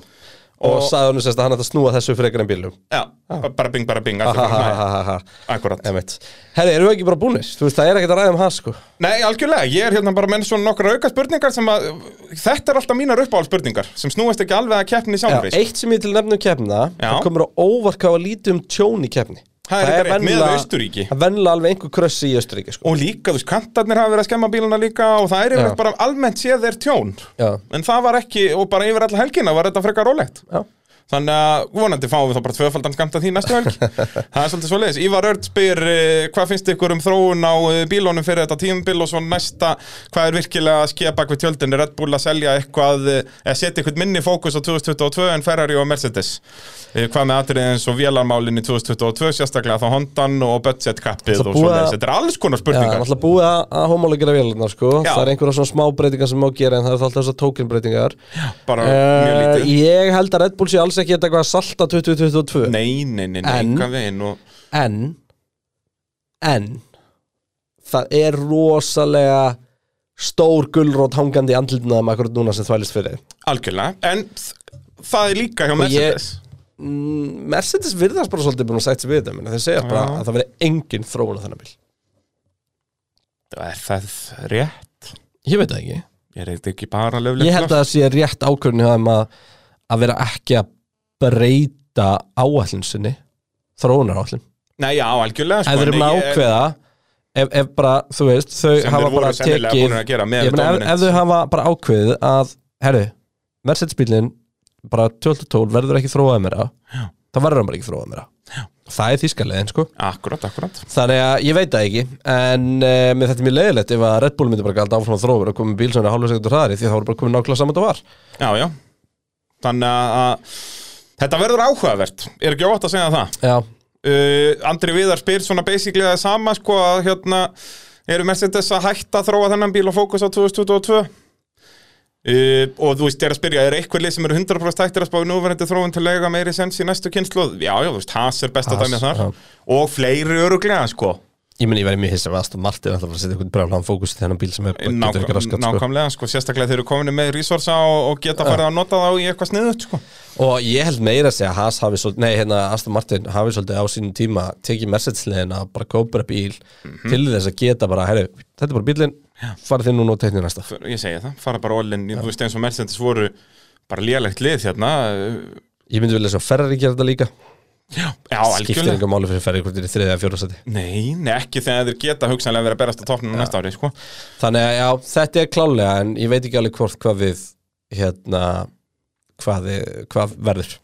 Og, og sagði hann sérst að hann ætti að snúa þessu frekar en bílum
Já, ba- bara bing, bara bing, allir bara næ,
Ahahahaha
akkurat.
Emitt Herri, erum við ekki bara búnir? Þú veist, það er ekkert að ræða um það sko
Nei, algjörlega, ég er hérna bara með svona nokkra auka spurningar sem að, þetta er alltaf mínar uppáhaldspurningar, sem snúist ekki alveg að keppni
Já,
sjálfri.
Eitt sem ég til nefnum keppna
Já.
Það komur á óvarkáða lítið um tjón í keppni
Það er rétt, miðað við Austurríki.
Það er vennilega alveg einhver kröss í Östuríki sko.
Og líka, þú veist, kantarnir hafa verið að skemma bíluna líka og það er yfir bara almennt séð þeir tjón.
Já.
En það var ekki, og bara yfir alla helgina var þetta frekar rólegt.
Já.
Þannig að vonandi fáum við þá bara tvöfaldan skamt að því næstu
*laughs*
helgi Það er svolítið svo leiðis Ívar Örd spyr eh, hvað finnst ykkur um þróun á eh, bílunum fyrir þetta tímabil og svo næsta hvað er virkilega að skepa hvað tjöldin er Red Bull að selja eitthvað eh, eða setja eitthvað minni fókus á 2022 en Ferrari og Mercedes Eh, Hvað með atriðið eins og vélarmálin í 2022 sérstaklega þá Hondan og budget kappið
Það
og
búið
svo
að-
Þetta er alls konar
Já,
spurningar
náttúrulega búið að, að homolegera vélarnar sko
Já.
Það er einhverja svona smá breytingar sem má gera en það er alltaf þessar tókinbreytingar
bara mjög
uh,
lítið
Ég held að Red Bull sé alls ekki þetta eitthvað að salta 2022
Nei, nei, nei, nei,
En-
enga veginn og...
En En Það er rosalega stór gullrót hangandi í andlutnaðum akkurat núna sem þvælist fyrir þeim.
Algjörlega, en þ- það er líka hjá Mercedes
Mm, Mercedes virðast bara svolítið búin að sætt sér við þetta menn þeir segja bara að það veri engin þróun á þennan bíl
Er það rétt?
Ég veit það ekki
Er þetta ekki bara löflegt?
Ég held að það sé rétt ákvörðinu að, að vera ekki að breyta áallin sinni þróunar áallin
Nei, já, algjörlega
Ef þeir eru með
Sko, ég-
ákveða ef, ef bara, þú veist, þau
Sem
hafa
þeir
bara
voru sennilega
tekið
búnir að gera með
Ég meina, ef,
dominance.
ef þau hafa bara ákveðið að herru, Mercedes-bílinn bara 12-12 verður ekki þróað meira þá verður hann bara ekki þróað meira Já. það er þýskalegin, sko
Akkurat, akkurat
Þannig að ég veit það ekki En uh, með þetta er mjög leiðilegt ef að Red Bull myndi bara galda áfram að þrófur og komið bíl sem er hálfur sekundur hraðari því þá voru bara komið nákvæmlega saman það var
Já, já Þannig að- að Þetta verður áhugavert Er ekki óvægt að segja það
Já,
uh, Andri Viðar spyr svona basically það sama sko að hérna eru Mercedes að hætta að þróa þennan bíl og fókus á 2022 Uh, og þú veist, ég er að spyrja, er eitthvað lið sem eru 100% hættir að spá í núverandi þróun til að lega meiri sens í næstu kynslu? Já, já, þú veist, Haas er besta
Haas,
dæmið þar
já.
og fleiri öruglega, sko
ég meni ég verið mjög hissa við Aston Martin ætla bara að setja einhvern brjálan fókus í þennan bíl sem er bara getur ekki
Nákvæm,
raskat sko.
nákvæmlega, sko, sérstaklega þeir eru komin með resursa og, og geta farið að nota þá í eitthvað sniðut, sko.
Og ég held meira að segja að Haas hafi svolítið, nei hérna Aston Martin hafi svolítið á sínum tíma tekið Mercedes-legin að bara kópa bíl
Mhm.
til þess að geta bara, herru, þetta er bara bílinn farið þinn núna og teknir næsta
Ég segi það, fara bara all-in, í- þú veist eins og Mercedes voru bara lélegt lið hérna, uh,
Ég myndi vilja svo Ferrari gera þetta líka
já,
Skiptir
algjörlega.
enga máli fyrir Ferrari hvort þeir eru í þriðja eða fjóra seti
Nei, nei, ekki þegar þeir geta hugsanlega verið að berast á toppnum næsta ári, sko.
Þannig að já, þetta er klálega en ég veit ekki alveg hvort hvað við hérna, hvað, við- hvað verður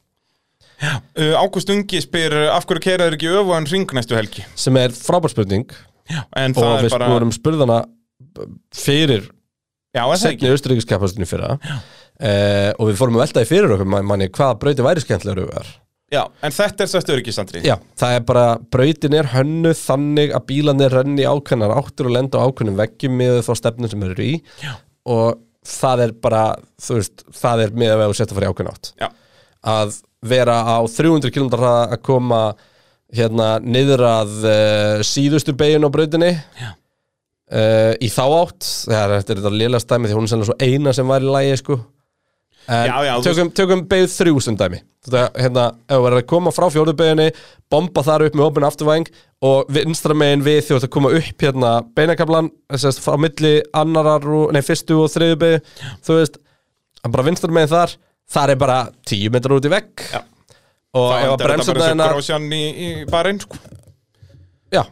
Uh, Ágúst Ungi spyr, uh, af hverju keiraður ekki öfugan ring næstu helgi?
sem er frábær spurning
Já, en
og
það
við
er bara...
vorum spurðana fyrir
Já, er það ekki?
setni austuríkiskapastinu fyrra uh, og við fórum að velta í fyrir okkur man- manni hvaða brauti væri skemmtilegur öfugar
Já, en þetta er sættu öryggisandri.
Já, það er bara, brautin er hönnu þannig að bílarnir renni í ákveðnar áttur og lenda á ákveðnum veggjum með þá stefnum sem eru í Já. og það er bara, þú veist, það er með að við setja að fara í ákveðn átt
Já.
að vera á 300 km hraða að koma hérna niður að uh, síðustu begin á brautinni
Já.
uh, í þá átt það er þetta er þetta lélega stæmi því hún er sennilega svo eina sem var í lægi sko en
Já, já, þú
tökum, tökum beigð þrjú sem dæmi þetta hérna, ef þú verður að koma frá fjóru beginni bomba þar upp með opinn afturvæng og vinstra megin við því að koma upp hérna beinakablan sérst, frá milli annarar, og- nei fyrstu og þriðu beigð þú veist, að bara vinstra megin þar þar er bara 10 metrar út í vegg
Já.
og
Það
ef að
endar þetta bara eins og
bremsutnaðina
grósjan í, í barinn, sko.
já,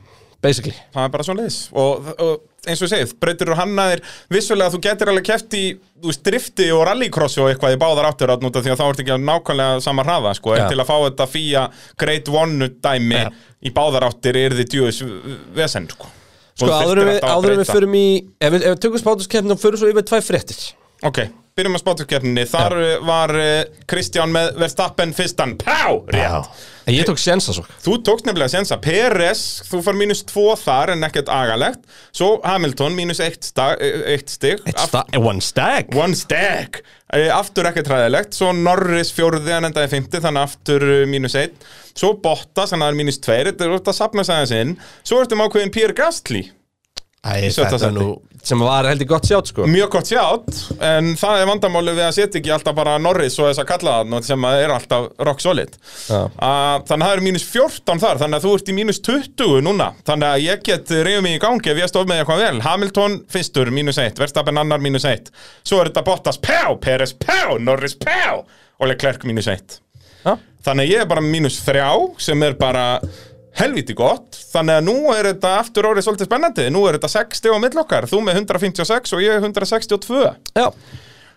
basically
það er bara svo leiðis og, og eins og ég segið, brautir og hannaðir vissulega þú getur alveg keft í þú veist, drifti og rallycrossi og eitthvað í báðar áttur átnúta því að þá ertu ekki að nákvæmlega sama hraða sko,
Já.
en til að fá þetta fíja Great One dæmi
Já.
í báðar áttur er þið djúis vesen sko,
Sko áður en við, áður en við förum í Ef við, ef við tökum spátuskeppni og förum svo yfir tvær fréttir
Ok, byrjum að spátukeppninni Þar ja. var eh, Kristján með Verstappen fyrstan Pá, rétt
En ég tók sjensa svo
Þú tókst nefnilega sensa Peres, þú far mínus 2 þar en ekkert agalegt Svo Hamilton, mínus 1 stig Af-
One stag
One stack Eh, Aftur ekkert hræðilegt Svo Norris fjóruði hann endaði fymti Þannig aftur eh, mínus 1 Svo Bottas, þannig að er mínus 2 Þetta er út að sapna sæðins inn Svo ertum ákveðin Pierre Gasly
Æ,
sjötta
þetta er
sæti.
nú Sem var heldur gott sjátt sko
Mjög gott sjátt, en það er vandamálið við að setja ekki alltaf bara Norris og þess að kalla það sem að er alltaf rock solid
Já.
Ah, Þannig að það er mínus 14 þar, þannig að þú ert í mínus 20 núna Þannig að ég get reyðum mig í gangi ef ég stof með eitthvað vel Hamilton fyrstur, mínus 1, Verstappen annar mínus 1 Svo er þetta Bottas, pjá, Peres, pjá, Norris, pjá Og Leclerc mínus 1
Já.
Þannig að ég er bara mínus 3 sem er bara helviti gott Þannig að nú er þetta aftur árið svolítið spennandi Nú er þetta 60 á mill okkar, þú með 156 og ég 162
Já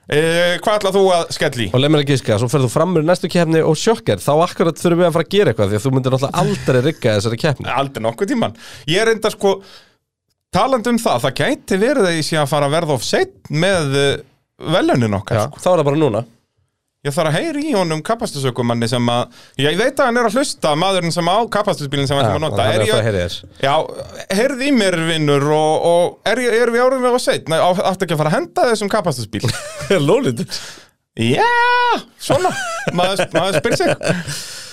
eh, Hvað ætlað þú að skelli?
Og leið mér að gíska Svo ferðu fram með næstu keppni og sjokkar Þá akkurat þurfum við að fara að gera eitthvað Því að þú myndir náttúrulega aldrei rigga þessari keppni
Aldrei nokkuð tíman Ég er enda sko talandi um það, það gæti verið að ég sé að fara að verða of seitt með eh, velunin okkar sko.
Þá er það bara núna
Ég þarf að heyri í honum kapastusökumanni sem að Ég veit að hann er að hlusta maðurinn sem á kapastusbílinn sem hann er að nota Er
þannig að það
ég,
heyri þér
já, heyrði í mér vinnur og, og er, ég, er við árum við á seitt Nei, á- áttu ekki að fara að henda þessum kapastusbíl
*laughs* Lólið
Já, svona maður, maður spyr sig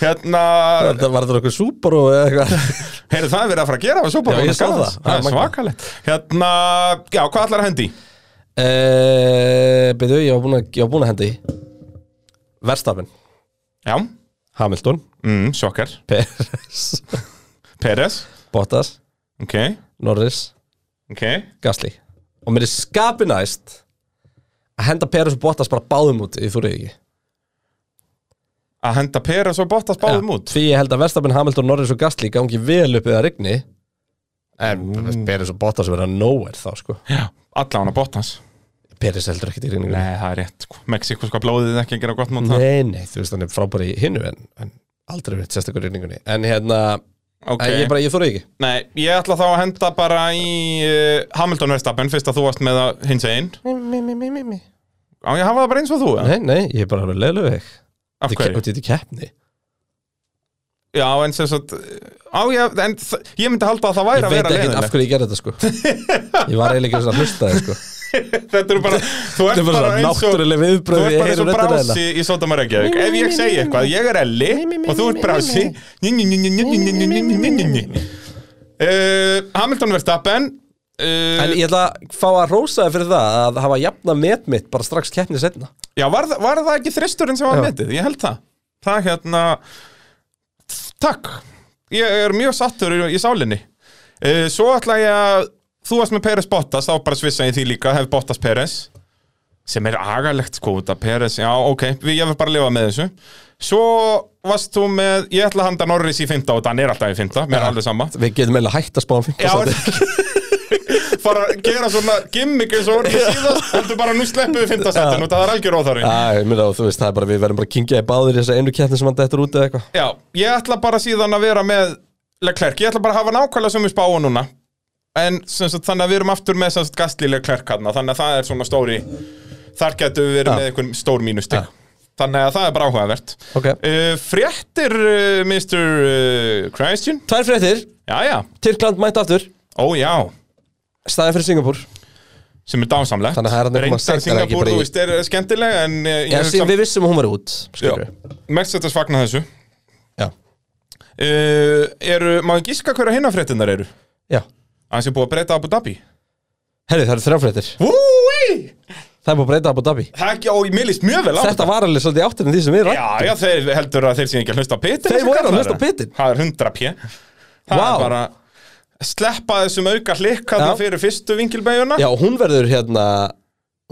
Hérna,
Var þetta okkur súpar og eitthvað *laughs*
heyrðu það er verið að fara að gera á Super
Já,
Bowl,
ég sá
Dallas.
það.
Það er
Það er
svakalegt Hérna, já, hvað ætlar að hendi?
Eh, Byrðu, ég var búinn að, ég var búinn að hendi Verstafin
Já,
Hamilton
mm, sjokkar
Peres *laughs*
Peres,
Bottas
ok,
Norris
ok
Gasly Og mér er skapinæst að henda Peres og Bottas bara báðum út í þúrið ekki
Að henda Peres og Bottas báðum út
Því ég held að Verstafin, Hamilton, Norris og Gasly gangi vel upp við að rigni Mm. En Peres og Bottas verða nowhere þá sko
Já, alla hana Bottas
Peres heldur ekkert í rigningu
Nei, það er rétt, sko. Mexiko sko blóðið er ekki að gera gott mót það
nei, nei, þú veist hann er frábæri í hinnu en, en aldrei verið sérstakur í rigningunni En hérna,
Ok,
okay. ég bara, ég þúrið ekki
nei, ég ætla þá að henda bara í uh, Hamilton Verstappen Fyrst að þú varst með að hins einn
Mi, mi, mi, mi, mi
Á, ég hafa það bara eins og þú, eða?
Nei, nei, ég er bara alveg leiðileg
af hverju?
Þetta er keppni
Já, en sem sagt Á, ég, en þ- ég myndi halda að það væri
Ég
að
veit
vera
ekki af
leiðinlegt
hverju ég gerði þetta *laughs* sko Ég var eiginlega ekki að hlusta það sko
*laughs* Þetta er bara, þú
Þetta
ert
er bara
bara
svona
eins og
náttúrulega
Þú
viðbröð
ert bara eins og brási í Sótama Reykjavík
Mí, mí,
Ef ég
mí,
segi
mí,
eitthvað, ég er Elli
Mí, mí, mí,
og þú ert
mí,
brási
mí,
Hamilton Verstappen uh,
En ég ætla að fá að rósa það fyrir það að hafa jafna met mitt bara strax keppni setna
Já, var, þa- var það ekki þristurinn sem var
Já.
metið? Ég held það Það hérna Takk, ég er mjög sattur í, í sálinni uh, Svo ætla ég að Þú varst með Peres Bottas, þá bara svissa ég því líka Hef Bottas Peres Sem er agalegt sko út af Peres Já, ok, við, ég vil bara lifa með þessu Svo varst þú með Ég ætla að handa Norris í 15 og hann er alltaf í 15 Mér er alveg
*laughs*
sama
Við getum eiginlega hægt að um spáum
Já, en-
fimmtasæti
*laughs* Fara að gera svona gimmick eins og orðið síðast Heldur bara nú sleppu við 15 setin og það er algjör óþarfi
Já, ég meina, þú veist, það er bara, við verðum bara að kingja í báðir í þessa einu keppni sem hann dættur út eða eitthvað
Já, ég ætla bara síðan að vera með Leclerc, ég ætla bara að hafa nákvæmlega sömu spáa núna En sem sagt, þannig að við erum aftur með sem sagt, Gastli Leclerc hann Þannig að það er svona stóri Þar getum við verið
Já.
með einhvern stór mínustig
Já.
Þannig að það er bara áhugavert
Ok,
uh, Fréttir, uh, Mr. Uh, Christian
tvær fréttir,
Já, já,
Tyrkland mætt aftur
ó já
Staðið fyrir Singapúr
Sem er dásamlegt
Þannig að það er þarna koma
Reyndar
seint, það er ekki
Singapúr,
bara í-
þú veist, er skemmtileg En uh, ég
Já,
hef
sí,
samt-
við vissum að hún var út, skilur
Já, Mercedes fagnar þessu
Já,
uh, Eru, má ég gíska hverja hinna fréttinnar eru?
já
Að sé búið að breyta Abu Dhabi
Herri, það eru þrjá fréttir
Úi!
Það er búið að breyta Abu Dhabi
Það er ekki, og mér líst mjög vel á
Þetta var alveg svolítið áttir en því sem við
Já, já, þeir heldur að þeir séu ekki að hlusta á pitin
Þeir
þessi
voru að
kallar
hlusta á
þeirra.
pitinn.
Það er 100 p Það
Vá.
er bara sleppa þessum auka hlikkaðna
Já.
fyrir fyrstu vinkilbæjuna
Já, hún verður hérna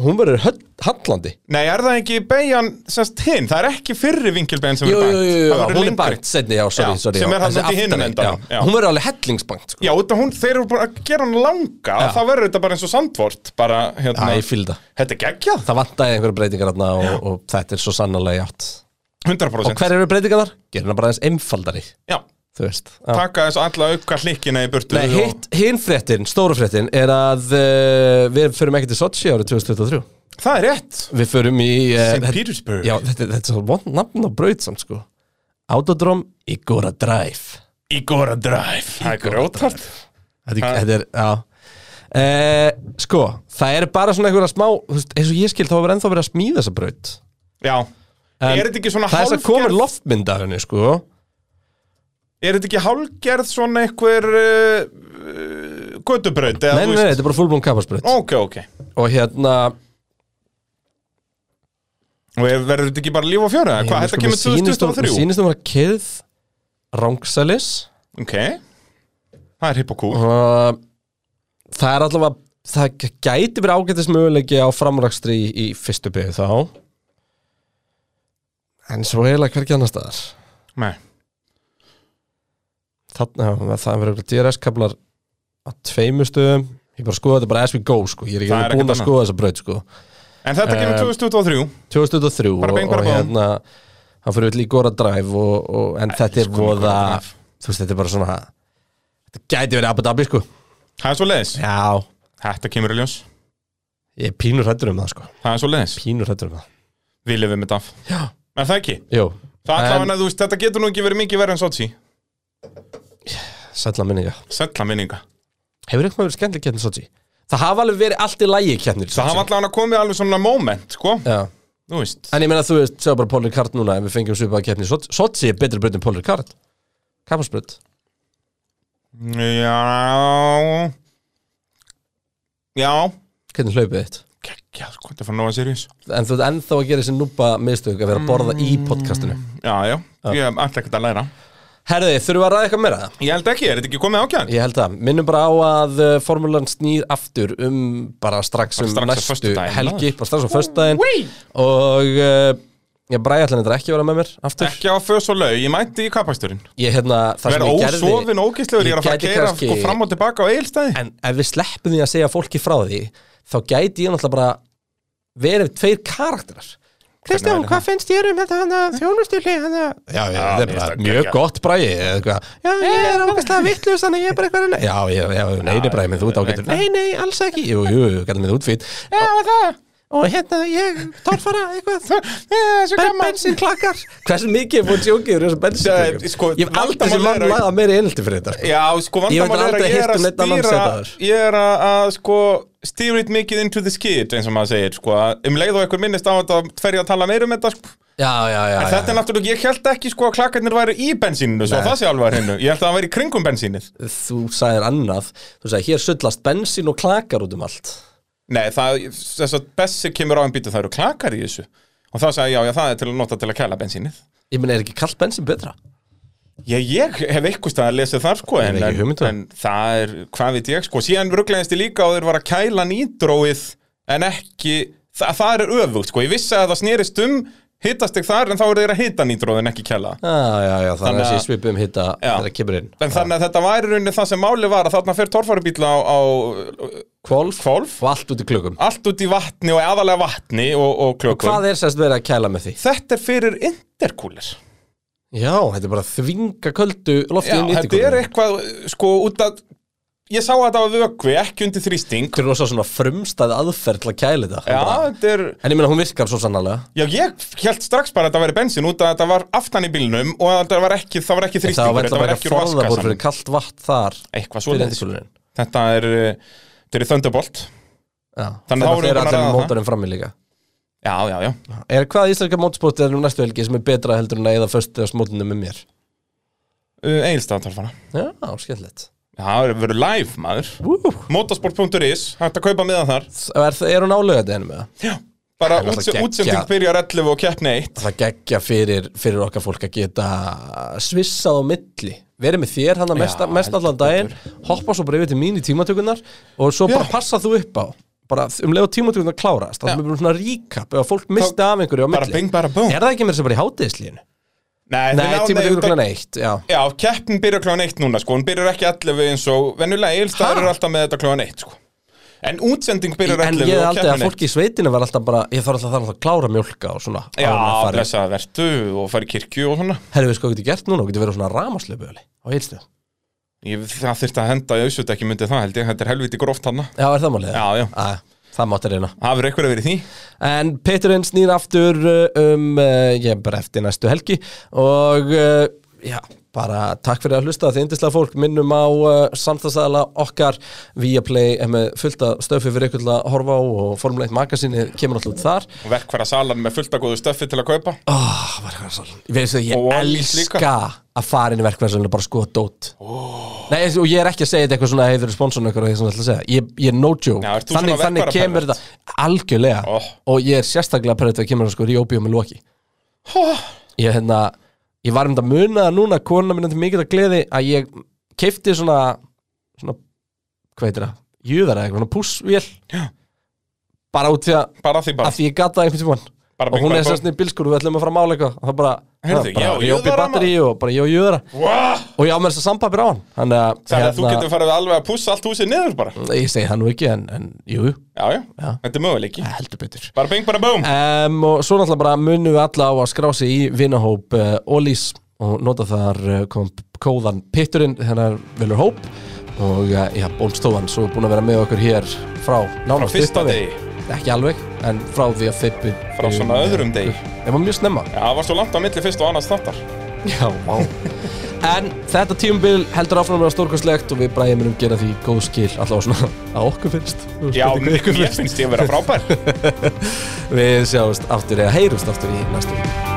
hún verður höll- hallandi
Nei, er það ekki beigjan semst hinn? Það er ekki fyrri vinkilbeigjan sem
Jú,
er
jú,
bænt.
jú, jú,
það verður
hún er
lengri.
bænt setni, já, sorry,
Já,
sorry
sem
já,
er þarna
þessi
út í hinum
aftan megin,
endanum,
já.
já.
Hún verður alveg hellingsbænt, sko
Já, út af hún, þeir eru bara að gera hann langa
Já.
þá verður þetta bara eins og sandvort bara,
Já,
hérna,
ég fylg það
þetta er geggjað
Það vantaði einhverja breytingar þarna og, og þetta er svo sannarlega játt
100%
Og hver eru breytingarnar? Gerina bara aðeins einfaldari,
Já,
þú veist Já.
taka þessu alla auka hlikkina í burtu
Nei,
og-
hitt, hinn fréttin, stóru fréttin er að uh, við förum ekki til Sochi árið 2023
Það er rétt
Við förum í uh,
St.
þetta-
Petersburg
Já, þetta, þetta er svo vond nafn á braut samt sko Autodrom Igora Drive
Igora Drive Það er grótart
Þetta,
Ha.
er- þetta er, já uh, Sko, það er bara svona einhverja smá þú veist, eins og ég skil, þá er ennþá verið að smíða þessa braut
Já
En
Er þetta ekki svona
Það er þess að komur
hálfgerð
loftmynd af henni sko
Er þetta ekki hálfgerð svona einhver uh, uh, götubraut eða þú
Nei, nei, nei,
veist-
þetta er bara fullblóm kapparsbraut
Ok, ok
Og hérna,
Og ef- verður þetta ekki bara líf og fjöra? eða
hérna,
Hvað,
sko,
þetta kemur 2023?
Sýnistum var keð Rangsalis
Ok Það er hipp og kúl
og Það er allavega Það gæti verið ágætis möguleiki á framrakstri í, í fyrstu byggð þá En svo eiginlega hvergi annars staðar
Nei
Þannig að það verður DRS-kablar á tveimu stöðum Ég bara skoða þetta bara as we go sko Ég er ekki
Það er
alveg búinn
ekkert
að
annað.
skoða þessa braut sko
En þetta
Eh,
kemur 2023
2003
Bara
og,
bing, bara bong.
og hérna hann fyrir öll í góra dræf og, og, en þetta er
sko,
voða
Gora Drive.
þú veist þetta er bara svona þetta gæti verið Abu Dhabi sko
Það er svo leiðis
já
Þetta kemur í ljós
ég er pínur hættur um það sko
Það er svo leiðis
pínur hættur um það
Við lifum þetta af
já
En það ekki
jú
Það er
En-
allavega að þú veist Þetta getur nú ekki verið mikið verið en Sochi
sætla minni já
Sella minninga
hefur eitthvað verið skemmtileg kjarnir Sochi það hafa alveg verið allt í lægi kjarnir
Það hafa allavega komið alveg svona moment sko
já
Þú veist
en ég meina þú veist sjá bara Pólir Kart núna ef við fengjum svipað kjarnir Sochi Sochi er betri brönd en Pólir Kart kapparsbrönd
Já Já
hvernig hlaupið þitt
Kekja, sko, þetta fann nóga seriðis
en þú ert ennþá að gera þessi núpa miðstök að vera að
Mm.
borða í podcastinu
Já, já, ég ætla ekkert að læra
herði þurfum við að ræða eitthvað meira
Ég held ekki, er þetta ekki komið ákjæðan?
Ég held það, minnum bara á að uh, formúlan snýr aftur um bara strax um
strax á
næstu
föstudaginn,
helgi
maður.
bara strax á föstudaginn
Wee!
og uh, ég bræði allan þetta ekki að vera með mér aftur
Ekki á fös og laug, ég mætti í kappaksturinn
Ég hérna, það sem
Verða
ég gerði
ósofin og ógæslegur, ég er að fara að
gæti
keira
kannski-
sko, fram og tilbaka á eigilstæði *laughs*
En ef við sleppum því að segja fólki frá því þá gæti ég náttúrulega bara verið tveir karakterar Kristján,
væri
hvað finnst þér um þetta hana þjónustýrli hana? Já, já, það
mér
er bara
finnst það
mjög
geggjað.
gott bræði eða eitthvað. Já, ég *laughs* er ákvæmstlega vittlust þannig ég er bara eitthvað reyna. Já, já, já, nei, nei, bræði minn, þú ert ágættur. Nei, nei, alls ekki. Jú, jú, jú, gæti minn útfýtt. Já, það. Og hérna, ég torfara
*laughs*
eitthvað. Bara bensinklakkar. Hversu mikið er búin sjókið úr þessum
Það er,
bensinklakkar?
sko,
Ég hef aldrei sem
vandamál
mann
er að-
lagað meiri einhaldi fyrir þetta. sko.
Já, sko,
Ég hef
vandamál er að
aldrei
ég er
heyrt
að
um neinn annan
stýra
setja þar.
Ég er að, að sko, steer it mikið into the skid eins og maður segir, sko að um leið og einhver minnist á þetta fer ég að tala meir um þetta, sko
Já, já, já. já,
Þetta er náttúrulega, ég held ekki, sko, að klakkarnir væru í bensíninu, svo
Nei.
það sé alveg að hreinu Ég held að það væri í kringum bensínið
þú sagðir annað þú sagðir hér sullast bensín og klakar út um allt
Nei, það, þess að Bessi kemur á en býtu, það eru klakkar í þessu Og það sagði, já, já, það er til að nota til að kæla bensínið
ég meina er ekki kallt bensín betra
Ég, ég hef eitthvað að lesa það sko
Ég hef
en,
ekki
en,
hugmynd um það.
en það er, hvað veit ég sko síðan rugglegaðist ég líka á þeir var að kæla nýdróið en ekki það, það er öfugt sko, ég vissi að það snerist um hittast ekki þar en þá eru þeir að hitta nýdróið en ekki kæla
já já já þannig
Þannig
að
að-
þessi svipum hitta
Já.
þegar það kemur inn
en þannig að þetta væri rauninni það sem máli var að þarna fer torfarubíla á, á
kvolf
kvolf,
og allt út í klugum
allt út í vatni og aðalega vatni og, og klökum
hvað er sérst verið að kæla með því
Þetta er fyrir interkúlir
já þetta er bara að þvinga köldu
Já,
loftið inn í
þetta er eitthvað sko út að ég sá að þetta var vökvi, ekki undir þrýsting
eitthvað rosa svona frumstæð aðferð til að kæla þetta
Já,
Bara-
þetta er
en ég meina hún virkar svo sannarlega
Já, ég held strax bara að þetta væri bensín út að þetta var aftan í bílnum og að þetta var ekki, það var ekki
En það
þrýstingur,
var
þetta var
eitthvað bara
ekki
ekki
úr
forðabór fyrir
vaskasam.
kallt vatn þar
Eitthvað svo
fyrir endurkúlurinn
Þetta er, uh, þetta er í Thunderbolt.
þannig
þá
að
erum við búin að
það er allir með
ræða það.
mótorinn fram í líka
Já, já, já.
Er hvað íslenska mótsportið er nú næstu helgi sem er betra heldur en að eða föstudagsmótinu með mér?
Uh, Egilstaðantarfana.
Já, skemmtilegt.
Það er verið live, maður. Motorsport.is, hægt að kaupa miðan þar.
Er, það- er hún álega þetta ennum eða?
Já. Bara
Það er
úts
náttúrulega
útsending
geggjað.
byrjar 11 og keppni 1.
Það geggja fyrir, fyrir okkar fólk að geta svissað á milli. Verið með þér hann að mest,
Já,
mest allan daginn, hoppa svo bara yfir til mín í tímatökunar og svo bara
Já.
passa þú upp á. bara um leið og tímatíkunar klárast þá
Já.
erum við svona recap ef að fólk misti af einhverju á
bara
milli
bing, bara búm
er það ekki með þess að bara í hátíðislíðinu?
Nei,
Nei, tímatíkunar
klán
klána eitt, já
Já, keppnin byrjar klán eitt núna, sko Hún byrjar ekki 11 eins og Venjulega, Egilstaðar
Ha?
eru alltaf með þetta klán eitt, sko En útsending byrjar
En
11
ég hef
og
aldrei að
keppnin eitt
fólki í sveitinu var alltaf bara Ég þarf alltaf, þarf alltaf að klára mjólka og svona
Já,
áður en að fara í-
blessa það vertu og fara í kirkju og svona
Herru, við sko getur gert núna, getur verið svona rámaslöpuðali á heilstöð.
ég, Það þyrfti að henda í ausut ekki myndi það held ég Þetta er helviti gróft hana
Já, er það málið?
Já, já,
Að, það mátti reyna.
hafur eitthvað verið í því
En Peturinn snýr aftur uh, um, uh, ég bara eftir næstu helgi og uh, já, bara takk fyrir að hlusta þið yndislega fólk minnum á uh, samstagsæðala okkar via play með fullt að stöfi fyrir ykkur til að horfa á og Formule 1 magasinni kemur alltaf út þar.
Og verkfæra salan með fullt að góðu stöffi til að kaupa
Oh, ég veist að ég
Og One Piece
elska að fara inn í verkvæðsölinu og bara skoða dót oh. Nei, og ég er ekki að segja þetta eitthvað svona heiður sponsorinn eitthvað og því sem ég ætla að segja ég, ég er no joke,
Já, ert þú
þannig,
svona
þannig
verkfærapervert?
kemur þetta algjörlega
Oh.
og ég er sérstaklega pervert að kemur að sko ríóbíu með loki
oh.
ég, hérna, ég var um þetta að muna það núna kona minna til mikið að gleði að ég keipti svona, svona hvað heitir það, júðara eitthvað, svona púsvél
Já.
bara út því að
Bara því bara
af því ég gata einhvern tímann
Bara
og
bing,
hún
bara
er sérst niður bílskur og við ætlum að fara að mála eitthvað og það bara,
Heyrðu,
það bara
já,
rjópi
jöðra
batteri og bara ég og jöðra
Vá!
og ég á mér þess að sambapir á hann þannig að, hérna,
Þannig að þú getur farið alveg að pússa allt húsið niður bara
ég segi það nú ekki en, en jú, jú,
Já, já,
Já.
þetta er möguleiki
heldur betur
Bara bing, bara búm
um, og svo náttúrulega bara munum við alla á að skrá sig í vinahóp uh, Ólís og nota þar uh, kom kóðan pitturinn hennar velur hóp og uh, já, Bólstóðan svo er búin að vera með okkur hér frá
Frá
nánast
fyrsta
upphafi.
degi
ekki alveg, en frá því að fippi
Frá svona öðrum degi.
ég var mjög snemma
Já, það var svo langt á milli fyrst og annars þáttar
Já, vá En þetta tímubil heldur áfram að vera stórkostlegt og við bræðum munum gera því góð skil allavega svona að okkur finnst
Já,
Spurning hvað
mér
um ykkur finnst. *laughs*
finnst ég vera frábær
Við sjáumst aftur eða heyrumst aftur í næstu viku